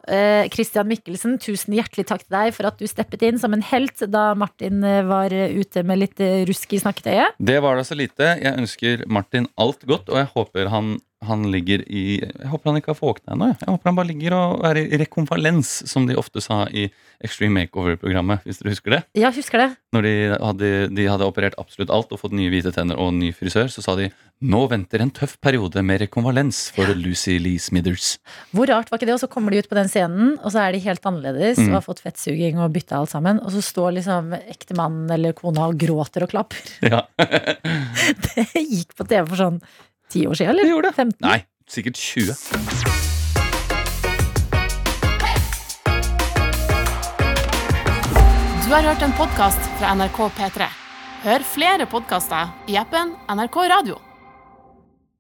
Speaker 2: Eh, Christian Mikkelsen, tusen hjertelig takk til deg for at du steppet inn som en helt da Martin eh, var eh, ute med litt eh, rusk i snakketøyet.
Speaker 3: Det var da så lite. Jeg ønsker Martin alt godt, og jeg håper han, han ligger i Jeg håper han ikke har våkna ennå. jeg. Jeg håper han bare ligger og er i rekonvalens, som de ofte sa i Extreme Makeover-programmet, hvis dere husker det.
Speaker 2: Ja, husker det.
Speaker 3: Når de hadde, de hadde operert absolutt alt og fått nye hvite tenner og ny frisør, så sa de nå venter en tøff periode med rekonvalens for Lucy Lee Smithers.
Speaker 2: Hvor rart var ikke det? Og så kommer de ut på den scenen, og så er de helt annerledes
Speaker 3: Mm.
Speaker 2: og har fått fettsuging og bytta alt sammen. Og så står liksom ektemannen eller kona og gråter og klapper. [laughs]
Speaker 3: Ja.
Speaker 2: Det gikk på TV for sånn ti år siden, eller? gjorde det. 15.
Speaker 3: Nei, sikkert 20.
Speaker 1: Du har hørt en podkast fra NRK P3. Hør flere podkaster i appen NRK Radio.